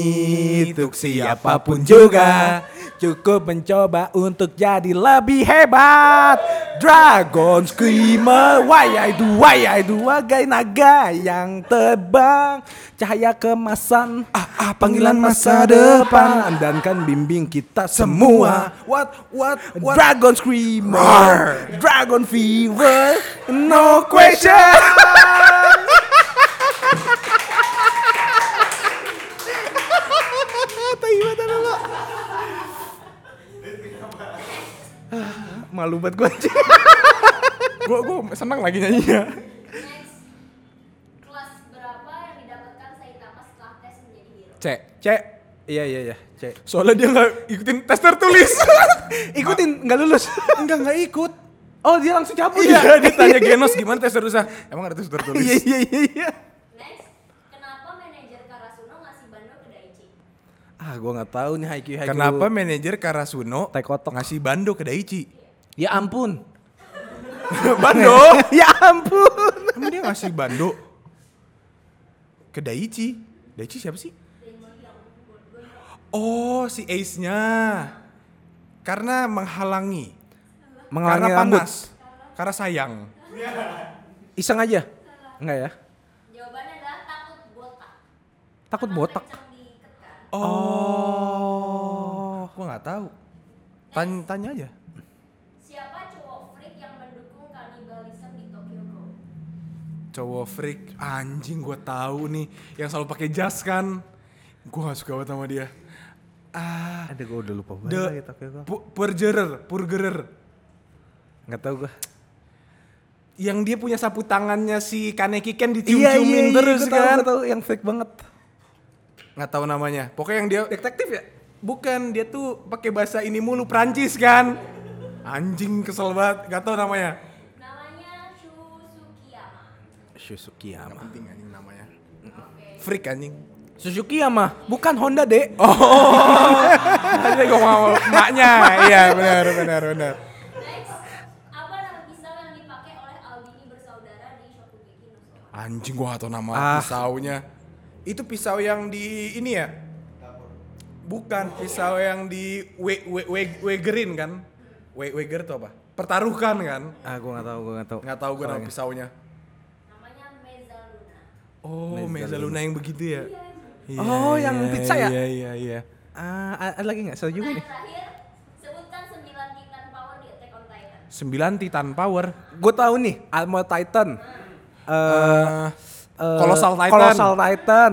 Speaker 2: untuk siapapun juga.
Speaker 1: Cukup mencoba untuk jadi lebih hebat Dragon Screamer Wayai dua Wayai dua Gai naga yang terbang Cahaya kemasan ah, ah, Panggilan masa depan Andalkan bimbing kita semua What, what, what Dragon Screamer Dragon Fever No question Malu banget gue anjing
Speaker 2: Gue senang lagi nyanyinya.
Speaker 3: Next. Kelas berapa yang didapatkan Saitama setelah tes menjadi hero?
Speaker 1: C C Iya iya iya C
Speaker 2: Soalnya dia nggak ikutin tes tertulis.
Speaker 1: Ikutin nggak lulus
Speaker 2: Enggak nggak ikut.
Speaker 1: Oh dia langsung cabut
Speaker 2: Iya,
Speaker 1: ya
Speaker 2: ditanya Genos gimana tes tertulisnya? Emang ada tes
Speaker 1: Iya
Speaker 2: tertulis?
Speaker 1: iya iya iya
Speaker 3: Next, kenapa manajer Karasuno ngasih bando ke Daichi?
Speaker 1: Ah gue nggak tahu nih haiku haiku
Speaker 2: Kenapa manajer Karasuno
Speaker 1: Tekotok.
Speaker 2: ngasih bando ke Daichi?
Speaker 1: Ya ampun
Speaker 2: bando?
Speaker 1: Ya ampun
Speaker 2: Emang dia ngasih bando ke Daichi? Daichi siapa sih? Oh, si Ace-nya. Karena menghalangi.
Speaker 1: Menghalangi
Speaker 2: karena
Speaker 1: rambut
Speaker 2: panas. Karena sayang.
Speaker 1: Iseng aja Enggak ya
Speaker 3: Jawabannya adalah takut botak.
Speaker 1: Takut
Speaker 3: Karena
Speaker 1: botak
Speaker 3: kencang diikat kan?
Speaker 2: Oh, gua nggak tahu. Tanya, tanya aja.
Speaker 3: Siapa cowok freak yang mendukung kanibalisme di Tokyo Ghoul?
Speaker 2: Cowok freak, anjing gua tahu nih, yang selalu pakai jas kan. Gua gak suka banget sama dia. Ah,
Speaker 1: Ada gue udah lupa ya,
Speaker 2: the pu- perjurer, purgerer.
Speaker 1: Nggak tahu gue
Speaker 2: Yang dia punya sapu tangannya si Kaneki Ken
Speaker 1: Iya iya
Speaker 2: dicium-ciumin
Speaker 1: iya
Speaker 2: terus
Speaker 1: gua tahu,
Speaker 2: kan.
Speaker 1: gua tahu yang fake banget
Speaker 2: nggak tahu namanya. Pokoknya yang dia
Speaker 1: Detektif ya
Speaker 2: bukan dia tuh pakai bahasa ini mulu Prancis kan. Anjing kesel banget, nggak tahu namanya.
Speaker 3: Namanya Shusukiyama.
Speaker 1: Suzuki
Speaker 2: Nggak
Speaker 1: Yama
Speaker 2: penting anjing namanya. Freak anjing.
Speaker 1: Suzuki Yama Bukan Honda dek Oh.
Speaker 2: Tadi gua mau maknya. Iya, benar benar benar.
Speaker 3: Next, apa nama pisau yang dipakai oleh Albini bersaudara di Shokugeki no Soma?
Speaker 2: Anjing gua gak tau nama
Speaker 1: Ah.
Speaker 2: pisaunya. Itu pisau yang di ini ya? Bukan pisau yang di we, we, we, wegerin kan? We, weger itu apa? Pertaruhkan kan?
Speaker 1: Ah gue nggak tahu gue nggak tahu
Speaker 2: Nggak tahu gua nama pisaunya.
Speaker 3: Namanya Mezzaluna.
Speaker 2: Oh,
Speaker 1: Meza
Speaker 2: Meza Luna yang begitu ya? Iya,
Speaker 1: Oh, yang
Speaker 2: iya,
Speaker 1: pizza ya?
Speaker 2: Iya, iya, iya.
Speaker 1: Ah, a- ada lagi nggak? Satu juga nih.
Speaker 3: Pertanyaan terakhir, sebutkan 9 Titan Power di Attack on Titan.
Speaker 2: Sembilan Titan Power.
Speaker 1: Gue tahu nih, Armor Titan. Eh,
Speaker 2: Eh,
Speaker 1: eh,
Speaker 2: Colossal Titan.
Speaker 1: Colossal Titan.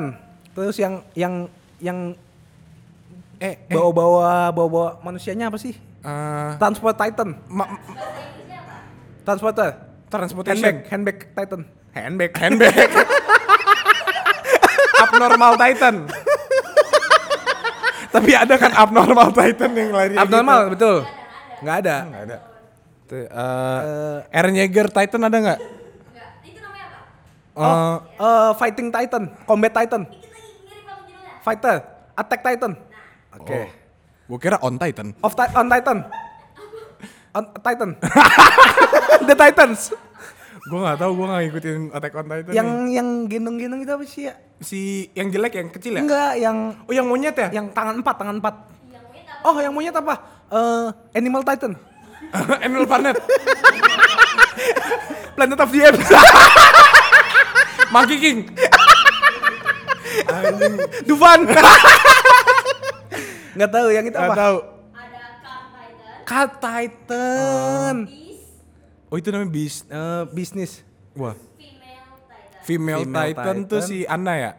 Speaker 1: Terus yang yang yang
Speaker 2: eh, eh,
Speaker 1: bawa-bawa bawa-bawa manusianya apa sih?
Speaker 2: eh,
Speaker 1: Transport Titan.
Speaker 2: ma- ma-
Speaker 3: Bahasa Inggrisnya apa?
Speaker 1: Transporter. Handbag,
Speaker 2: transportation.
Speaker 1: handbag Titan.
Speaker 2: Handbag. Handbag. abnormal Titan. Tapi ada kan abnormal Titan yang gitu? lari.
Speaker 1: Iya, Abnormal, betul. Nggak ada.
Speaker 2: Gak ada. Tuh, eh, Eren Yeager Titan ada nggak?
Speaker 1: Oh, eh, Fighting Titan, Combat Titan,
Speaker 3: Dikit lagi mirip sama judulnya.
Speaker 1: Fighter, Attack Titan. Oke.
Speaker 2: Gue oh. kira on Titan.
Speaker 1: Of Ti- on Titan. On Titan. The Titans.
Speaker 2: Gue nggak tahu, gue nggak ngikutin Attack on Titan.
Speaker 1: Yang
Speaker 2: nih.
Speaker 1: yang gendong-gendong itu apa sih ya?
Speaker 2: si yang jelek yang kecil ya?
Speaker 1: Enggak, yang
Speaker 2: Oh yang monyet ya?
Speaker 1: yang tangan empat, tangan empat.
Speaker 3: Yang punya tahu.
Speaker 1: Oh, yang monyet apa? Eh, Animal Titan.
Speaker 2: Animal Planet.
Speaker 1: Planet of the Apes.
Speaker 2: Monkey King. Anjing.
Speaker 1: Dufan. Nggak tahu yang itu
Speaker 2: Nggak
Speaker 1: apa?
Speaker 2: tahu.
Speaker 3: Ada Car Titan,
Speaker 1: Cut Titan.
Speaker 3: Beast,
Speaker 2: Oh itu namanya Beast.
Speaker 1: Eh, bisnis.
Speaker 2: Wah.
Speaker 3: Female Titan.
Speaker 2: Female,
Speaker 1: Female
Speaker 2: Titan, tuh
Speaker 1: Titan.
Speaker 2: si Anna ya?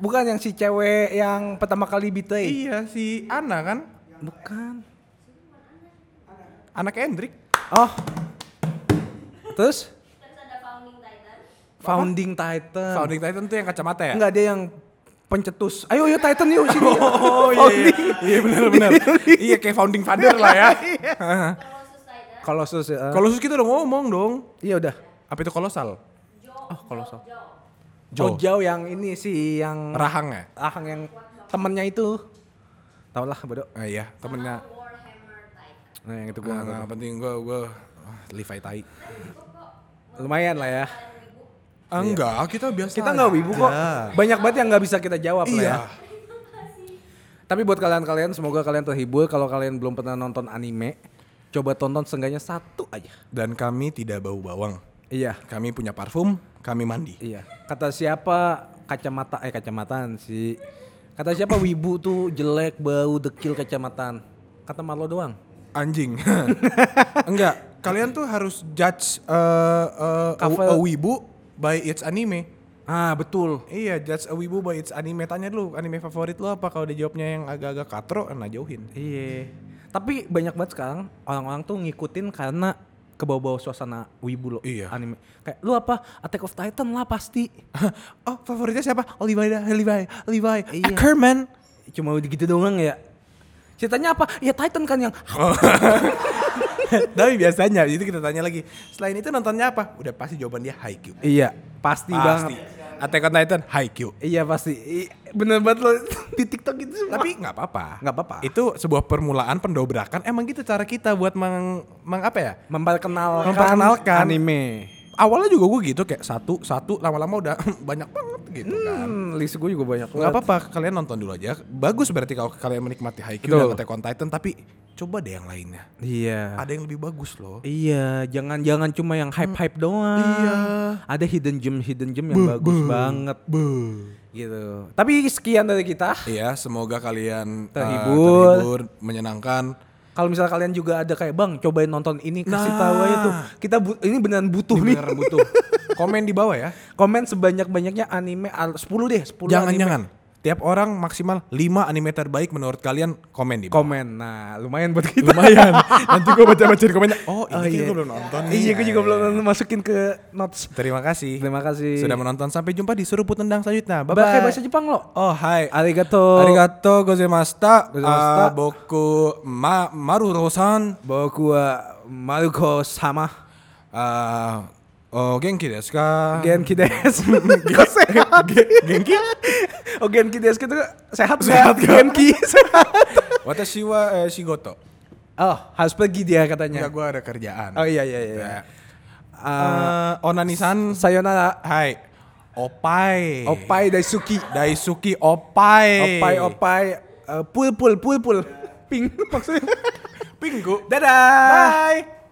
Speaker 1: Bukan yang si cewek yang pertama kali bitai.
Speaker 2: Iya si Anna kan?
Speaker 1: Bukan.
Speaker 2: Anak Hendrik.
Speaker 1: Oh. Terus
Speaker 3: Terus ada Founding Titan.
Speaker 1: Founding Titan.
Speaker 2: Founding Titan tuh yang kacamata ya?
Speaker 1: Enggak ada yang pencetus. Ayo yuk Titan yuk sini.
Speaker 2: Oh iya. iya. Iya benar benar. iya kayak founding father lah ya.
Speaker 3: Colossus Titan.
Speaker 1: Kolossus ya. eh.
Speaker 2: Kolossus kita udah ngomong dong.
Speaker 1: iya udah.
Speaker 2: Apa itu kolosal?
Speaker 3: Jo.
Speaker 1: Oh, kolosal.
Speaker 3: Jo. Jo.
Speaker 1: Oh, jauh yang ini sih yang
Speaker 2: Rahang ya?
Speaker 1: Ahang yang temennya itu. Tau lah bodoh.
Speaker 2: Ah, iya, temennya.
Speaker 3: Sama Warhammer Titan.
Speaker 1: Nah yang itu
Speaker 2: Gua
Speaker 1: gua nggak
Speaker 2: nggak penting gua gua ah, Levi Tai.
Speaker 1: tahu. Lumayan lah ya.
Speaker 2: Ah, Enggak, Iya. kita biasa.
Speaker 1: Kita nggak wibu kok. Banyak banget yang nggak bisa kita jawab lah ya.
Speaker 2: Oh, Iya.
Speaker 1: Tapi buat kalian-kalian semoga kalian terhibur kalau kalian belum pernah nonton anime, coba tonton seenggaknya satu aja.
Speaker 2: Dan kami tidak bau bawang.
Speaker 1: Iya.
Speaker 2: Kami punya parfum, kami mandi.
Speaker 1: Iya. Kata siapa kacamata eh kacamataan sih. Kata siapa wibu tuh jelek, bau, dekil kacamataan. Kata Marlo doang.
Speaker 2: Anjing. Enggak, kalian tuh harus judge eh, eh, a-
Speaker 1: Cover.
Speaker 2: a wibu by its anime.
Speaker 1: Ah, betul.
Speaker 2: Iya, judge a wibu by its anime. Tanya dulu anime favorit lo apa kalau dia jawabnya yang agak-agak katro, nah jauhin.
Speaker 1: Iya. Tapi banyak banget sekarang orang-orang tuh ngikutin karena kebawa-bawa suasana wibu lo
Speaker 2: Iya.
Speaker 1: anime. Kayak lu apa? Attack of Titan lah pasti.
Speaker 2: oh, favoritnya siapa? Levi, dah, Levi, Levi, Ah,
Speaker 1: Iya.
Speaker 2: Ackerman.
Speaker 1: Cuma gitu doang ya. Ceritanya apa? Ya Titan kan yang
Speaker 2: Tapi biasanya itu kita tanya lagi. Selain itu nontonnya apa? Udah pasti jawaban dia Haikyuu.
Speaker 1: Iya, pasti,
Speaker 2: Pasti.
Speaker 1: banget.
Speaker 2: Attack on Titan Haikyuu.
Speaker 1: Iya pasti. I- Bener banget lo di TikTok gitu semua.
Speaker 2: Tapi nggak apa-apa.
Speaker 1: Nggak apa-apa.
Speaker 2: Itu sebuah permulaan pendobrakan. Emang gitu cara kita buat meng, meng apa ya?
Speaker 1: memperkenalkan, Hmm,
Speaker 2: Memperkenalkan.
Speaker 1: anime.
Speaker 2: Awalnya juga gue gitu kayak satu satu lama-lama udah banyak banget gitu kan.
Speaker 1: Hmm, list gue juga banyak
Speaker 2: Nggak
Speaker 1: banget.
Speaker 2: apa-apa, kalian nonton dulu aja. Bagus berarti kalau kalian menikmati Haikyuu
Speaker 1: Betul.
Speaker 2: dan Attack on Titan, tapi coba deh yang lainnya.
Speaker 1: Iya.
Speaker 2: Ada yang lebih bagus loh.
Speaker 1: Iya, jangan-jangan cuma yang hype-hype doang.
Speaker 2: Iya.
Speaker 1: Ada hidden gem, hidden gem yang bagus banget gitu. Tapi sekian dari kita.
Speaker 2: Iya, semoga kalian eh,
Speaker 1: Terhibur.
Speaker 2: terhibur, menyenangkan.
Speaker 1: Kalau misalnya kalian juga ada kayak bang, cobain nonton ini, kasih
Speaker 2: Nah.
Speaker 1: tahu aja tuh. Kita bu- ini beneran butuh
Speaker 2: Ini
Speaker 1: nih.
Speaker 2: beneran butuh. Komen di bawah ya.
Speaker 1: Komen sebanyak-banyaknya anime al- 10 deh, 10 anime.
Speaker 2: Jangan-jangan. Tiap orang maksimal 5 anime terbaik menurut kalian komen di bawah.
Speaker 1: Komen. Nah, lumayan buat kita.
Speaker 2: Lumayan. Nanti gue baca-bacain komennya. Oh, ini
Speaker 1: Oh,
Speaker 2: kan
Speaker 1: iya.
Speaker 2: gue belum nonton nih.
Speaker 1: Iya, gue juga
Speaker 2: Eh.
Speaker 1: belum masukin ke notes.
Speaker 2: Terima kasih.
Speaker 1: Terima kasih.
Speaker 2: Sudah menonton. Sampai jumpa di Seruput Tendang selanjutnya.
Speaker 1: Bye.
Speaker 2: Bye-bye.
Speaker 1: bahasa Jepang lo.
Speaker 2: Oh, hai.
Speaker 1: Arigato.
Speaker 2: Arigato gozaimashita.
Speaker 1: Gozaimashita.
Speaker 2: Ah, boku ma marurosan.
Speaker 1: Boku wa Maruko sama.
Speaker 2: Ah, oh, genki desu ka?
Speaker 1: Genki desu. Kok sehat? Ah. Genki? Oh Genki desu itu sehat
Speaker 2: Sehat,
Speaker 1: sehat
Speaker 2: Kak.
Speaker 1: Genki sehat.
Speaker 2: Watashi wa eh, shigoto.
Speaker 1: Oh harus pergi dia katanya.
Speaker 2: Enggak, gue ada kerjaan.
Speaker 1: Ya. Oh iya iya iya.
Speaker 2: Eh, Onanisan.
Speaker 1: Sayonara.
Speaker 2: Hai. Opai.
Speaker 1: Opai Daisuki.
Speaker 2: Daisuki
Speaker 1: Iya.
Speaker 2: Opai.
Speaker 1: Opai opai. eh, Pul pul pul pul. Ping maksudnya.
Speaker 2: Pinggu.
Speaker 1: Dadah.
Speaker 2: Bye.